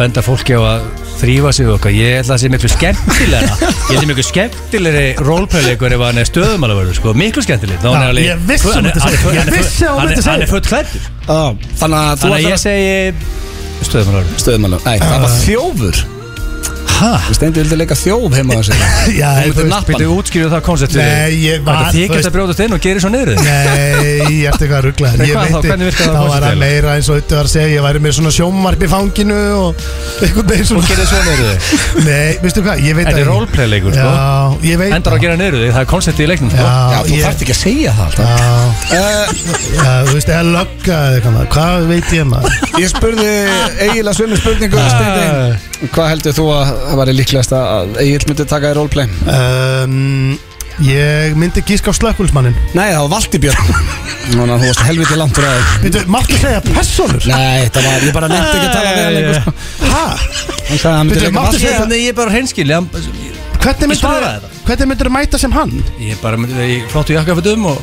S2: Benda fólki á að þrýfa sig og okkar Ég held að það sé miklu skemmtilega Ég held að miklu skemmtilegri rólpöðleikur ef hann er stöðumalavörður sko, miklu skemmtilegri Þá hann er
S3: Já,
S2: alveg-
S3: ég vissi hún myndi
S2: hann er- hann
S3: segja-
S2: er-
S3: ég
S2: hann er-
S3: vissi að hún
S2: hann er-
S3: myndi segja.
S2: Hann er fullt klættur
S1: Ah, Þannig að Ah. þú
S2: Þannig að ég
S1: ætlar
S2: segi stöðumalavörður
S1: Stöðumalum Nei, það var þjófur
S2: Hæ?
S1: Steindi vildi leika þjóf heima á sig
S3: Já,
S1: Þú ert
S3: veist-
S1: Nappan.
S2: Býttu útskýrðu það konceptu
S3: Nei, ég var-
S2: Þetta
S3: þú
S2: þykist
S3: veist-
S2: að brjóðast inn og gerir svo niður þig
S3: Nei, ég ertu eitthvað rugglaður
S2: Nei, hvað þá? Hvernig virkaði það
S3: Þá var
S2: konceptið?
S3: það meira eins og þetta var að segja Ég væri með svona sjómvarp í fanginu Og eitthvað með
S2: Þú
S3: svona
S2: gerir svo niður þig
S3: Nei, veistu hvað, ég veit
S2: Þetta er
S3: ekki.
S2: roleplayleikur, sko.
S3: Já, ég veit
S2: Endar á að
S3: það.
S2: gera niður þig, það er konceptið í leiknum sko.
S1: Já,
S3: Já,
S1: þú
S3: ég-
S1: þarft ekki að segja það alltaf
S3: Já,
S1: Eh,
S3: já, þú veist, eða lögga eða eitthvað maður. Hvað veit ég maður?
S1: Ég spurði eiginlega sömu spurningu Steindi, Ah. hvað heldur þú að það væri líklegast að Egil myndi taka í roleplay?
S3: Um, ég myndi gíska á slökkulsmannin
S1: Nei, það var Valdibjörn Núna, þú varst helviti langt úr aðeins
S3: Veitu, máttu segja personur?
S1: Nei, það var, ég bara nefndi ekki að tala við hann lengur sko.
S3: Hæ?
S1: Hann sagði að hann myndi
S3: Bíddu,
S1: leika
S3: máttu
S1: Valdibjörn
S3: segja-
S2: Nei, ég er bara hreinskil
S3: Hvernig myndirðu-
S2: svaraði það.
S3: hvernig myndirðu mæta sem hann?
S2: Ég bara myndi það í flottu jakkafötum og,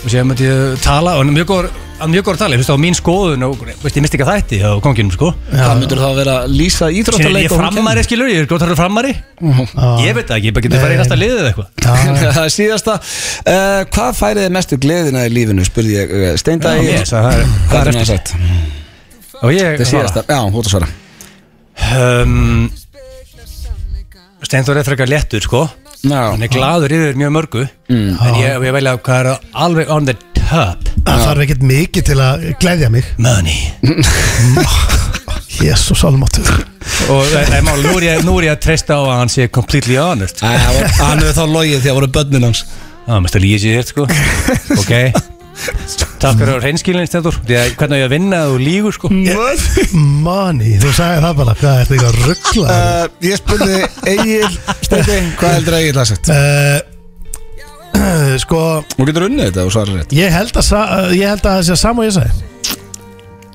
S2: og sér myndi ég tala og hann er mjög góður hann er mjög góður að tala, ég finnst það á mín skoðun og veist, ég misti ekki að þætti á konginum sko
S1: Það myndur þá að vera að lýsa
S2: Sér
S1: íþróttaleik
S2: ég
S1: og hún
S2: frammari skilur, ég er góð að tala frammari
S3: Já.
S2: Ég veit það ekki, ég bara getur
S3: Nei.
S2: farið í næsta liðið eða eitthvað
S1: kemur. Það er síðasta uh, Hvað færið þið mestu gleðina í lífinu, spurði ég eh, Steinda
S2: Já,
S1: í
S2: ég sagði það er-
S1: Hvað er það sagt?
S2: Og ég
S1: Það er síðasta, já, hún þú svara
S2: um, Steinþór er frekar léttur sko Hann
S1: Já, Mm.
S2: er gladur yfir mjög mörgu En ég, ég velja hvað er alveg on the top
S3: Það þarf ekkert mikið til að gleyðja mig
S2: Money
S3: Jésús almáttur
S2: Og það er mál, nú er ég- nú er ég að treysta á að hann sé completely honest
S1: Æ, það var- hann hefur þá logið því að voru börnin hans
S2: Það er mest að lýja sér þér sko Ok Takk fyrir að reynskilin stendur Því að hvernig á ég að vinna að þú lígur sko
S3: Mani, þú sagði það bara Hvað er þetta eitthvað ruggla
S1: uh, Ég spurði Egil Steindi, hvað heldur Egil það sagt?
S3: uh, Sko
S1: Hún getur unnið þetta og svarar rétt
S3: Ég held að, sa- ég held að það sé að sama og ég sagði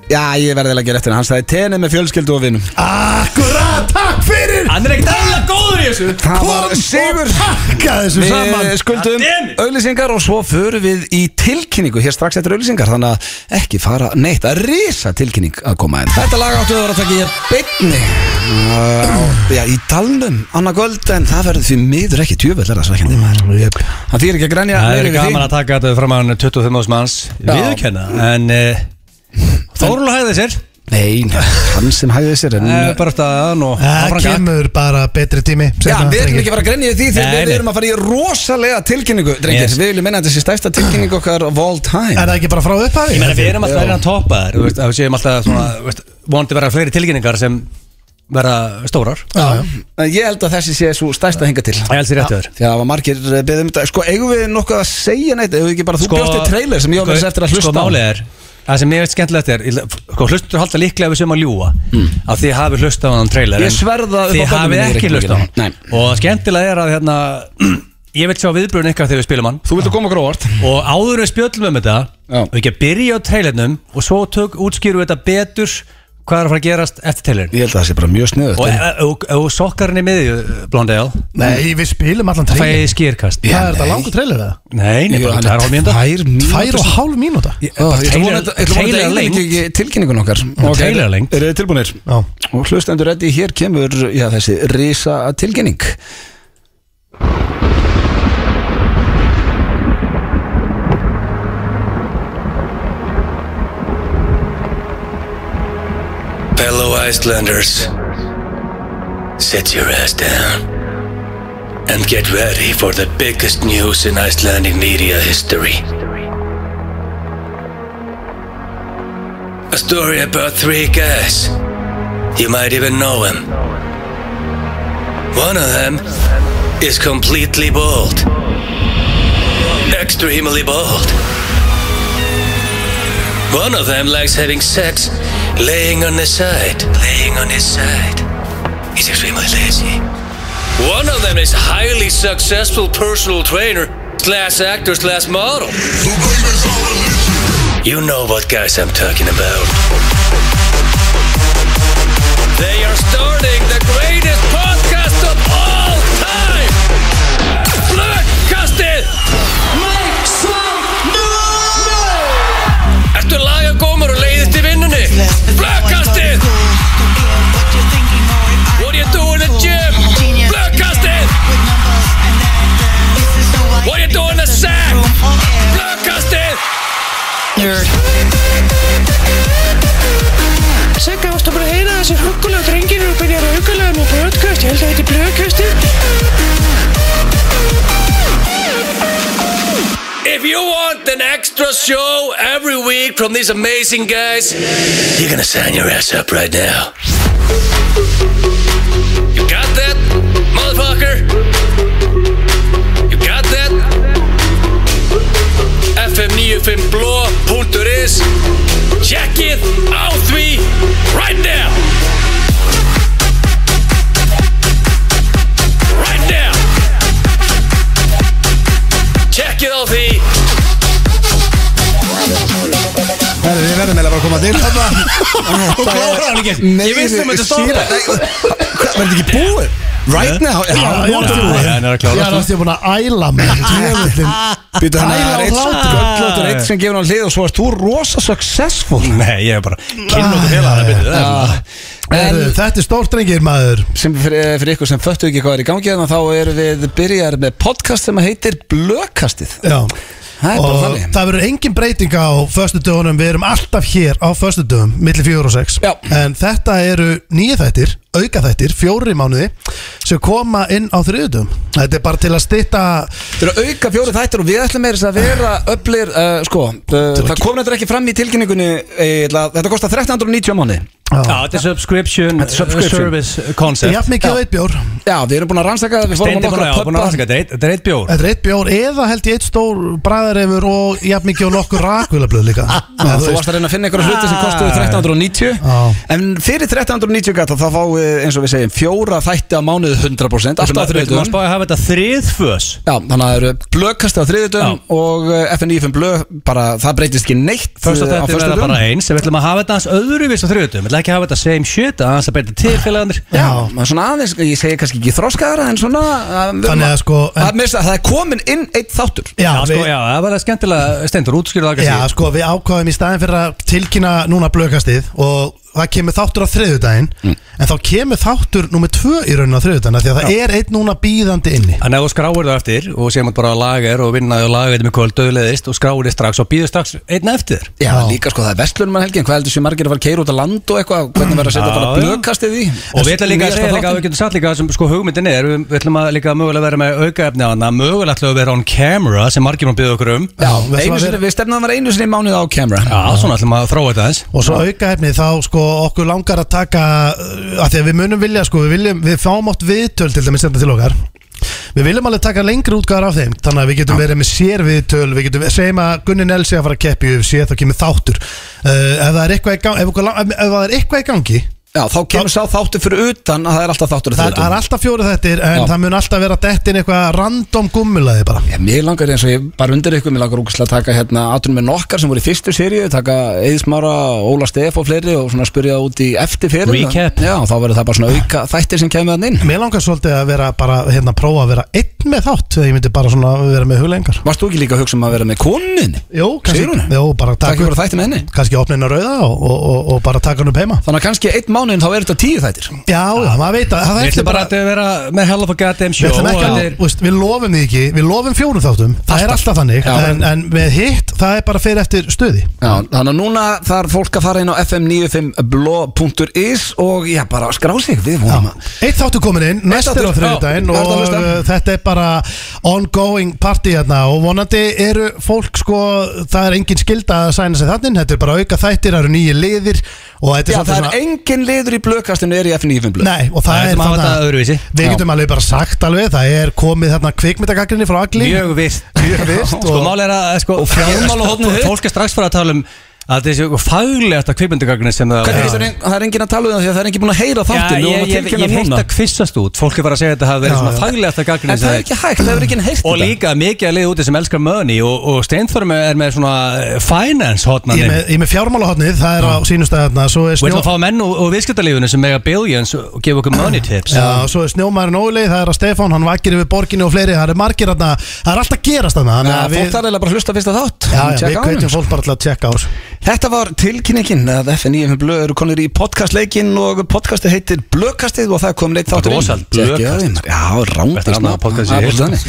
S1: Já, ég verði ekki réttin, hann sagði tenið með fjölskyldu og vinum
S3: Akkurat, takk fyrir
S2: Hann er ekkert alveg góður í þessu
S1: Það
S3: Kom
S1: var
S3: og
S1: sigur
S3: takka þessu saman
S1: Við skuldum
S2: Goddammit.
S1: auðlýsingar og svo förum við í tilkynningu hér strax eftir auðlýsingar þannig að ekki fara neitt að risa tilkynning að koma en þetta lag áttu að vera að taka ég byggni Uh, Já, í talnum annað kvöld en það verður því miður ekki tjöfell er það svekkjandi
S3: Mm, jep.
S1: Það þýr ekki að grænja
S2: Það
S1: meira
S2: er
S1: yfir því.
S2: gaman að taka þetta fram á hann 25 ás manns Viðurkenna En uh, Þórul hæði sér
S1: Nei, nei, hann sem hægði sér en
S2: Eh, Bara eftir að hann og
S3: Það
S2: áfram gakk.
S3: kemur bara betri tími
S1: Já,
S3: seinna,
S1: við erum
S3: drengir.
S1: ekki að fara að grenja yfir því þegar
S2: Nei,
S1: við
S2: nei.
S1: erum að fara í rosalega tilkynningu, drengir
S2: Yes.
S1: Við viljum menna að þessi stærsta tilkynningu okkar of all time
S3: Er það ekki bara frá upphafi?
S2: Ég meina við erum alltaf að reyna að toppa þér Þú veist, að við séum alltaf svona þú veist, Vonandi vera fleiri tilkynningar sem vera stórar
S3: Já, já.
S1: En Ég held að þessi sé svo stærsta hinga til
S2: Það er alls í réttu þér
S1: Því að það var margir beðum um þetta Sko, eigum við nokkuð að segja neitt Eigum við ekki bara, þú bjóst í trailer sem ég var með þess eftir að hlusta
S2: Sko
S1: á.
S2: málið er, það sem ég veit skemmtilegt er ég- sko, Hlustur halda líklega við sem að ljúa
S1: Hmm.
S2: Af því hafi hlustað á þann trailer
S1: Ég
S2: en
S1: sverða upp á
S2: Þið
S1: börnum
S2: hafi
S1: mínu, ég er
S2: ekki
S1: ekki
S2: hlustað á
S1: mikið. Nei.
S2: hann Og skemmtilega er að hérna Ég vil sjá viðbrun ykkar þegar við spilum hann
S1: Þú viltu koma okkur á óvart
S2: Og áður við spjöllum um þetta
S1: Já.
S2: Og ekki að byrja á trailernum Og svo tök útskýru þetta betur Hvað er að fara að gerast eftir trailerin
S1: Ég held að það sé bara mjög sniðugt
S2: Og ef- ef- ef þú sokkar henni miðju Blondale
S3: Nei, við spilum allan
S2: Það fæ
S3: trailer
S2: ég skýrkast
S3: Hvað er þetta langur trailer eða?
S2: Nei, nei, bara tvær hálf mínúta
S1: Tvær
S3: Tvær
S1: mínútur
S3: og hálf mínúta?
S1: Ó, Ég ætla að vona
S2: Trailer-
S1: að þetta- ég ætla að vona að þetta eiginlega ekki tilkynningun
S2: trailer lengt.
S1: okkar Ok,
S2: trailer lengt.
S1: Eru þið tilbúinir?
S3: Já
S1: Og hlustendur reddi, hér kemur já, þessi risa tilkynning
S5: Fellow Icelanders, sit your ass down and get ready for the biggest news in Icelandic media history. A story about three guys. You might even know him. One of them is completely bald. Extremely bald. One of them likes having sex laying on his side. Laying on his side. He's extremely lazy. One of them is a highly successful personal trainer slash actor slash model. You know what guys I'm talking about. They are starting the greatest podcast of all time! Bloodcasted! Ertu laga gómar og leiðist í vinnunni? Blökkastið! What are you
S4: Njör.
S6: Sigga, varstu búin að heyra að þessir huggulega drengir eru að byrja að huggulega með blöðkast, ég held að þetta er blöðkastið.
S5: If you want an extra show every week from these amazing guys, you're gonna sign your ass up right now. You got that, motherfucker? You got that? E FM95 blå.is Jackið á því right now! Right now! Jackið á því
S7: Herri, við verðum eða bara að koma til þarna
S2: Hún klárar hann ekki. Ég vissi um þetta stóra.
S7: Verður ekki búið? Right now? Já,
S3: já,
S7: hún er
S3: já.
S7: búið.
S2: hann er að
S3: Ég
S2: klára
S3: er alltaf búin að æla mig Djöfullinn.
S1: Býtu hann er
S3: Æla og
S1: eitt
S3: hlátur.
S1: göllótur eitt sem gefur hann hlið og svo erst þú rosa successful
S2: Nei, ég er bara Kynnóttu félag Það byrjuðu
S1: Já.
S2: það
S1: En
S3: Herru, Þetta er stórt drengir maður
S1: sem fyrir, eh, fyrir ykkur sem föttu ekki hvað er í gangi þannig þá erum við byrjar með podcast sem heitir Blökastið
S3: Já
S1: Það er bara
S3: Og
S1: þannig.
S3: það verður engin breyting á föstudögunum, við erum alltaf hér á föstudögum, milli 4 og 6
S1: Já.
S3: En þetta eru nýja þættir, auka þættir, fjóri mánuði sem koma inn á þriðudögum Þetta er bara til að stytta
S1: Þetta eru auka fjóri þættir og við ætlum meira að vera öflir, uh, sko, uh, það kom þetta ekki fram í tilkynningunni, eða, þetta kostar 1390 á mánu.
S2: Já, þetta er subscription,
S1: Þetta er subscription.
S2: service concept
S3: jafn mikið á eitt bjór
S1: Já, við erum búin að rannsaka það, við fórum
S2: Steindi
S1: að
S2: búin að, já, búin að rannsaka, þetta er eitt- þetta er eitt bjór
S3: Þetta er eitt bjór eða held ég eitt stór bræðarefur og jafn mikið á nokkur rakvilablöð líka Já,
S1: Þú varst að reyna að finna einhverja
S2: Ah.
S1: hluti sem kostuðu 1390
S3: Já.
S1: En fyrir 1390 gata þá fáið eins og við segjum fjóra þætti á mánuðu 100% Alltaf á
S2: Má
S1: þriðutum
S2: spáði að hafa þetta þriðfös
S1: Já, þannig að það eru blökkast á þriðutum og eh, FNIFM blöð, bara það breytist ekki neitt
S2: Fyrsta
S1: eh, á
S2: þetta er
S1: föstudögum.
S2: bara eins Við ætlum að hafa þetta aðeins öðruvís á þriðutum Við ætlum ekki að hafa þetta same shit aðeins að beita til félagandir
S1: Já, maður svona aðeins, ég segi kannski ekki þroskaðara en svona eh,
S3: Þannig að sko, en-
S1: að, mista, Það er komin inn eitt þáttur
S3: Já,
S2: Já, sko,
S3: við-
S2: já, það var það skemmtilega Steindur útskýrðu það
S3: Já,
S2: kannski
S3: sko, við ákvaðum í staðin fyrir að tilkynna núna blökastið og það kemur þáttur á þriðudaginn
S1: Mm.
S3: en þá kemur þáttur nummer tvö í raunin á þriðudaginn af því að það er einn núna býðandi inni
S2: Þannig að þú skráir það eftir og séum bara að laga þér og vinna þér og laga þér með kvöld döðleðist og skráir þér strax og býður strax einn eftir þér.
S1: Já,
S3: Já.
S1: líka sko, það er vestlunum að helgin Hvað heldur sér margir að fara að keira út að land og eitthvað Hvernig verður að setja
S2: Já,
S1: bara
S2: já.
S1: blökkastið í
S2: Og við ætlum líka að
S1: Nýjasta
S2: segja líka
S1: þáttinn.
S2: að við getum satt líka það sem sko hugmyndin er Við við ætlum að líka mögulega vera með aukaefni á hana Mögulega ætlum við að vera on camera sem margir maður býður okkur um
S1: Já,
S3: Já, við ætlum
S1: einu
S3: að
S1: sinni,
S3: vera-
S1: við stefnaðum að vera einu sinni í mánuð á camera
S2: Já, svona ætlum að þróa þetta aðeins
S3: og svo aukaefni þá sko okkur langar að taka uh, að því að við munum vilja sko við, viljum, við fáum átt viðtöl til dæmis þetta til okkar við viljum alveg taka lengri útgáðar af þeim þannig að við getum verið með sér viðtöl við getum segjum að Gunni Nels er að fara að keppi við sé þá kemur þáttur uh, ef það er eitthvað í gangi ef, okkur lang- ef, ef það er eitthvað í gangi
S1: Já, þá kemur sá þáttu fyrir utan að það er alltaf þáttur
S3: það er, það er alltaf fjóru þettir en
S1: Já.
S3: það mun alltaf vera dettin eitthvað random gummulaði bara
S1: Já, mér langar eins og ég bara undir ykkur, mér langar úkislega að taka hérna atunum með nokkar sem voru í fyrstu seríu, taka Eðismára, Óla Stef og fleiri og svona spyrja út í eftir fyrir.
S2: Recap.
S1: Já, þá verður það bara svona auka þættir sem kemur þann inn.
S3: mér langar svolítið að vera bara hérna prófa að vera einn með þátt ég myndi bara svona vera með hulengar
S1: Varst þú ekki líka að hugsa um að vera með konin?
S3: Jó,
S1: Sigrún?
S3: kannski, jó, bara
S1: Takk
S3: taka
S1: fyrir þætti með henni.
S3: kannski opna hennar rauða og, og, og, og bara taka hann upp heima
S1: Þannig að kannski einn mánuðin þá er þetta tíu þættir.
S3: Já, já, maður veit að það
S2: Við
S3: er
S2: ætlum bara að vera með Hell of a Goddamn Show
S3: Við ætlum ekki
S2: og
S3: að,
S2: þetta er-
S3: veist, við lofum því ekki, við lofum fjórum þáttum Það er alltaf þannig,
S1: Já.
S3: en, en með hitt, það er bara fyrir eftir stöði
S1: Já, þannig að núna þarf fólk að fara inn á fm95blog.is og já, bara skrá sig, við vonum að
S3: Eitt þáttu komin inn, næst er á
S1: þáttur,
S3: þriðudaginn
S1: já,
S3: og
S1: verða að hlusta.
S3: uh, þetta er bara ongoing party hérna og vonandi eru fólk sko, það er engin skilda að sæna sig þannig, þetta er bara auka þættir, það eru nýju liðir og þetta er
S1: Já, það
S3: svolítið
S1: er engin liður í blökastinu er í F95 blöð
S3: Nei, og það,
S2: Það
S3: er
S2: ætlum að hafa
S3: þarna-
S2: þetta öðruvísi.
S3: Við getum alveg bara sagt alveg, það er komið þarna kvikmyndagagrinni frá Agli
S2: Mjög vist
S3: Mjög vist
S2: Sko
S3: og-
S2: mál er að sko,
S1: Og fjármál og hótnu hitt.
S2: Fólk er strax fara að tala um að þessi faglegasta kvipindugagni sem það
S1: Hvernig finnst þér ein- það er engin að tala um það því að það er engin búin að heyra
S2: Já,
S1: þáttin
S2: ég, ég, ég heit að kvissast út Fólk er bara að segja að þetta hafi verið
S3: Já,
S2: svona
S3: já.
S2: faglegasta gagnin
S1: En það er ekki hægt, það er ekki heilt
S2: Og líka mikið að liða úti sem elskar money Og, og Steinþórum er með svona eh, finance hotnan
S3: Ég er með, ég er með fjármálahotnið, það er á sínustæðarna Svo
S2: Og
S3: er,
S2: ætlum að
S3: snjó,
S2: fá menn og, og viðskiptalífunu sem mega billions og gefa okkur money tips
S3: já, svo er snjómaðurinn Óli, það er að Stefán, hann vakir yfir borginni og fleiri Það er margir þarna, það er alltaf að gerast þarna þannig
S1: Já,
S3: að
S1: fólk
S3: við-
S1: þarf eiginlega bara að hlusta fyrst að þátt
S3: Já,
S1: Checka
S3: já, við
S1: á honum.
S3: kveitjum fólk bara til að tjekka á þessu
S1: Þetta var tilkynningin að FNIFM Blöð eru konir í podcastleikin og podcasti heitir Blöðkastið og það er komin eitt þáttur
S2: Rosal
S1: Blöðkastið Já,
S2: Blöðkast.
S1: rándist
S2: sko. Þetta er annað podcast í heilt.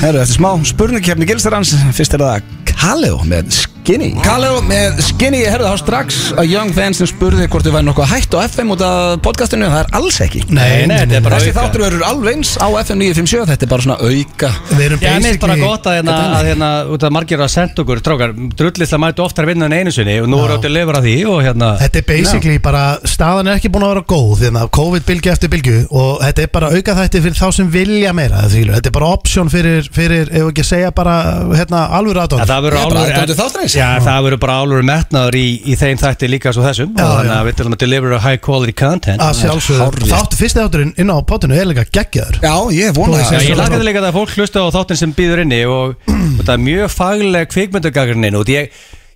S1: Herru, eftir smá spurningkefni gilstarans Fyrst er það Kaleo með skip
S2: skinny
S1: Kalló með Skinny, ég herði þá strax að Young Fan sem spurði hvort við væri nokkuð hætt á FM út af podcastinu, það er alls ekki
S2: Nei, nei, þetta er bara
S1: Þessi
S2: auka.
S1: þáttur verður alveg eins á FM 957, þetta er bara svona auka
S3: Við erum
S2: Já, mér er bara gott að hérna,
S3: Þetta er-
S2: að hérna út að margir eru að senda okkur, trákar, drullislega mætu oftar vinna en einu sinni og nú eru átti að lifra því og hérna
S3: Þetta er basically bara, staðan er ekki búin að vera góð því að COVID-bylgi eftir bylgu og þetta er bara auka þætti fyrir þá sem vilja meira það skilur. þetta er bara option fyrir, fyrir ef ekki að segja bara hérna, alvöru
S2: að
S3: aðdótt
S2: það verður
S1: Ég er bara
S2: álfur-
S1: aðdáandi þáttarins.
S2: Já, það verður bara álur metnaður í, í þeim þætti líka svo þessum
S3: Já,
S2: og þannig
S3: já.
S2: að við tilum að delivera high quality content
S3: að sjálfsögðu, þáttu fyrsti þátturinn inn á potinu er líka geggjaður
S1: Já, ég vona
S3: Þú
S2: Já,
S1: það
S3: veist,
S2: ég
S3: Svo-
S2: lakaði líka það að fólk hlusta á þáttin sem býður inni og, og það er mjög fagleg kvikmyndagagrinnin og ég,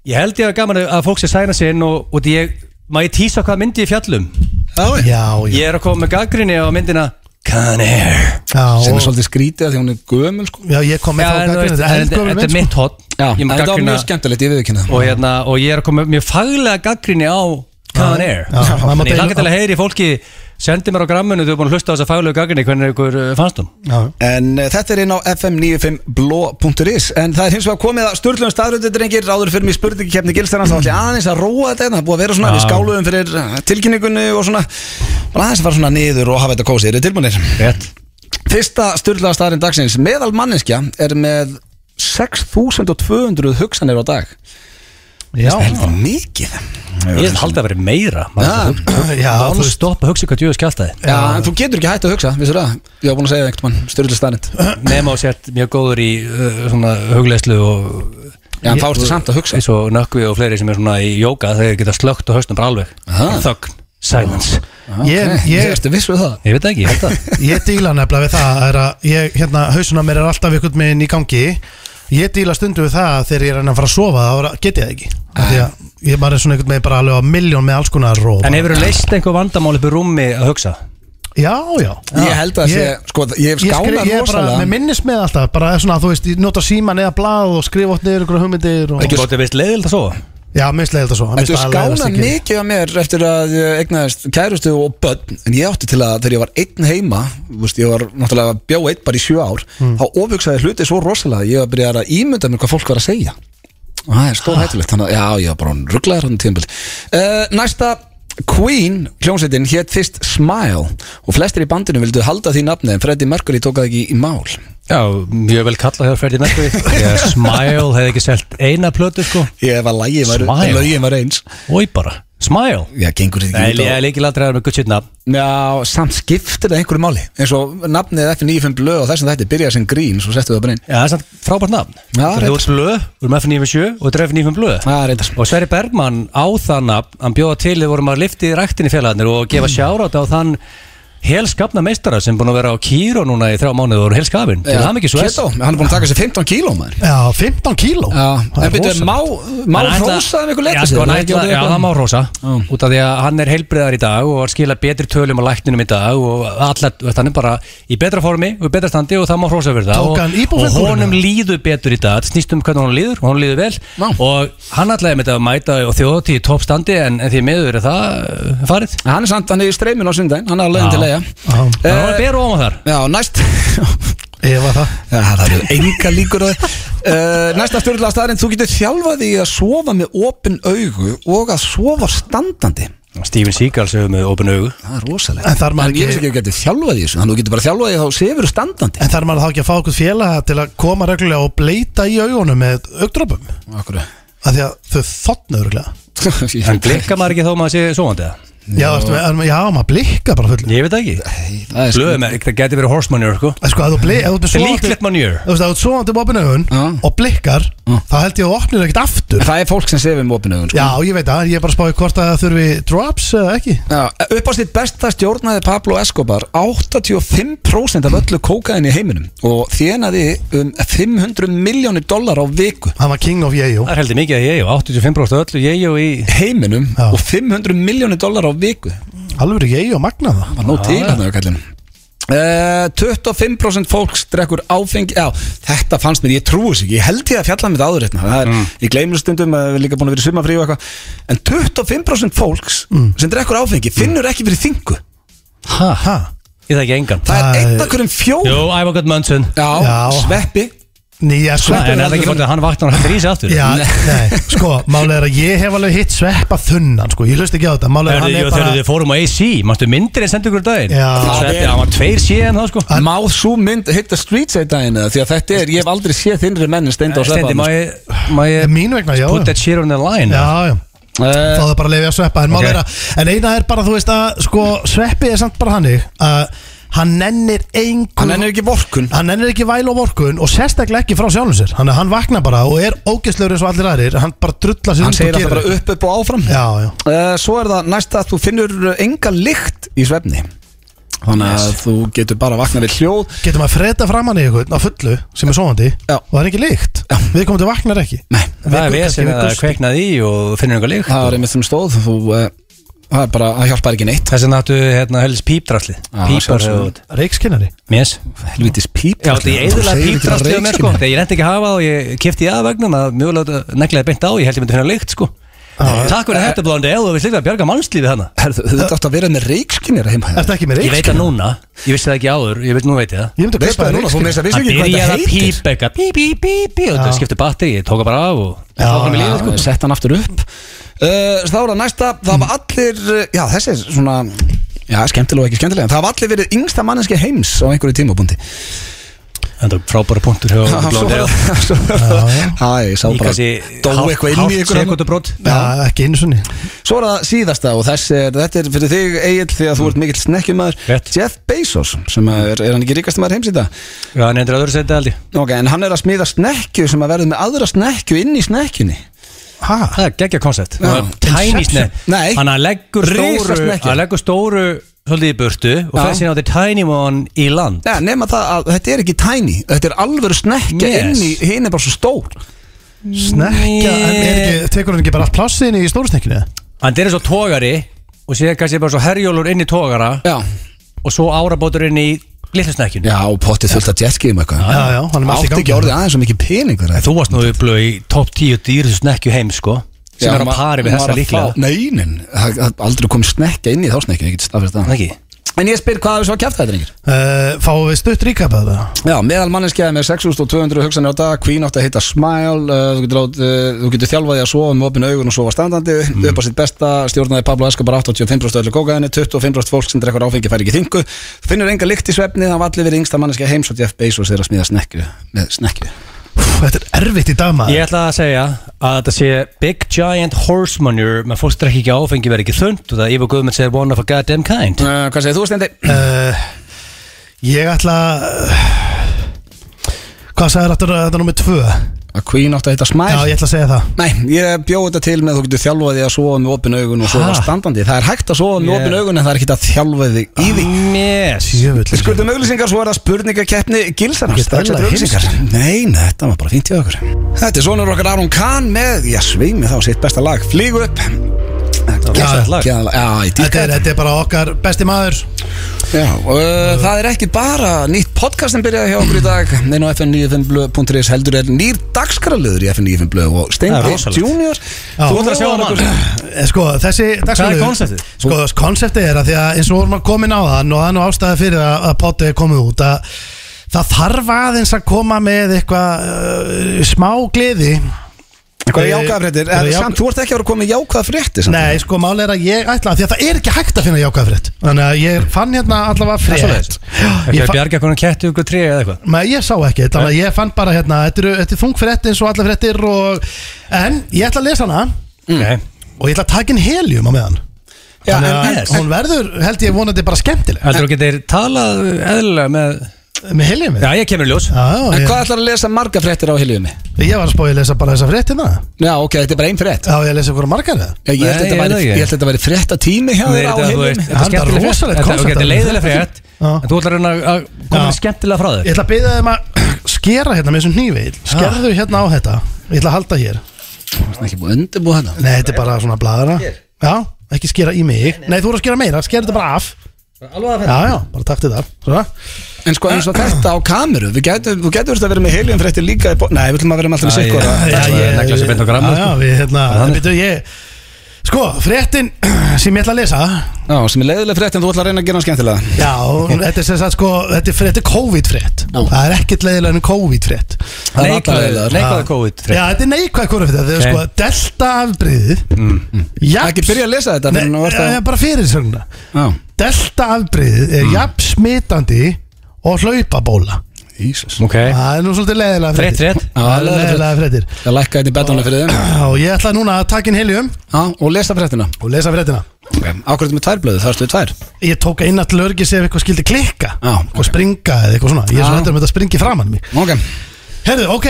S2: ég held ég að gaman að fólk sé að sæna sig inn og, og ég, maður ég tísa hvað myndi ég fjallum
S1: Já,
S3: já, já,
S2: Ég er að koma með gaggrinni á myndina Con Air
S3: já,
S1: sem
S3: og,
S1: er svolítið skrítið af því hún er gömul sko
S3: já ég
S2: Já,
S3: kom með þá
S2: en þú
S3: gagnrýnir
S2: veist,
S3: þetta er
S2: þetta
S3: eldgömul
S2: þetta er
S3: mynd,
S2: mitt hot
S1: Já,
S2: Ég
S1: en
S2: mun
S1: þetta var
S2: gaggrína
S1: mjög skemmtilegt, ég viðkynna
S2: og, hérna, og ég er að koma með mjög faglega gaggrinni á Con Air
S3: Já, það má
S2: Þannig ég
S3: deila-
S2: laka til að heyri fólki sendi mér á grammunu, þú er búin að hlusta á þessa faglegu gaggrinni hvernig ykkur eh, fannst hún
S3: sko. Já.
S1: En uh, þetta er inn á fm95bló.is En það er hins vegar komið að Sturlun staðröndu drengir Ráður fyrir mig spurningkefni gilstarans Þá ætli aðeins að róa þetta hérna, Það er búið að vera svona Við skáluðum fyrir eh, tilkynningunni og svona Bara aðeins að fara svona niður og hafa þetta kósið Eru tilbúinir?
S2: Rétt
S1: Fyrsta Sturlun staðrönd dagsins Meðal manneskja er með 6200 hugsanir á dag
S3: já,
S1: Helvita mikið
S2: Ég held að vera meira
S1: Já.
S2: maður
S3: já,
S2: Það
S3: þú
S2: var
S3: veist
S2: stoppa að hugsa um hvað djöðu skjáltaði
S1: Já, en þú getur ekki hægt að hugsa, vissir það? Ég var búin að segja það einhvern mann, styrlega staðnind
S2: Nefn á sért mjög góður í uh, svona hugleislu og
S1: Já, en þá ertu samt að hugsa
S2: eins og nökkvi og fleiri sem er svona í jóka þegar geta slögt og haustum bara alveg
S1: Aha.
S2: Þögn, silence
S3: ég,
S1: Nei,
S3: ég,
S1: Eh, ertu viss við það?
S2: Ég veit ekki, ég held að
S3: Ég díla nefnilega við það er að ég, hérna, hausuna mér er alltaf ykkur minn í gangi Ég díla stundu við það að þegar ég er enn að fara að sofa þá er að- get ég það ekki Af Því að ég bara er svona ykkur með bara alveg á miljón með alls konar og
S2: En
S3: bara,
S2: hefur þú leist einhver vandamál upp í rúmi að hugsa?
S3: Já, já
S1: Ég held að sé, sko, ég hef
S3: Ég, skri,
S1: skálað
S3: ég er bara með
S1: rosalega
S3: minnis með alltaf bara svona að þú veist, ég nota síman eða blað og skrifa átt niður ykkur hugmyndir og,
S2: Þú bótið veist leiðild að svo?
S3: Já, mislega þetta svo mér
S1: Þetta
S3: finnst það alveg
S1: skála
S3: leiðast ekki.
S1: mikið að mér eftir að ég eignaðist kærustu og börn en ég átti til að þegar ég var einn heima þú veist, ég var náttúrulega bjó einn bara í sjö ár þá ofugsaði hluti svo rosalega að ég var að byrja að ímynda mér hvað fólk var að segja og það er stór hættulegt þannig að já, ég var bara rugglaður hann tímpil uh, um Næsta Queen hljómsveitin hétt fyrst Smile og flestir í bandinu vildu halda því nafni en Freddie Mercury tók það ekki í mál
S2: Já, mjög vel kallað hefur Freddy Mercury Ég, Smile hefði ekki selt eina plötu sko
S1: Ég hef að lægin var,
S2: Smile?
S1: lögin var eins
S2: Ói bara, Smile
S1: Já, gengur þetta
S2: Nei,
S1: ekki út á-
S2: ég er líkil aldrei að vera með gutt sýtna
S1: Já, samt skiptir það einhverju máli eins og nafnið F95 lög og þessum þetta byrjaði sem grín, svo settu það bara inn
S2: Já, það er samt frábært nafn
S1: Já,
S2: Það er
S1: reyndar.
S2: út blöð, við erum F97 og þetta er F95 blöð
S1: Það er reyndar
S2: Og Sverri Bergmann á það nafn, hann bjóða til þegar vorum að lifti ræktinni félagarnir og gefa sjárat á þann helskapna meistara sem búin að vera á Kíró núna í þrjá mánuð og er helskapin til það mikið svo
S1: Keto, hann er búin að taka sér 15 kíló maður
S3: Já, 15 kíló
S1: Já,
S3: Það
S1: en
S3: er
S1: byrjuðu,
S3: rosa
S1: má, má
S2: Hann ætla-
S1: hrósa um ykkur
S2: Já,
S1: leita
S2: sko, hann ætla- já, það má hrósa Út af því að hann er heilbriðar í dag og hann skila betri tölum á lækninum í dag og allar, veist, hann er bara í betra formi og í betra standi og það má hrósa fyrir það
S3: Tók hann
S2: og, og
S3: íbúfenkúluna?
S2: honum líður betur í dag þetta snýst um hvernig honum líður og honum líður vel
S1: Já.
S2: og hann ætlaði með þetta að mæta og þjóðatíð í toppstandi en, en því miður er það uh, farið
S1: Hann er samt, hann er í streiminu á sundaginn, hann er að
S2: Já.
S1: leiðin til leiða
S3: Já,
S2: Það var að bera ofan þar
S1: Já, næst
S3: Ég var það
S1: Já, það eru enga líkur á því uh, Næsta stjórnlega staðarinn, þú getur þjálfað því að sofa með opin augu og að sofa standandi
S2: Steven Seagal segir með opin augu
S1: Það er rosalegt
S3: En þarf
S1: ég
S3: maður ekki-
S1: veist ekki að þú getur þjálfað því þessu Þannig að þú getur bara þjálfað því að þá sefur standandi
S3: En þarf maður þá ekki að fá okkur félaga til að koma reglulega og bleita í augunum með augdropum
S1: Akkur
S3: Af því að þau þotna öruglega
S2: En blikka maður ekki þá maður sé svoandi eða?
S3: Já, ertu með, en- já maður blikka bara fullu
S2: Ég veit það ekki
S1: sko-
S2: Blöðum, það geti verið horsemanjur sko
S3: En Sko, að þú blik, að þú
S2: Þetta er
S3: blir
S2: líklegt
S3: sovandi
S2: manjur
S3: Þú veist, að þú sovandi bópin augun
S1: Já.
S3: og blikkar þá held ég að þú opnir ekkert aftur
S1: Það er fólk sem sefir með opin augun sko.
S3: Já, ég veit það, ég er bara að spáði hvort að það þurfi drops eða ekki
S1: Já, upp á sitt besta stjórnaði Pablo Escobar 85% af öllu kókaðin í heiminum og þjenaði um 500 miljónir dólar á viku
S3: Hann var king of Yeo
S2: Það er heldur mikið að ég og 85% af öllu ég og í
S1: heiminum
S3: Já.
S1: og 500 miljónir dólar á viku
S3: Alveg Yeo magna það
S1: var nóg til hann að kallinu Uh, 25% fólks drekkur áfengi já, þetta fannst mér, ég trúi sig ég held ég að fjalla með þetta áður hérna Það er, ég gleymur stundum að við erum líka búin að vera í sumafrí og eitthvað en 25% fólks sem drekkur áfengi finnur ekki fyrir þingu
S2: Ha?
S3: Ha?
S2: Ég þekki engan
S1: það
S3: Það
S1: er
S3: er-
S1: eitt af hverjum fjórum
S2: Jú, Ævar Gott Mönsson
S1: Já,
S3: Já.
S1: sveppi
S2: En
S3: Nýja
S2: er
S3: sveppa
S2: það ekki bara að hann vaknar og hættir í sig aftur
S3: sko- Já, nei, sko, málið er að ég hef alveg hitt sveppa þunnan, sko, ég hlust ekki á þetta Málið er
S2: Þegar
S3: að hann
S2: þið-
S3: er
S2: þegar þið um
S3: bara
S2: fórum á AC, mannstu myndir en sendur ykkur daginn
S3: Já,
S2: Sveppi, hann var tveir síðan þá sko
S1: Má svo mynd hitta streets eitt daginn eða? Því að þetta er, ég hef aldrei séð þinnri menn en steinda á
S2: Stendi, má
S1: sveppa
S2: ég- má ég
S3: mín vegna, já
S2: put
S3: Já,
S2: that shit on the line Eh,
S3: já, já.
S1: Eh,
S3: þá það bara að lifja sveppa en,
S2: Ok.
S3: okay. vera, en eina er bara, þú veist að sko, sveppi er samt bara þannig að hann nennir
S1: Hann
S3: engum
S1: ennir ekki vorkun
S3: hann nennir ekki væl og vorkun og sérstaklega ekki frá sjálfum sér hann, hann vaknar bara og er ógeðslegur eins og allir aðrir hann bara drullar sér
S1: Hann segir
S3: og
S1: alltaf bara upp upp og áfram
S3: já, já.
S1: Eh, Svo er það næst að þú finnur enga lykt í svefni Þannig að þú getur bara vaknað við hljóð
S3: getur maður að freda framann í einhvern á fullu sem er sovandi
S1: Já.
S3: og það er ekki líkt við komum til vaknar ekki
S1: Nei,
S2: Það er vesinn að það
S3: það
S2: kveiknaði í og finnur einhver líkt
S1: það er einmitt sem stóð Þú, uh, það er bara, það hjálpar ekki neitt
S2: Þess vegna áttu hérna helst pípdrasli
S1: Já,
S2: Pípar
S1: sjálfsögðu.
S2: hefur
S3: reikskinnari
S2: Mjens
S1: Helvitis píp
S2: Já, þetta er eðurlega pípdrasli á mér sko Þegar ég reyndi ekki að hafa það og ég kefti ég að vegnum að mjögulega neglaði beint á, ég held ég myndi finna líkt sko Takk fyrir þetta blóndi eða við slikta að bjarga mannslífi hana
S1: Herðu, þú þátt að vera með reikskinnir heima
S3: er þetta ekki með
S2: Ég veit
S3: reikskinnari
S2: það núna, ég vissi það ekki áður, ég veit nú veit ég það
S3: ég myndi að
S1: Veistu
S3: kaupa
S1: það núna, þú
S3: reikskinnari
S1: meðist að vissi
S2: Hann
S1: ekki hvað
S2: byrjaði
S1: þetta heitir
S2: að pípa eitthvað Bí, bí, bí, bí Og þetta
S3: Já.
S2: skipti batteri, ég tók það bara af og
S3: Já,
S2: Tók hann
S1: Já,
S2: í lífið sko
S1: ég Sett hann aftur upp uh, Þá er það næsta, það var allir eh, Já, þessi er svona Já, skemmtilega og ekki skemmtilega en Það var allir verið yngsta manneski heims á einhverju tímabundi
S2: Þetta er frábæra punktur hjá blóndi eða
S1: Það ég sá
S2: Í
S1: bara
S2: kannski
S1: Dóu eitthvað inn í ykkur annað.
S2: sekundubrót
S3: já, ekki einu sunni
S1: Svo er það síðasta og þessi er, þetta er fyrir þig Egil því að þú ert mikill snekkjumæður
S2: Rétt.
S1: Jeff Bezos sem er, er hann ekki ríkast maður heims í dag
S2: Já, hann endur öðru setja aldrei
S1: Ok, en hann er að smíða snekju sem að verður með aðra snekju inn í snekkjunni
S3: hæ,
S2: Það er geggja koncept Tiny
S3: Inception.
S2: snap
S1: Nei.
S2: Hann að leggur
S1: Risa
S2: stóru
S1: snekkja.
S2: Hann leggur stóru svolítið í burtu Og
S1: Já.
S2: fer síðan á the tiny one í land
S1: Nei, nema það að þetta er ekki tiny Þetta er alvöru snekkja
S2: Yes.
S1: inn í, hinn er bara svo stór
S3: snekja en er ekki, tekur hann ekki bara allt plássiðin í stórsnekkinu
S2: Hann er eins og togari Og síðan kannski bara svo herjólur inn í togara
S1: Já,
S2: Og svo árabótur inn í litlu snekkjun
S1: já og pottið fullt af jetski um eitthvað
S3: já, já, hann er með allt í
S1: Átti ekki
S3: gangi
S1: orðið aðeins svo mikið pening fyrir þetta
S2: Þú varst nú upplöð í top 10 dýrðu snekkju heim sko Sem
S1: Já,
S2: er á
S1: ma-
S2: pari við
S1: maður að
S2: þessa
S1: fá-
S2: líklega
S1: Nei, nein, það það aldrei kom snekkja inn í þá snekkju, ég get staðfyrst það
S2: Ekki
S1: En ég spyr hvað hafið svo að kæfta þetta, drengir?
S3: Uh, fáum við stutt ríkap að það
S1: Já, meðal manneskjaði með 6200 hugsanir á dag Queen átti að hitta Smile uh, þú, getur lát, uh, þú getur þjálfaði að sofa með opinu augun og sofa standandi
S3: Mhm.
S1: upp á sitt besta, stjórnaði Pablo Escobar 85% öllu kókaðinni, 25% fólk sem drekkur áfengi fær ekki þingu, Þú finnur enga lykt í svefni það var allir verið yngsta manneskja heims og Jeff Bezos er að smíða snekju, með snekju
S3: þetta er erfitt í dag maður
S2: Ég ætla að segja að þetta sé Big Giant Horse Manure Menn fólk strekki ekki áfengi verið ekki þund Og það Ívar Guðmund segir one of a goddamn kind
S1: uh, Hvað segir þú, Stendi?
S3: uh, ég ætla uh, hvað sagði þetta þetta er nummið tvö já,
S1: Að Queen átti að hitta Smile?
S3: ég ætla að segja það
S1: Nei, ég bjóð þetta til með að þú getur þjálfaði að sofa með opinu augun og sofa
S3: Ha?
S1: standandi Það er hægt að sofa með
S2: Yeah.
S1: opinu augun en það er ekki að þjálfaði í því
S2: Yes
S1: Við
S3: Djöfull.
S1: skuldum auglýsingar, svo er það spurningakeppni Gilsarans,
S3: Ekki
S1: strax
S3: stæla
S1: eftir auglýsingar Nei, nei, þetta var bara fínt hjá okkur Þetta er sonur okkar Aron Kahn með, já, sveimi þá sitt besta lag Flýg upp
S2: geðvægt lag.
S1: Geðvægt Já, ég
S3: sko. Þetta
S1: dýrka
S3: er,
S1: þetta
S3: þetta er bara okkar besti maður
S1: Já, og, uh, Það er ekki bara nýtt podcast sem byrjaði hjá okkur í dag Nein á fn95blöð.is heldur er nýr dagskraliður í fn95blöð og
S2: Það er
S1: Steindi
S2: rosalegt.
S1: Junior
S3: Já.
S1: Þú ætlar að sjá hann okkur
S3: Eh, Sko, þessi
S2: Hvað
S3: dagskrárliður-
S2: er konseptið?
S3: Sko, konseptið er að því að eins og vorum að komin á þann og það er nú ástæði fyrir að, að potið er komið út að það þarf aðeins að koma með eitthvað uh, smá gleði
S1: Hvað er jákvæðafréttir?
S3: Bara ják-
S1: Samt, þú ert ekki að vera komið jákvæðafréttir
S3: Nei, sko, mál er að ég ætla því að það er ekki hægt að finna jákvæðfrétt Þannig að ég fann hérna allavega frétt Já,
S2: Ekki
S3: ég
S2: að
S3: fann-
S2: bjarga konum kettu ykkur tré eða eitthvað
S3: Nei, ég sá ekki, þannig að ég fann bara hérna Þetta eru- þetta er þung frétt eins og allar fréttir og, En ég ætla að lesa hana
S2: okay.
S3: Og ég ætla að taka inn helium á meðan
S1: Já,
S3: Þannig
S1: en-
S3: að
S2: yes.
S3: hún verður, held ég vonandi bara skemmtileg
S2: Heldur þú getur talað eðlilega með
S3: Með helium
S2: Já, ég kemur í ljós
S3: Já,
S1: En
S3: ég,
S1: hvað ætlar að lesa marga fréttir á hiljumi?
S3: ég var að spá ég að lesa bara þessa fréttina
S1: Já, ok, þetta er bara ein frétt
S3: Já, ég að lesa ykkur margar eða
S1: Já, Ég held
S2: Nei,
S1: þetta
S2: ég
S1: væri-
S2: veit ekki.
S1: ég held þetta væri frétta tími hjá
S2: Nei,
S1: þér á
S2: Þetta þú veist,
S1: heimilum
S2: þetta er skemmtileg
S3: Þetta er
S2: frétt.
S3: rosalegt
S2: Þetta- ok,
S3: konsept,
S2: þetta er
S3: alveg.
S2: leiðileg frétt
S3: Já.
S2: En þú ætlar að reyna að koma
S3: Já.
S2: með skemmtilega frá þér
S3: Ég ætla að byrja þeim að skera hérna með þessum hnífi Skerðu hérna á þetta Ég ætla að halda hér
S1: Það er ekki búið að undirbúa þetta
S3: Nei, þetta er bara svona bladra Já, ekki skera í mig Nei, þú voru að skera meira, skerðu þetta bara af Alveg að þetta Já, já, bara takti það Svona
S1: En sko eins og þetta á kameru Við getum, Þú getur verið að vera með helium fréttir líka í bo- Nei, við ætlum að vera með alltaf með
S2: Já,
S1: sikkur
S2: ég-
S1: að-
S2: Það er
S3: ég-
S2: negla sér beint á grammið,
S3: Já,
S2: sko.
S3: já, við hérna
S2: þannig.
S3: Býtu, ég Sko, fréttin sem ég ætla að lesa
S1: Já, sem er leiðileg frétt en þú ætlar að reyna að gera hann skemmtilega
S3: Já, þetta er sem sagt sko Þetta er, þetta er COVID-frétt Það er ekkert leiðilega en COVID-frétt
S1: Það er alla
S2: Neikvæða
S1: leiðilegar.
S2: neikvæða COVID
S3: Já, þetta er neikvæð korrið fyrir þetta
S2: Ok.
S3: Þegar sko, delta-afbriðið mm.
S1: Ekki byrja að lesa þetta fyrr en þú ert að-
S3: Nei, bara fyrir sögna
S1: Já, Mm.
S3: Delta-afbriðið er jafn smitandi og hlaupabóla
S1: Ísus
S2: Ok
S3: Það er nú svolítið leiðilega
S2: Frétt,
S3: fréttir
S2: frétt.
S3: Það er leiðilega fréttir
S1: Ég lækka þetta í betanlega fyrir þeim
S3: Og ég ætla núna að taka inn heljum
S1: Já, og lesa fréttina
S3: og lesa fréttina
S1: Ákvörðum með tværblöðu, það erstu við tvær
S3: Ég tók eina til örgis ef eitthvað skildi klikka
S1: Já,
S3: og
S1: ok.
S3: springa eða eitthvað svona Ég er
S1: Já.
S3: svo hættur um þetta springi framan mig
S1: Ok,
S3: Herðu, ok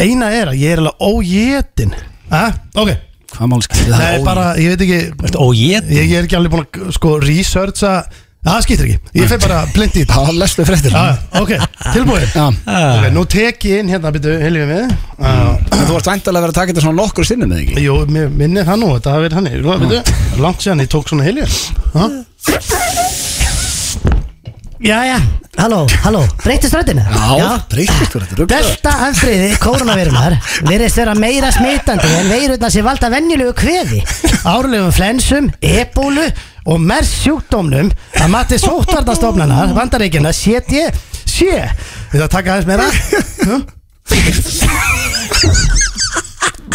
S3: Eina er að ég er alveg ójétin Ha? Ok,
S1: hvað máli skiptir það?
S3: það er bara, ég veit ekki
S2: Og ég
S3: ég, ég er ekki alveg búin að sko researcha Það skiptir ekki, ég fer bara blindi í þetta
S1: Það lestu fréttina
S3: Já, Ok, tilbúin
S1: Já,
S3: Ok, nú tek ég inn hérna, byrju, heljum við Já.
S1: Mm. en þú ert væntalega að vera að taka þetta svona nokkur sinnum eða ekki?
S3: Jú, mér minni það nú, þetta hafi verið þannig Nú, veitu, Langt síðan ég tók svona helja
S4: Jæja, halló, halló, breytist röddina?
S1: breytist þú þetta ruglaður.
S4: Delta afbreiði koronavirunar virðist vera meira smitandi en veirurnar sem valda venjulegu kveði, árlegum flensum, ebólu og mers sjúkdómnum að mati sóttvarnastofnanar, vandaríkina, set ég, sé.
S3: Við það taka aðeins meira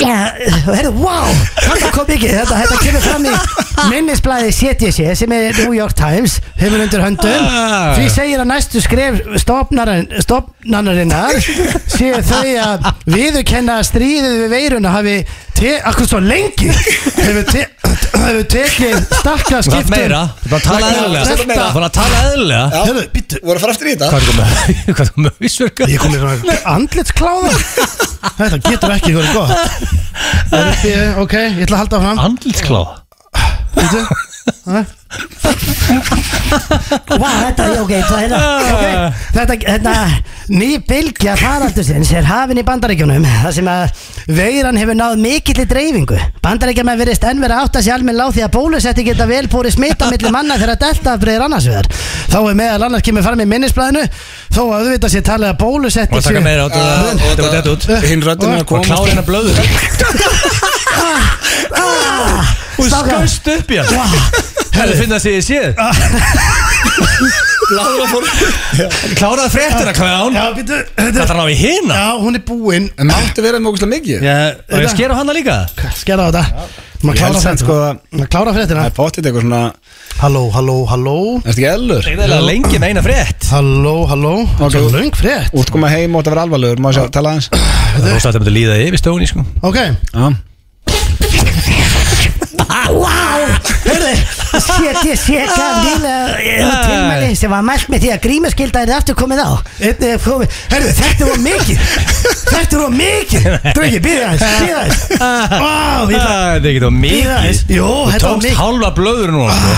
S4: Já, herru, wow, þetta kom ekki, þetta, þetta kemur fram í minnisblæði CTC sem er New York Times, hefur undir höndum.
S2: Ah.
S4: Því segir að næstu skref stofnarin- stofnanarinnar séu þau að viðurkenna að stríðið við veiruna hafi, te, akkur svo lengi, hefur, te, hefur tekið stakka
S2: Það er
S4: skiptum.
S2: meira Það er bara að tala
S1: Meira,
S2: eðlilega
S1: þetta
S2: Það
S1: er meira.
S2: er bara að tala eðlilega
S1: Já.
S3: Hörru, býttu
S1: Voru að fara aftur í þetta?
S2: Hvað er það með Hvað er það með hausverka
S3: Ég kom í svona andlitskláða Þetta getur ekki verið gott Það er uppi, ok, ég ætla að halda fram
S2: Andlitskláða
S3: Býtu,
S4: Vá, þetta, ok, það er hérna,
S2: Ah.
S4: ok, þetta, þetta, ný bylgja faraldusins er hafin í bandaríkjunum þar sem að veiran hefur náð mikill í dreifingu. Bandaríkjumenn verðist enn verið átt að sé almenn láð því að bólusetti geta vel búið smita millir manna þegar að delta breyðir annars vegar. Þá er meðal annars kemur fram í minnisblæðinu þó að auðvitað sé talið að
S2: Og
S4: bólusetti
S2: að taka meira át
S1: Já,
S2: og
S1: og
S2: Þetta var þetta út sko,
S1: Hinn röddinn er að
S2: Og
S1: koma
S2: kláði hennar blöðu Hún skaust upp í hann Hefðu finnað sig í séð
S1: Láður að fór
S2: Kláraði fréttina kláðan
S3: já, býtu
S2: Það
S3: þetta,
S2: þarf að ná í hina Eh,
S3: Já, hún er búin
S1: En máttu vera með ógustlega mikið?
S2: Og ég sker á hana líka
S3: Skerða á þetta Má
S1: Ég held
S3: klára
S1: samt, sko,
S3: fréttina
S1: að-
S3: Má klára fréttina
S1: Það er pottit eitthvað svona
S3: Halló, halló, halló
S1: Erstu ekki ellur?
S2: Eða lengi með eina frétt
S3: Halló, halló
S1: Ok.
S3: Svo löng frétt
S1: Útt koma sko, heim og þetta vera alvarlegur, má ég sjá, tala aðeins
S2: Það er rosa að þetta myndi líða yfir stóni sko
S3: Ok,
S1: Já,
S4: Hörðu, CTC gaf nýlega eh, tilmæli sem var mælt með því að grímaskylda er aftur komið á Einnig er komið, hörðu, þetta var mikið Þetta var mikið Dröggi, býða aðeins, býða aðeins Ó, ég ætla-
S2: Það Ah, er ekki það
S4: Bíða
S2: mikið
S4: aðeins. Jú,
S2: Þú
S4: þetta var
S2: tókst
S4: mikið.
S2: halva blöður núna sko.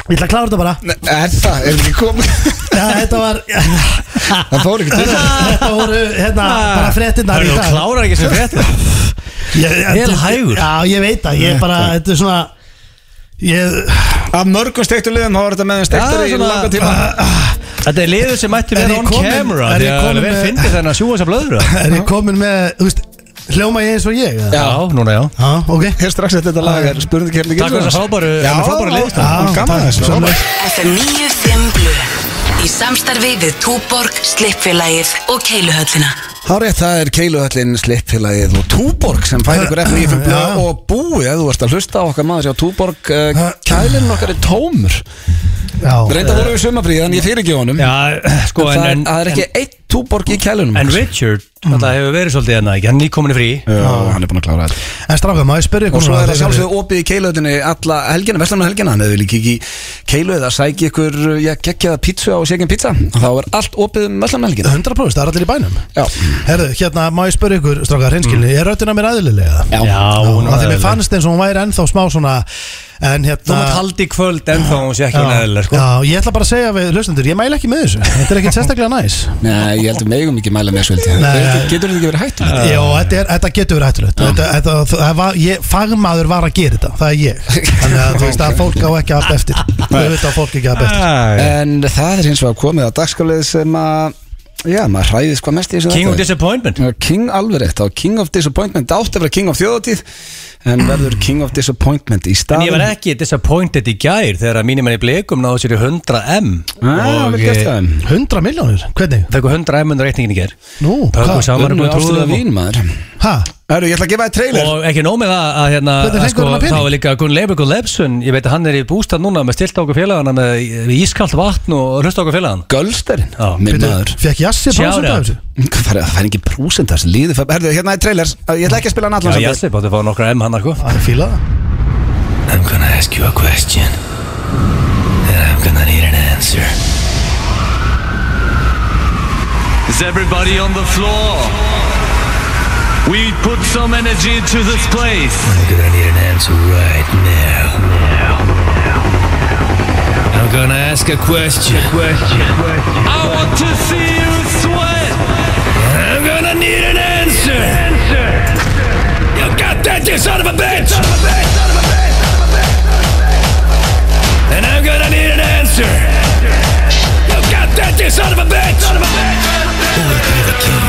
S4: ég ætla að klára þetta bara
S1: Nei, er það, er ekki komið
S3: já, þetta var
S1: Það fór ekki til það
S3: Þetta voru, hérna, bara fréttinnar
S2: Hörðu, Ah.
S3: í
S2: þú
S3: dag
S2: klárar ekki sem frétt
S3: Ég-
S2: Vel
S3: þetta-
S2: hægur.
S3: Já, ég veit það, ég bara, þetta er svona Ég,
S1: Af mörgum steiktu liðum, þá var þetta með þeim
S2: Já,
S1: steiktari í
S2: svona-
S1: langa tíma
S2: Þetta er liður sem mætti
S3: Er
S2: vera
S3: ég
S2: on
S3: komin-
S2: camera
S3: er
S2: Því
S3: ég
S2: að
S3: komin
S2: vel
S3: með-
S2: fyndi þennan sjúa sem blöður
S3: er ég komin með, þú veist, hljóma ég eins og ég? eða?
S1: Já.
S2: Já, núna já
S3: Já, ok
S1: Hér strax eftir þetta lag er hérna spurningi kemni
S2: Takk fyrir þessa frábæru-
S1: Já,
S2: þennan frábæru lið.
S1: já, gaman
S3: takk,
S1: þessu
S3: sömuleiðis.
S8: FM 95 Blu Í samstarfi við Túborg, Slippfélagið og Keiluhöllina
S1: Há rétt, það er Keiluhöllin, Slippfélagið og Túborg sem færi ykkur efni í fimm blöð og búi eða þú ert að hlusta á okkar maður hjá Túborg uh, kælinn okkar er tómur
S3: Já,
S1: reynda voru við sumafríð en ég fyrir ekki honum
S2: Já, sko
S1: það,
S2: en,
S1: er,
S2: en,
S1: það er ekki eitt Túborg í kælunum
S2: en Richard Það hefur verið svolítið hérna ekki Hann er nýkomin í frí
S1: Já, hann er búin að klára þetta
S3: en strafka, maður spyrja
S1: Og
S3: ykkur
S1: svo
S3: núna,
S1: er það
S3: þegar-
S1: sjálfsögðu opið í keiluhöllinni alla helgina, veslanum helgina Þannig að við líka ekki í keilu eða sæki ykkur, já, geggjaða pítsu á sékin pizza Þá er allt opið um veslanum helgina
S3: 100% það er allir í bænum
S1: Já, Mm.
S3: Herðu, hérna, má ég spyrja ykkur, strafka, hreinskilni Er röddina mér aðlilega?
S1: já,
S2: hún
S3: Það
S2: er
S3: þegar mér fannst eins og hún væri ennþá smá svona En
S2: Þú mátt
S3: hérna
S2: haldi í kvöld en þá hún sé ekki hún eðlilega sko.
S3: Já, ég ætla bara að segja við hlustendur, ég mæla ekki með þessu Þetta er ekkert sérstaklega næs
S1: nei, ég heldur megum ekki mæla með svolítið
S3: Nei.
S1: Getur þetta ekki verið hættum?
S3: Jó, þetta, er, þetta getur verið hættulegt þetta, þetta, það var, ég, Fagmaður var að gera þetta, það er ég Þannig að þú veist að fólk á ekki allt
S2: Ah,
S3: eftir Þau veit að fólk ekki allt eftir
S2: Æ,
S1: En það er hins vegar komið á dagskalið sem að Já, maður hræðist hvað mest í þessu
S2: King of
S1: þætti.
S2: Disappointment
S1: Já, King alveg rétt, þá King of Disappointment átti að vera King of Þjóðatíð en verður King of Disappointment í
S2: En
S1: staðin
S2: ég var ekki disappointed í gær þegar að mínum enn í blikum náðu sér í 100M
S1: ah, vel gert
S2: eh,
S1: það
S3: 100 miljónir, hvernig?
S2: Fekku 100M undir reikningin í gær
S3: Nú,
S2: Pökkum
S3: hvað?
S2: saman
S1: Unnu
S2: og
S1: ástuða
S2: trúðum og-
S1: vín maður
S3: Hæ?
S1: Herru, ég ætla að gefa þér trailer
S2: Og ekki nóg með það að hérna
S3: Hvernig
S2: að
S3: fengur hann að pening?
S2: Þá er líka Gunn Leifur Gunn Leifsson Ég veit að hann er í bústað núna með stilt okkur félagana með í- ískalt vatn og hlusta okkur félagana
S1: Gölsterinn,
S2: Já.
S1: minn maður
S3: Fekk Jassi
S2: Shout
S3: prósent af
S2: out.
S3: þessu?
S1: Hvað fær- Það fær ekki prósent þessi líði fær- Herru, hérna er trailer, ég ætla ekki að spila hann allan samt.
S2: Já, ég ætli bátti að fá nokkra M hann sko
S3: Það er fílað
S5: I'm gonna ask you a question. And I'm gonna need an answer.
S9: Is everybody on the floor? We put some energy into this place.
S5: I'm gonna need an answer right now. I'm gonna ask a question.
S9: I want to see you sweat.
S5: I'm gonna need an answer. You got that, you son of a bitch! And I'm gonna need an answer. You got that, you son of a bitch! Who will be the king?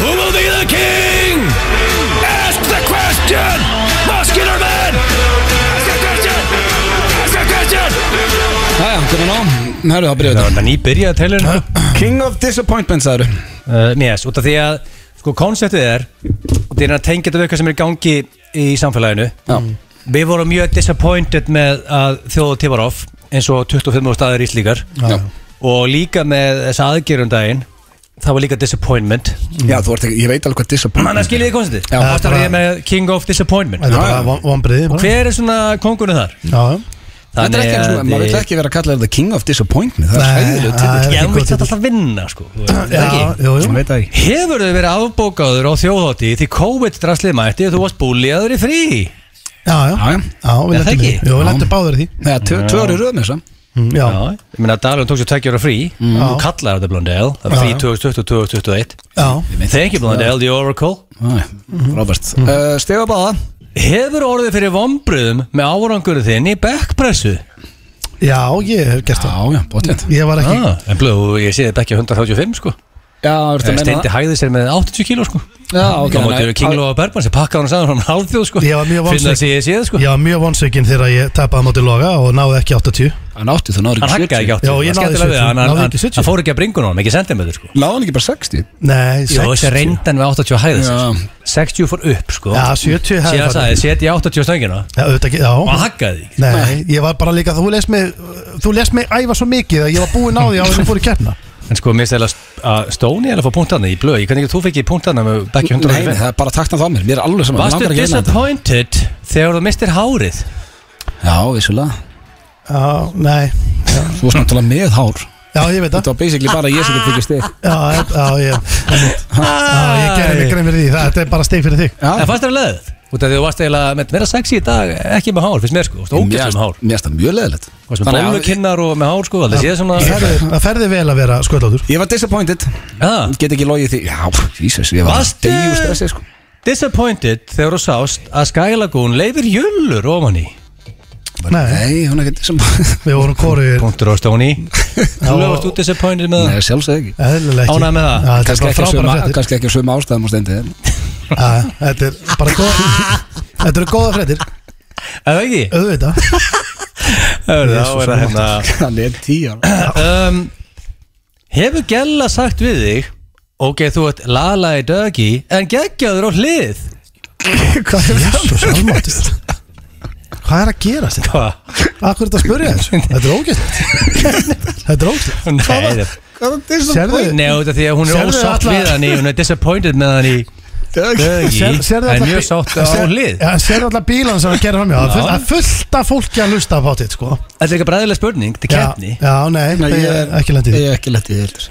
S5: Who will be the king? Ask the question, muscular man. Ask a question. Ask a question.
S1: Jæja, komum á Herru, þá byrjuðu
S2: Það var þetta nýbyrjað telurinn sko
S1: þetta King of Disappointment, sagður
S2: uh, Mér, út af því að sko, konseptið er og það er að tengja þetta við eitthvað sem er í gangi í samfélaginu
S1: Já.
S2: Við vorum mjög disappointed með að þjóðu tífar off eins og 25 staðir íslíkar
S1: Já.
S2: og líka með þessa aðgerum daginn það var líka disappointment
S1: Já, þú ert ekki, ég veit alveg hvað
S2: Manna
S1: Disappointment
S2: skiljið þið konseptið?
S1: Já,
S2: Það var
S3: bara-
S2: það með King of Disappointment
S3: Þetta er
S1: Já, já.
S3: bara vonbriði bara
S2: Hver er svona kongurinn þar?
S3: Já, já
S1: Þetta er ekki eins og
S2: að-
S1: maður vill ekki vera að kalla þetta King of Disappointment Það er
S3: Nei,
S1: hæðilegu
S3: það
S1: til
S3: er
S2: Já,
S3: ekki
S2: þú
S3: góð
S2: veit þetta
S3: titill.
S2: alltaf vinna sko Þú veist,
S3: Já,
S2: ekki?
S3: jú, jú
S1: Ég veit það ekki
S2: Hefur þau verið afbókaður á þjóðhátti því COVID draslið mætti og þú varst búliðaður í frí?
S3: Já, já
S1: Já, já.
S3: Já,
S2: Er það
S3: við lentum í
S2: ekki?
S3: því Jú, við lentum báður í því
S1: Nei, tvö tvö eru í röð með þess að
S3: Mm, Já,
S2: Já, ég meina að Dalun tók sér tveggjóra frí mm. Hún kallar þetta Blondell Það er
S3: Já,
S2: frí
S3: já.
S2: 2020-2021
S3: já
S2: Thank you Blondell, the Oracle
S1: Robert Stega Eh, báða
S2: Hefur orðið fyrir vombriðum með árangur þinn í backpressu?
S3: Já, ég hef gert það
S1: Já, já, bóttið
S3: Ég var ekki
S2: Ah, en blöðu, ég sé þetta ekki 135 sko
S1: Já, ertu að meina
S2: Steindi hæði sér með 80 kíló sko
S1: Já, ok
S2: Þá máttu
S1: nei,
S2: við King Lóa Bergmann sem pakkaði hann saman frá hálfþjóð sko
S3: Ég var mjög
S2: Finna
S3: vonsvikinn.
S2: sig ég séð sko
S3: Ég var mjög vonsökinn þegar ég tapaði á móti loga og náði ekki 80
S1: Hann átti þú náður
S2: Hann
S1: ekki
S2: hakkaði
S1: 70
S2: ekki átti
S3: Já, ég náði
S2: við
S3: 70,
S2: hann, hann,
S3: náði
S2: hann,
S3: ekki 70.
S2: hann fór ekki að bringun á hann, ekki sentimeter sko
S1: Náði hann ekki bara 60
S3: Nei,
S2: Jó, þessi
S3: 60
S2: reyndan við 80 hæði sér
S1: Já.
S2: 60 sko. fór upp sko
S3: Já, 70 hefði
S2: Síðan
S3: farið.
S2: sagði, setja 80 stöngina
S3: Já, auðvitað ekki,
S2: og
S3: já
S2: hann hakkaði þig
S3: Nei, ég var bara líka, þú lest mig Þú lest mig æfa svo mikið að ég var búinn á því áður en ég fór í keppna
S2: En sko, mér stæla að Stóni er að fá punktana í blöð Ég kann ekki að þú fekk í punktana með Becky
S1: Nei, nei,
S2: 105
S1: það er bara taktan þá mér Mér er alveg saman
S2: Varstu disappointed þegar þú mistir hárið?
S1: Já, vissulega
S3: Já, nei
S1: Þú varst náttúrulega með hár
S3: Já, ég veit það
S1: Þetta var basically bara ég sem get fyrir stig
S3: Já, já, ég, já, ég gerði mig
S2: Æ.
S3: grein fyrir því Þetta er bara steg fyrir þig
S1: Já.
S2: En Ah. fannst þér að leðið? Út af því þú varst eiginlega með meira sexy í dag Ekki með hár, finnst mér sko, þú
S1: Mér
S2: ógæst með hár
S1: finnst- mér finnst það mjög leðilegt
S2: Varst með bólukinnar og með hár sko Það séð svona
S3: Það ferði, það ferði vel að vera sköldlótur
S1: Ég var disappointed
S2: Ah.
S1: Get ekki logið því Já, Jesus Ég var
S2: Varstu-
S1: deyju stressið sko
S2: Disappointed þegar þú sást að Sky Lagoon leifir jullur ofan í
S3: Nei,
S1: Nei, hún er ekki disappointed
S3: við vorum kóruðir
S2: Punktur á Stóni Þú lögast út disappointed með
S1: Nei,
S2: það
S1: sjálfsög ekki
S3: Eðlilega ekki
S2: Ánægð með það?
S3: Já, Þetta er
S1: Kannski ekki,
S3: bara
S1: söma,
S3: frábæra fréttir
S1: kannski ekki sömu ástæðum og stendi
S3: Já, Þetta er bara góð Þetta eru góða fréttir
S2: Er það ekki?
S3: Auðvitað
S2: Hörðu, Þá er það hérna
S1: Hann er tíu ára
S2: um, Hefur Gjalla sagt við þig Ok, þú ert lala í dögi En geggjaður á hlið
S3: Jésús, almáttur Hvað er að gera þetta?
S2: Hva?
S3: Akkur er þetta að spurja þessu? Þetta er ógæslegt Þetta er ógæslegt
S2: Nei, það
S3: Sérðu,
S2: Nei, út af því að hún er
S3: Sérðu
S2: ósátt
S3: alla-
S2: við hann í Hún er disappointed með hann í dögi
S3: sér, sérðu
S2: En
S3: alla-
S2: mjög sátt á
S3: sér-
S2: hlið
S3: Já, sérðu alltaf bílan sem að gera fram hjá Það er fullt- það er fullt af fólki að lusta á potið, sko
S2: Þetta er eitthvað bræðilega spurning, þetta er keppni
S3: Já, já, nei, nei ég er Eh, ekki lendið
S1: Ég er ekki lendið í heldur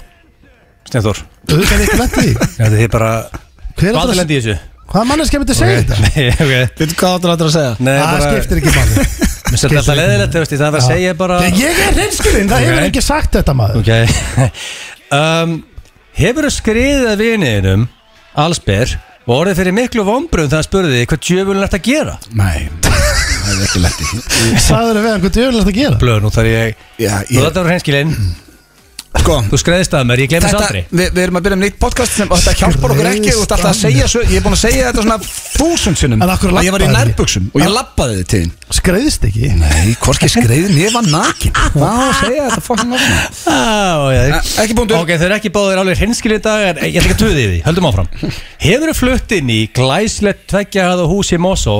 S2: Steinþór,
S3: Þú er ekki lendið
S2: þetta er þið bara
S3: Hver er
S2: Hvað
S3: þetta?
S2: lendi í þessu?
S3: Hvað manneskja myndi segja þetta?
S2: Nei, ok
S1: Veitu hvað áttur áttur að segja?
S2: Nei,
S3: Það
S2: bara
S3: skiptir ekki máli
S2: Mér svolítið alltaf leðilegt, þú veist, í það er að segja bara
S3: Ég er hreinskilinn, það hefur
S2: Ok.
S3: ekki sagt þetta maður
S2: Ok um, Hefur þú skriðið að viniðinum Allsber og orðið fyrir miklu vombrum þegar hann spurði þig hvað djöfulun ert að gera
S1: Nei, það er ekki lendið
S3: Sæður við hann hvað djöfnilegt að gera
S2: Blöð, nú þarf ég
S1: Já,
S2: Nú
S1: ég
S2: þetta var reynskilinn
S1: Sko.
S2: Þú skreðist að mér, ég glemist
S1: Þetta,
S2: aldrei
S1: við, við erum að byrja um nýtt podcast sem, og þetta hjálpar okkur ekki og þetta alltaf að segja svo, ég er búin að segja þetta svona þúsund sinnum
S3: En af hverju
S1: að ég var í
S3: labbaðirðu?
S1: nærbuksum og ég labbaði þið til þín
S3: Skreiðist ekki
S1: Nei, hvorki skreiðin, ég var nakin Vá, segja þetta um fokkin ofna
S2: Á, já,
S1: Eh, ekki punktur.
S2: Ok, þau eru ekki báðir alveg hreinskilið í dag En ég ætla ekki að töði því, höldum áfram Hefur þau flutt inn í glæslegt tveggjahað og hús í Mosó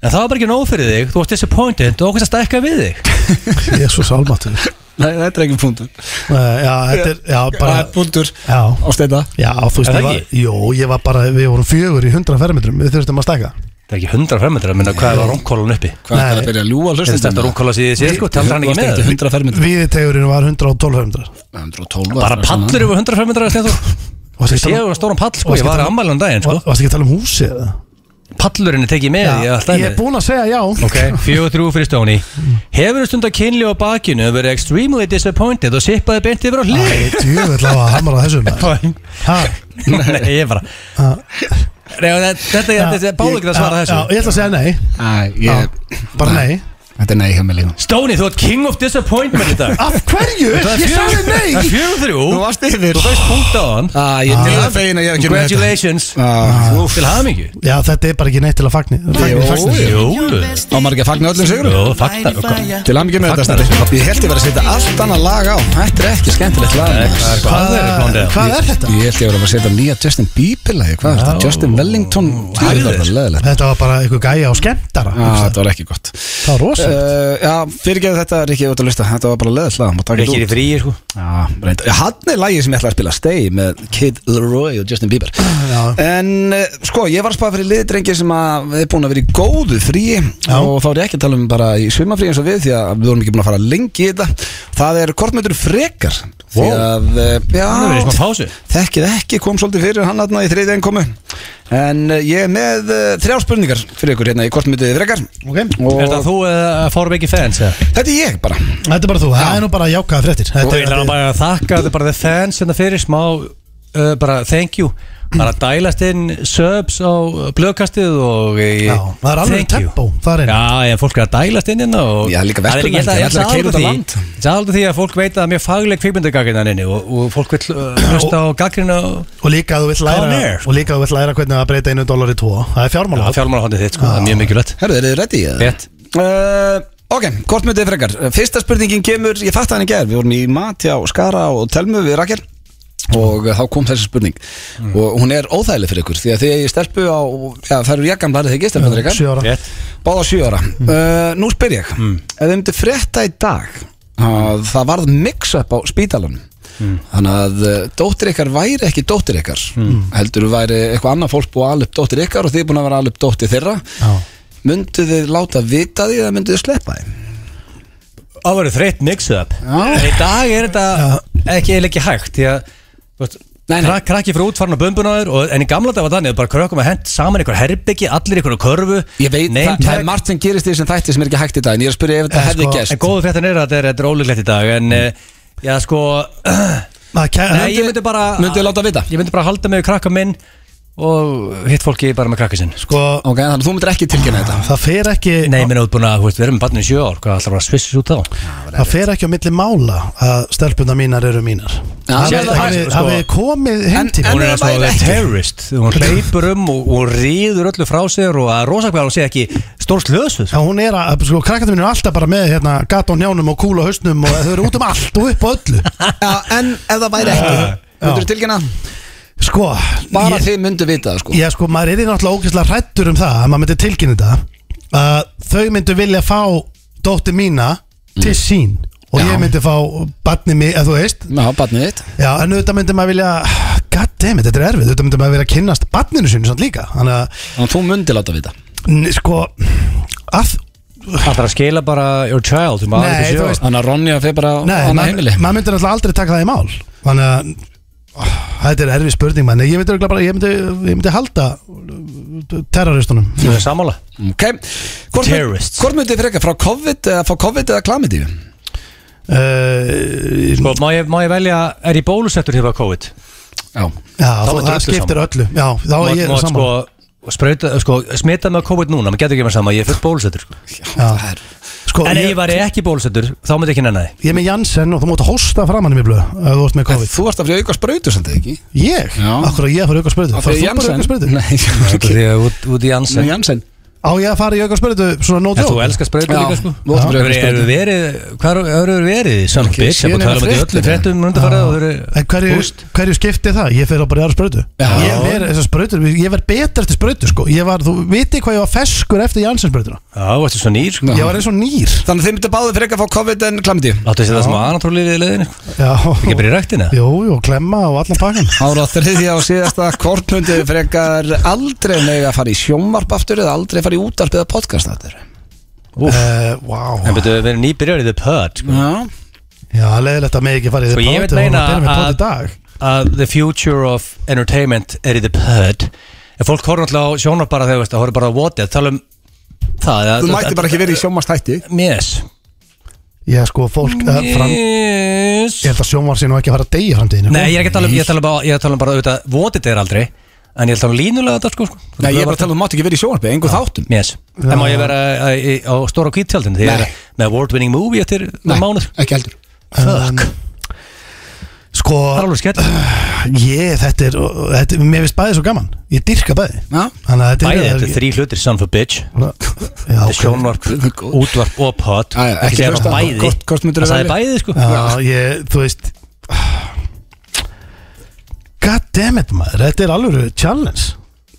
S2: En það var bara ekki nóg fyrir þig, þú varst disappointed og okkur að stækka við þig
S3: Jésús almatur
S1: Nei, þetta er ekki punktur
S3: Eh, Já, þetta er Já,
S1: Bara
S3: bara
S1: punktur
S3: Já,
S1: á steina
S3: já þú veist
S2: Er það
S3: ég var,
S2: ekki?
S3: Jó, ég var bara Við vorum fjögur í 100 fermetrum Við þurftum að stækka
S2: Það er ekki 100 fermetra, minna hvað var rungkólan uppi?
S1: Hvað er
S3: Nei.
S1: það að byrja að ljúa
S2: Er þetta
S1: hlustundum?
S2: rungkóla síðið sér, sko, taldra hann ekki með það?
S1: Hundra fermetrum
S3: Viðitegurinn var 112 fermetrum
S1: 112
S2: Bara pallur yfir 100 fermetra, Stenþór
S3: Varstu
S2: Ég
S3: ekki
S2: sé
S3: að um-
S2: að stóran pall, sko,
S3: varstu
S2: ég var
S3: að tala-
S2: að ammæla um daginn,
S3: tala-
S2: sko
S3: varstu ekki að tala um húsið eða?
S2: Pallurinn er tekið með, ég alltaf
S3: Ég er búin að segja já
S2: Ok, fjögur þrjú fyrir Stóni Hefur þú stund að kynli á bakinu og verið extremely disappointed og sippaði beint yfir á hlið?
S3: Djöfull á að hamra á þessu maður. Ha?
S2: Nei, ég bara Nei, og þetta- Þetta er- þetta er báðu ekki að svara
S3: Já, Ah. já,
S2: þessu
S3: Ég ætla að segja nei
S1: pallur
S3: Bara nei
S1: Þetta er nei hjá mig líka
S2: Stóni, þú ert king of disappointment í dag
S3: Af hverju? Ah, Ég sagði
S2: Það er
S3: nei
S2: fjögur þrjú
S1: Þú varst yfir
S2: Þú veist punkt á hann
S1: Æ, ég til að fegin að ég hef ekki með þetta
S2: Congratulations
S1: Ah,
S2: Þú til hamingju
S3: Já, þetta er bara ekki neitt til að fagni
S1: Jú,
S3: Fagni, fagni
S1: jú.
S2: Jú,
S1: Á maður ekki að fagna öllum sigur
S2: jú, fakta
S1: Til að mikið með þetta
S2: Fagnar.
S1: Snæri. Ég held ég verið að setja allt annað lag á Þetta er ekki skemmtilegt lag maður.
S2: Hvað er blóndið?
S3: Hvað er þetta?
S1: Ég held ég verið að setja nýja Justin Bieber lagi Hvað er þetta? Justin Wellington Það var bara leðilegt
S3: Þetta var bara einhver gæja á skemmtara
S1: Það var ekki gott
S3: Það var rosa
S2: Eh,
S1: Uh, já, fyrirgeðu þetta er ekki út að lusta Þetta var bara leðilegt lag Má taka
S2: Ekki
S1: þetta
S2: í
S1: út.
S2: fríi, sko
S1: Já, reyndar. Hann er lagið sem ég ætla að spila Stay með Kid Leroy og Justin Bieber En eh, sko, ég var að spá fyrir liðdrengi sem að er búin að vera í góðu fríi og þá er ég ekki að tala um bara í svimafrí eins og við því að við vorum ekki búin að fara lengi í þetta Það er kortmyndur frekar því að, eh,
S2: Það er í smá
S1: já,
S2: pásu
S1: þekkið ekki kom svolítið fyrir hann aðna í þriðið einkomu En eh, ég er með eh, þrjá spurningar fyrir ykkur hérna í kortmyndu frekar
S3: Ok.
S1: og
S2: Er þetta þú eða fórum ekki fans? eða?
S1: þetta er ég bara
S3: Þetta er bara þú, það er nú bara jákaða fréttir
S2: Og
S3: Þetta
S2: ég ætla nú bara að þakka þetta bara the fans hérna fyrir smá uh, bara thank you bara dælast inn subs á uh, blöðkastið og eh,
S3: Já, það er alveg
S2: thank you.
S3: tempo þar inn.
S2: Já, já, fólk er að dælast inn hérna og
S1: Já, líka
S2: Það er ekki- ég held
S1: verkefnæmt,
S2: ég held
S1: allir að keyra út á
S2: áldu því-
S1: land.
S2: Ég ætla aldrei því að fólk veit að það er mjög fagleg kvikmyndagagrinn inni og, og fólk vil uh, hlusta á gaggrinn og
S3: Og líka að þú vill
S2: Come
S3: læra
S2: here.
S3: Og líka að þú vill læra hvernig að breyta einu dólar í tvo Það er fjármála
S2: fjálmálahóndið þitt sko, það er mjög mikilvægt
S1: Herðu, eru þið ready? eða?
S2: Rétt.
S1: Uh, ok, hvort myndið frekar Fyrsta spurningin kemur, ég fatt að hann í gerð Við vorum í mat hjá Skara og Telmu við Rakel Og þá kom þessi spurning Og hún er óþægileg fyrir ykkur Því að þegar ég stelpu á Já, það eru jakkan bara þegar ég stelpu Rakel
S3: Sjö ára
S2: Rétt.
S1: Báða sjö ára uh, Nú spyr ég Ef þið myndið frétta í dag að það varð mix-up á spítalanum Þannig að uh, dóttir ykkar væri ekki dóttir ykkar Heldur þú væri eitthvað annað fólk búið að alveg dóttir ykkar og þið er búin að vera alveg dóttir þeirra
S3: Já.
S1: Myndu þið láta vita því eða myndu þið sleppa því?
S2: Það verður þreytt mix-up En í dag er þetta ekki, eiginlega ekki hægt Því að þú veist,
S1: Nei, nei.
S2: krak, krakki fyrir útfarn og bumbunaður og, En í gamla dag var þannig að bara krökkum að hent saman einhver herbyggi Allir í einhverju körfu
S1: Ég veit,
S2: name
S1: það, það
S2: tag.
S1: er margt sem gerist í þessum þætti sem er ekki hægt í dag En ég er að spyrja ef þetta
S3: Eh,
S1: hefði
S3: sko,
S1: gerst
S2: En góðu fréttin er að þetta er, þetta er ólíklegt í dag En mm. já sko Nei, ég myndi bara
S1: Myndu þið láta vita?
S2: Ég myndi bara halda mig við krakka minn Og hitt fólki bara með krakka sinn
S3: Sko,
S1: Ok, þannig að þú myndir ekki tilkynna þetta
S3: það fer ekki
S2: Nei, minn átbúin að, þú veist, við erum með barnið í sjö ár Hvað ætlar bara að svissast út þá?
S3: Það fer ekki á milli mála að stelpuna mínar eru mínar
S1: Já,
S3: Það
S1: það
S3: er-
S1: er-
S3: hafi-
S2: sko-
S3: Hafi komið heim
S1: En-
S3: til
S1: en-
S2: hún
S1: ef
S2: er eins
S1: það
S2: og
S1: væri
S2: það er
S1: ekki.
S2: terrorist hún hleypur um og, og ríður öllu frá sér og að rosa hvað hún sé ekki stór slösu
S3: Já, hún er að, sko, krakkandi mín er alltaf bara með hérna, gat á njánum og kúla á hausnum og þau eru út um allt og upp á öllu
S1: Já, En ef það væri ekki, myndur þið um tilkynna?
S3: Sko,
S1: Bara
S3: ég,
S1: þið myndu vita það sko
S3: ég, sko, maður er í náttúrulega ógeðslega hrættur um það að maður myndi tilkynna þetta að þau myndu vilja fá dóttir mína til
S1: Mm.
S3: sín og ég myndi fá barnið mig, eða þú veist
S1: Já, barnið þitt
S3: Já, en auðvitað myndi maður vilja God damn it, þetta er erfið, auðvitað myndi maður vilja kynnast barninu sinni samt líka Þannig að,
S1: Þannig að þú myndir láta vita
S3: n- sko, að
S2: það er að skila bara your child þú maður
S3: Nei,
S2: ekki sjö
S3: þú
S2: ára.
S3: veist-
S1: Þannig að Ronja fer bara á
S3: Nei,
S1: annað
S3: maður
S1: heimili
S3: maður myndi náttúrulega aldrei taka það í mál Þannig að oh, Þetta er erfið spurning mann Ég myndi, örugglega bara, ég myndi, ég myndi halda uh, terroristunum
S2: þú er sammála
S1: Ok, hvort, mynd,
S2: Terrorists.
S1: hvort myndið freka frá COVID eða fá COVID eða klamidíu?
S3: uh,
S2: sko, má, ég, má ég velja er ég bólusettur hér á COVID
S1: Já
S3: Já,
S1: Þá
S3: þú,
S1: myndi
S3: það
S1: öllu
S3: skiptir öllu Já, þá
S2: má,
S3: er ég
S2: má, sko,
S3: saman
S2: sprauta, sko, smita með COVID núna maður getur ekki með sama ég er fullt bólusettur sko.
S1: Það er
S3: Sko,
S2: En ef
S3: ég,
S2: ég væri ekki bólusettur, þá myndi ég ekki nenni því
S3: ég er með Janssen og þú mátt hosta framan í mér blöð ef þú ert með
S1: En
S3: COVID
S1: Þú varst að fyrir auka sprautu samt eða ekki
S3: Ég?
S1: Já.
S3: Akkur að ég að fara í auka spyrðu?
S1: Af því Janssen-
S3: Fara þú bara í auka spyrðu?
S1: Nei,
S2: Því að út- Út í
S1: Nei,
S2: ansen
S1: Janssen
S3: Á ég að fara í auka spyrðu svona no
S2: En þú
S3: joke?
S2: elskar sprautur
S1: Já,
S2: líka sko
S1: þú átt að vera
S2: Hefur hefur verið, hvað hefur verið í Sönn
S1: Ekki
S2: bitch,
S1: séð
S2: ég bara
S1: neina
S2: tala um þetta í
S1: fréttir.
S2: öllu Frettum mundu farað og verið
S3: En hverju, hverju skipti það? Ég fer á bara í aðra sprautu
S1: Já.
S3: Ég verð þessar sprautur Ég verð betur eftir sprautu sko Ég var, þú viti hvað ég var feskur eftir Janssen sprautuna
S2: Já, varstu svo nýr sko
S1: Já.
S3: Ég var eins og nýr
S1: Þannig að þeim myndi báði frekar að fá COVID en klamdi
S2: Láttu þessi það sem anatólið í leiðinu sko.
S3: Já
S2: Ekki bara í ræktina
S3: Jú, jú, klemma og allan pakkan
S1: Ára á þriðja og síðasta hvort myndi frekar aldrei mega fara í sjónvarp aftur eða aldrei fara í útarp eða podcast aftur
S3: uh, Wow
S2: En betur við verið nýbyrjar í The Pud sko.
S1: Já
S3: Já, leiðilegt að mig ekki farið
S2: Sko, ég vil meina að- að The Future of Entertainment er í The Pud En fólk horfður alltaf á sjónar bara þegar veist að horfður bara á Wattið Tala um það að-
S1: Þú mætti bara ekki verið í sjónvarstætti
S2: Yes
S3: Já, sko, fólk uh, fram, Ég
S2: Yes
S3: held að sjónvar sé nú ekki að fara að deyja sko. framtíðinu
S2: Nei, ég er ekki að tala um, ég er að tala um bara, ég er að tala um bara auðvitað, votið er aldrei, en ég er að tala um línulega þetta, sko, sko.
S1: Nei, ég er bara að tala um að þú mátt ekki verið í sjónvarpi, engu þáttum
S2: Yes. En má ég vera uh, í- á stóra kvíttjaldinu, því ég er
S1: Nei.
S2: með award-winning movie eftir mánuð.
S1: ekki heldur
S3: Fuck Sko,
S2: Það er alveg skell.
S3: ég, þetta er, þetta, mér finnst bæði svo gaman Ég dyrka bæði
S1: Já.
S3: Þannig að
S2: Bæði, þetta
S3: þetta
S2: er þrý hlutir, son of a bitch.
S3: Já,
S2: Þetta
S3: ok.
S2: er sjónvarp,
S1: Góð.
S2: útvarp og pot.
S1: Já, já, ekki
S2: Þetta er
S1: hlusta.
S2: bara bæði.
S1: Hvort- hvort myndirðu
S2: Það sagði
S1: velja?
S2: bæði, sko.
S3: Já, ég, þú veist God damn it maður Þetta er alveg challenge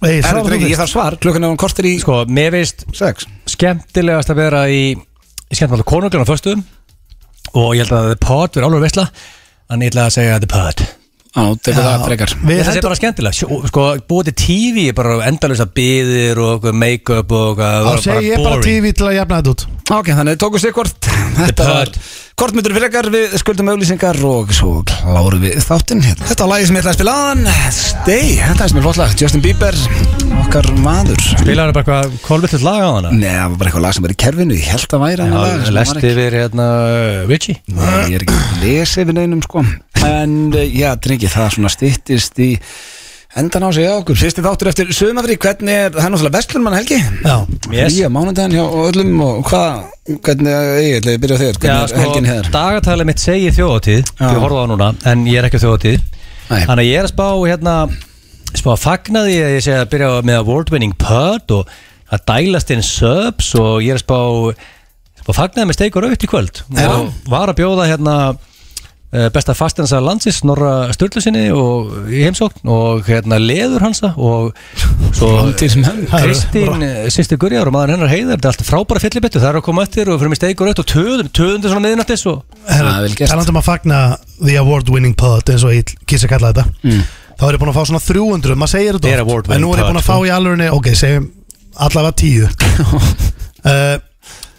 S3: Ei,
S1: Er þetta ekki, ég þarf svar, klukkan er hún kortir í
S2: Sko, mér veist
S1: sex
S2: skemmtilegast að vera í, í skemmtilega konunglan á föstuðum og ég held að the pot verið alveg veistla, en ég ætla að segja the pot.
S1: Já, tekur það frekar
S3: Við
S2: Þetta er
S3: hendum
S2: bara skemmtilegt Sjó- Sko, búið til TV er bara endalösa byðir og eitthvað make-up og eitthvað
S3: Þá
S2: það var
S3: segi ég bara
S2: boring.
S3: TV til að jafna þetta út
S1: Ok, þannig þið tókust ykkur Þetta var
S2: Purr.
S1: Hvort myndur frekar við skuldum auðlýsingar og svo kláru við þáttinn hérna Þetta var lagið sem ég ætlaði að spila aðan Stay, þetta er sem er flott lag Justin Bieber, okkar maður
S2: Spilaðu bara eitthvað kolvillut lag á hana
S1: Nei, það var bara eitthvað lag sem var í kerfinu Ég held að væri hann lag
S2: Já,
S1: sem var
S2: Lest
S1: ekki-
S2: yfir hérna Richie
S1: Nei, ég er ekki að lesa yfir neinum sko En eh, já, drengi, það svona styttist í endan á sig hjá okkur Fyrsti þáttur eftir sömafri, hvernig er það er náttúrulega vestlunmann helgi?
S3: Já
S2: Yes.
S1: Nýja mánudaginn hjá öllum og hvað, hvernig, ég ætla að byrja á þér,
S2: Já,
S1: hvernig er
S2: sko,
S1: helgin hér?
S2: dagatalið mitt segir þjóðatíð
S1: Já.
S2: Ég horfði á núna, en ég er ekki á þjóðatíð
S1: Nei.
S2: Þannig að ég er að spá hérna Spá að fagna því að ég segja að byrja með award-winning putt og að dælast inn subs og ég er að spá spá að fagna því með steik og raut í kvöld og var að bjóða hérna eh, besta fastensa landsins Norra Sturlusinni og í heimsókn og hérna leður hansa og svo
S1: Framtíðsmenn.
S2: Kristín, sýstir Gurjar og maður hennar heiðar þetta er allt frábæra fyllibittu, það er að koma eftir og fyrir mig steik og raut og töðum, töðum þetta svona miðinattis og
S1: Það er vel gert.
S3: Talandum um að fagna The Award Winning Pod eins og ég kýrsi að kalla þetta mm. Þá er ég búin að fá svona 300 Maður segir
S2: Þetta er
S3: þetta oft.
S2: award
S3: En nú er
S2: winning
S3: ég búin að
S2: pod,
S3: fá
S2: sko.
S3: í alvörinni Ok, segjum allavega 10 uh,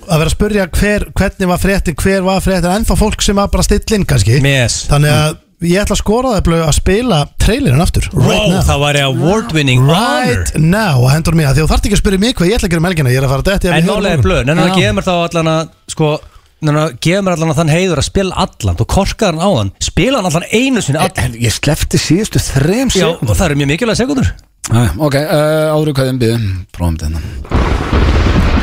S3: Að vera að spurja hver, hvernig var fréttin Hver var fréttin Ennþá fólk sem var bara stillinn kannski
S2: mes
S3: Þannig að ég ætla að skora það blöð að spila trailerinn aftur
S2: Wow,
S3: now.
S2: það væri award-winning honor
S3: Right now, að hendur mig að því þú þarft ekki að spyrja mig hvað ég ætla að gera um helgina Ég er að fara að detti
S2: En nálega er blöð, en hann
S3: Já.
S2: gefur mér þá allan að sko, hann gefur mér allan að þann heiður að spila allan, þú korkar hann á hann spila hann allan einu
S3: Eh,
S2: sinni allan
S1: En ég slefti síðustu þrem
S2: Já,
S1: sekúndum.
S2: og það eru mjög mikilvæg sekundur
S1: Æ, Ok, uh, áður hvað þeim byggðum Prófum þetta hérna.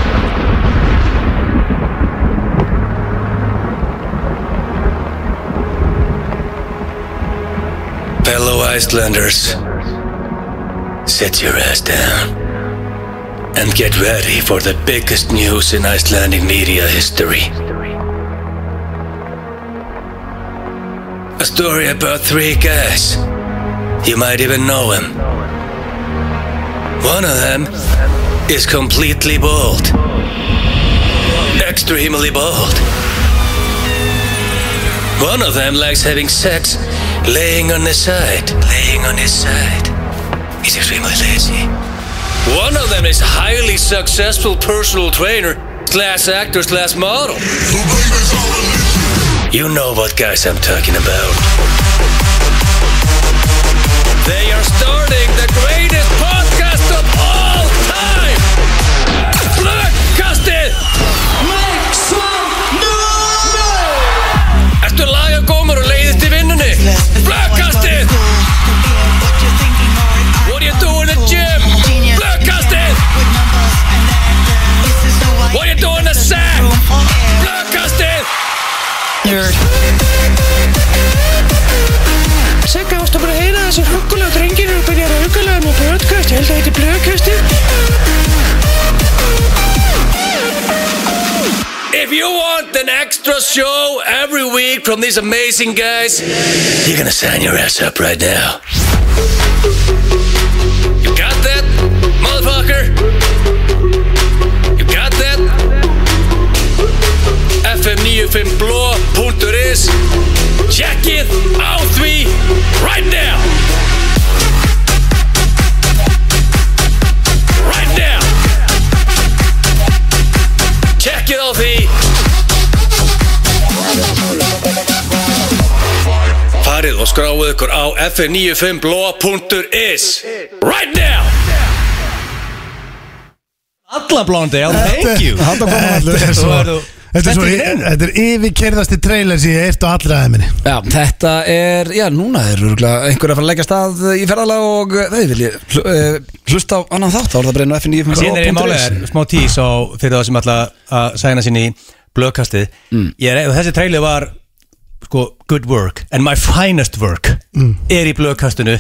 S5: Fellow Icelanders, sit your ass down and get ready for the biggest news in Icelandic media history. A story about three guys. You might even know him. One of them is completely bald. Extremely bald. One of them likes having sex laying on his side. Laying on his side. He's extremely lazy. One of them is a highly successful personal trainer, slash actor, slash model. You know what guys I'm talking about. They are starting the greatest podcast of all time! Blökkastið! Make some noise! Ertu laga gómar og leiðist í vinnunni? Blökkastið! What do you do in the gym? Blökkastið! What do you do in the sack?
S8: Nerd.
S6: Sigga, varstu búin að heyra að þessi huggulega drengir eru byrjar að huggulega með broadcast, ég held að þetta er blöðkasti.
S5: If you want an extra show every week from these amazing guys, you're gonna sign your ass up right now. You got that, motherfucker? You got that? fm95blå.is Jackið á því right now! Right now! Jackið á því Farið og skráið ykkur á fm95blå.is Right now!
S2: Alla blóndi, já, thank you
S7: Handa kom hann allur
S3: Þetta er svo-
S2: Þú-
S3: Þetta er svo
S2: Þetta er í
S3: Þetta er yfirkerðasti trailer sem ég eirt á allra aðeins minni
S1: Já, þetta er, já, núna er örugglega einhver að fara að leggja af stað í ferðalag og eh, þau vilji hl eh, hlusta á annan þátt, þá er það breyna FNF
S2: Síðan er ég málið er smá tís á fyrir það sem ætla að sæna sín í blöðkastið Ég er, og þessi trailer var sko, good work and my finest work
S3: Mm.
S2: er í blöðkastinu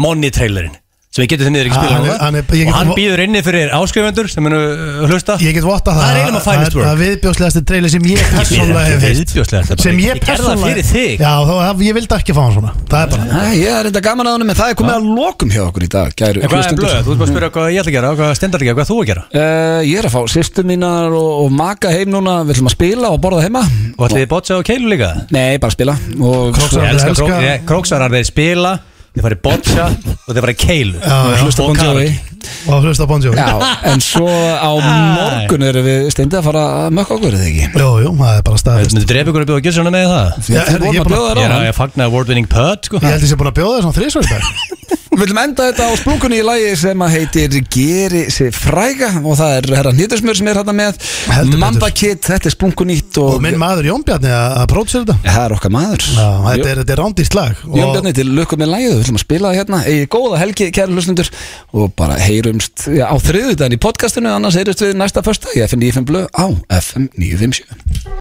S2: Money trailerinn sem við getum þeim niður ekki
S3: Ah,
S2: spila
S3: hann er-
S2: núna.
S3: hann er-
S2: og
S3: ég get-
S2: hann býður inni fyrir áskrifendur sem munu uh, hlusta
S3: Ég get votta það
S2: Það er eiginlega my
S3: að-
S2: finest work
S3: að viðbjóðslegasti trailer sem ég persónulega hef heyrt
S2: viðbjóðslega
S3: Sem
S2: Ég
S3: ég
S2: gerði það
S3: persónulega
S2: fyrir þig
S3: Já, þá, það- ég vildi ekki fá hann svona Það er bara
S1: Æ, ég er reynda gaman að honum, en það er komið að lokum hjá okkur í dag, gæru
S2: En hvað er
S1: hlustendur.
S2: blöð? Þú ert bara að spyrja hvað ég ætla að gera, hvað stendar að gera, hvað þú að gera
S1: Eh, ég er að fá sýstur mínar og, og maka heim núna, við ætlum að spila og borða heima
S2: Og ætli þið botsa og keilu líka?
S1: Nei, bara spila og
S3: Króksar.
S2: Ég elska
S3: Elska-
S2: krók, ég- króksarar, þeir spila Þeir farið botsa og þeir farið keilu
S3: já.
S2: Og
S1: hlusta
S2: karaoke.
S1: konti
S3: Og hlusta Bon Jovi
S1: Já, en svo á morgun erum við steindið að fara að mökka okkur, eða ekki?
S3: Jú, jú, það er bara
S2: Þú
S3: staðfest
S2: myndir drepa ykkur að bjóða gilsuna með það
S3: Já,
S1: Þið
S3: herri,
S1: vorum
S3: ég er
S1: að
S3: búin að-
S1: bjóða
S2: Ég er
S1: þér á
S2: að ég fagna award winning putt sko.
S3: Ég held að ég sé búin að bjóða þér svona þrísvar í dag
S1: Við viljum enda þetta á splunkunni í lagi sem að heitir Geri sig fræga og það er herra Nýttismur sem er hérna með
S3: Heldur
S1: Mamba
S3: betur.
S1: Kid, þetta er splunkunnýtt og,
S3: Og minn maður Jón Bjarni að að pródusera þetta
S1: það er okkar maður
S3: Já, þetta er, þetta er rándýrt lag og-
S1: Jón Bjarni til lukku með lagið, við viljum að spila það hérna Egið góða helgi, kæri hlustundur og bara heyrumst já, á þriðudaginn í podcastinu annars heyrumst við næsta första í FM 95 blöð á FM 957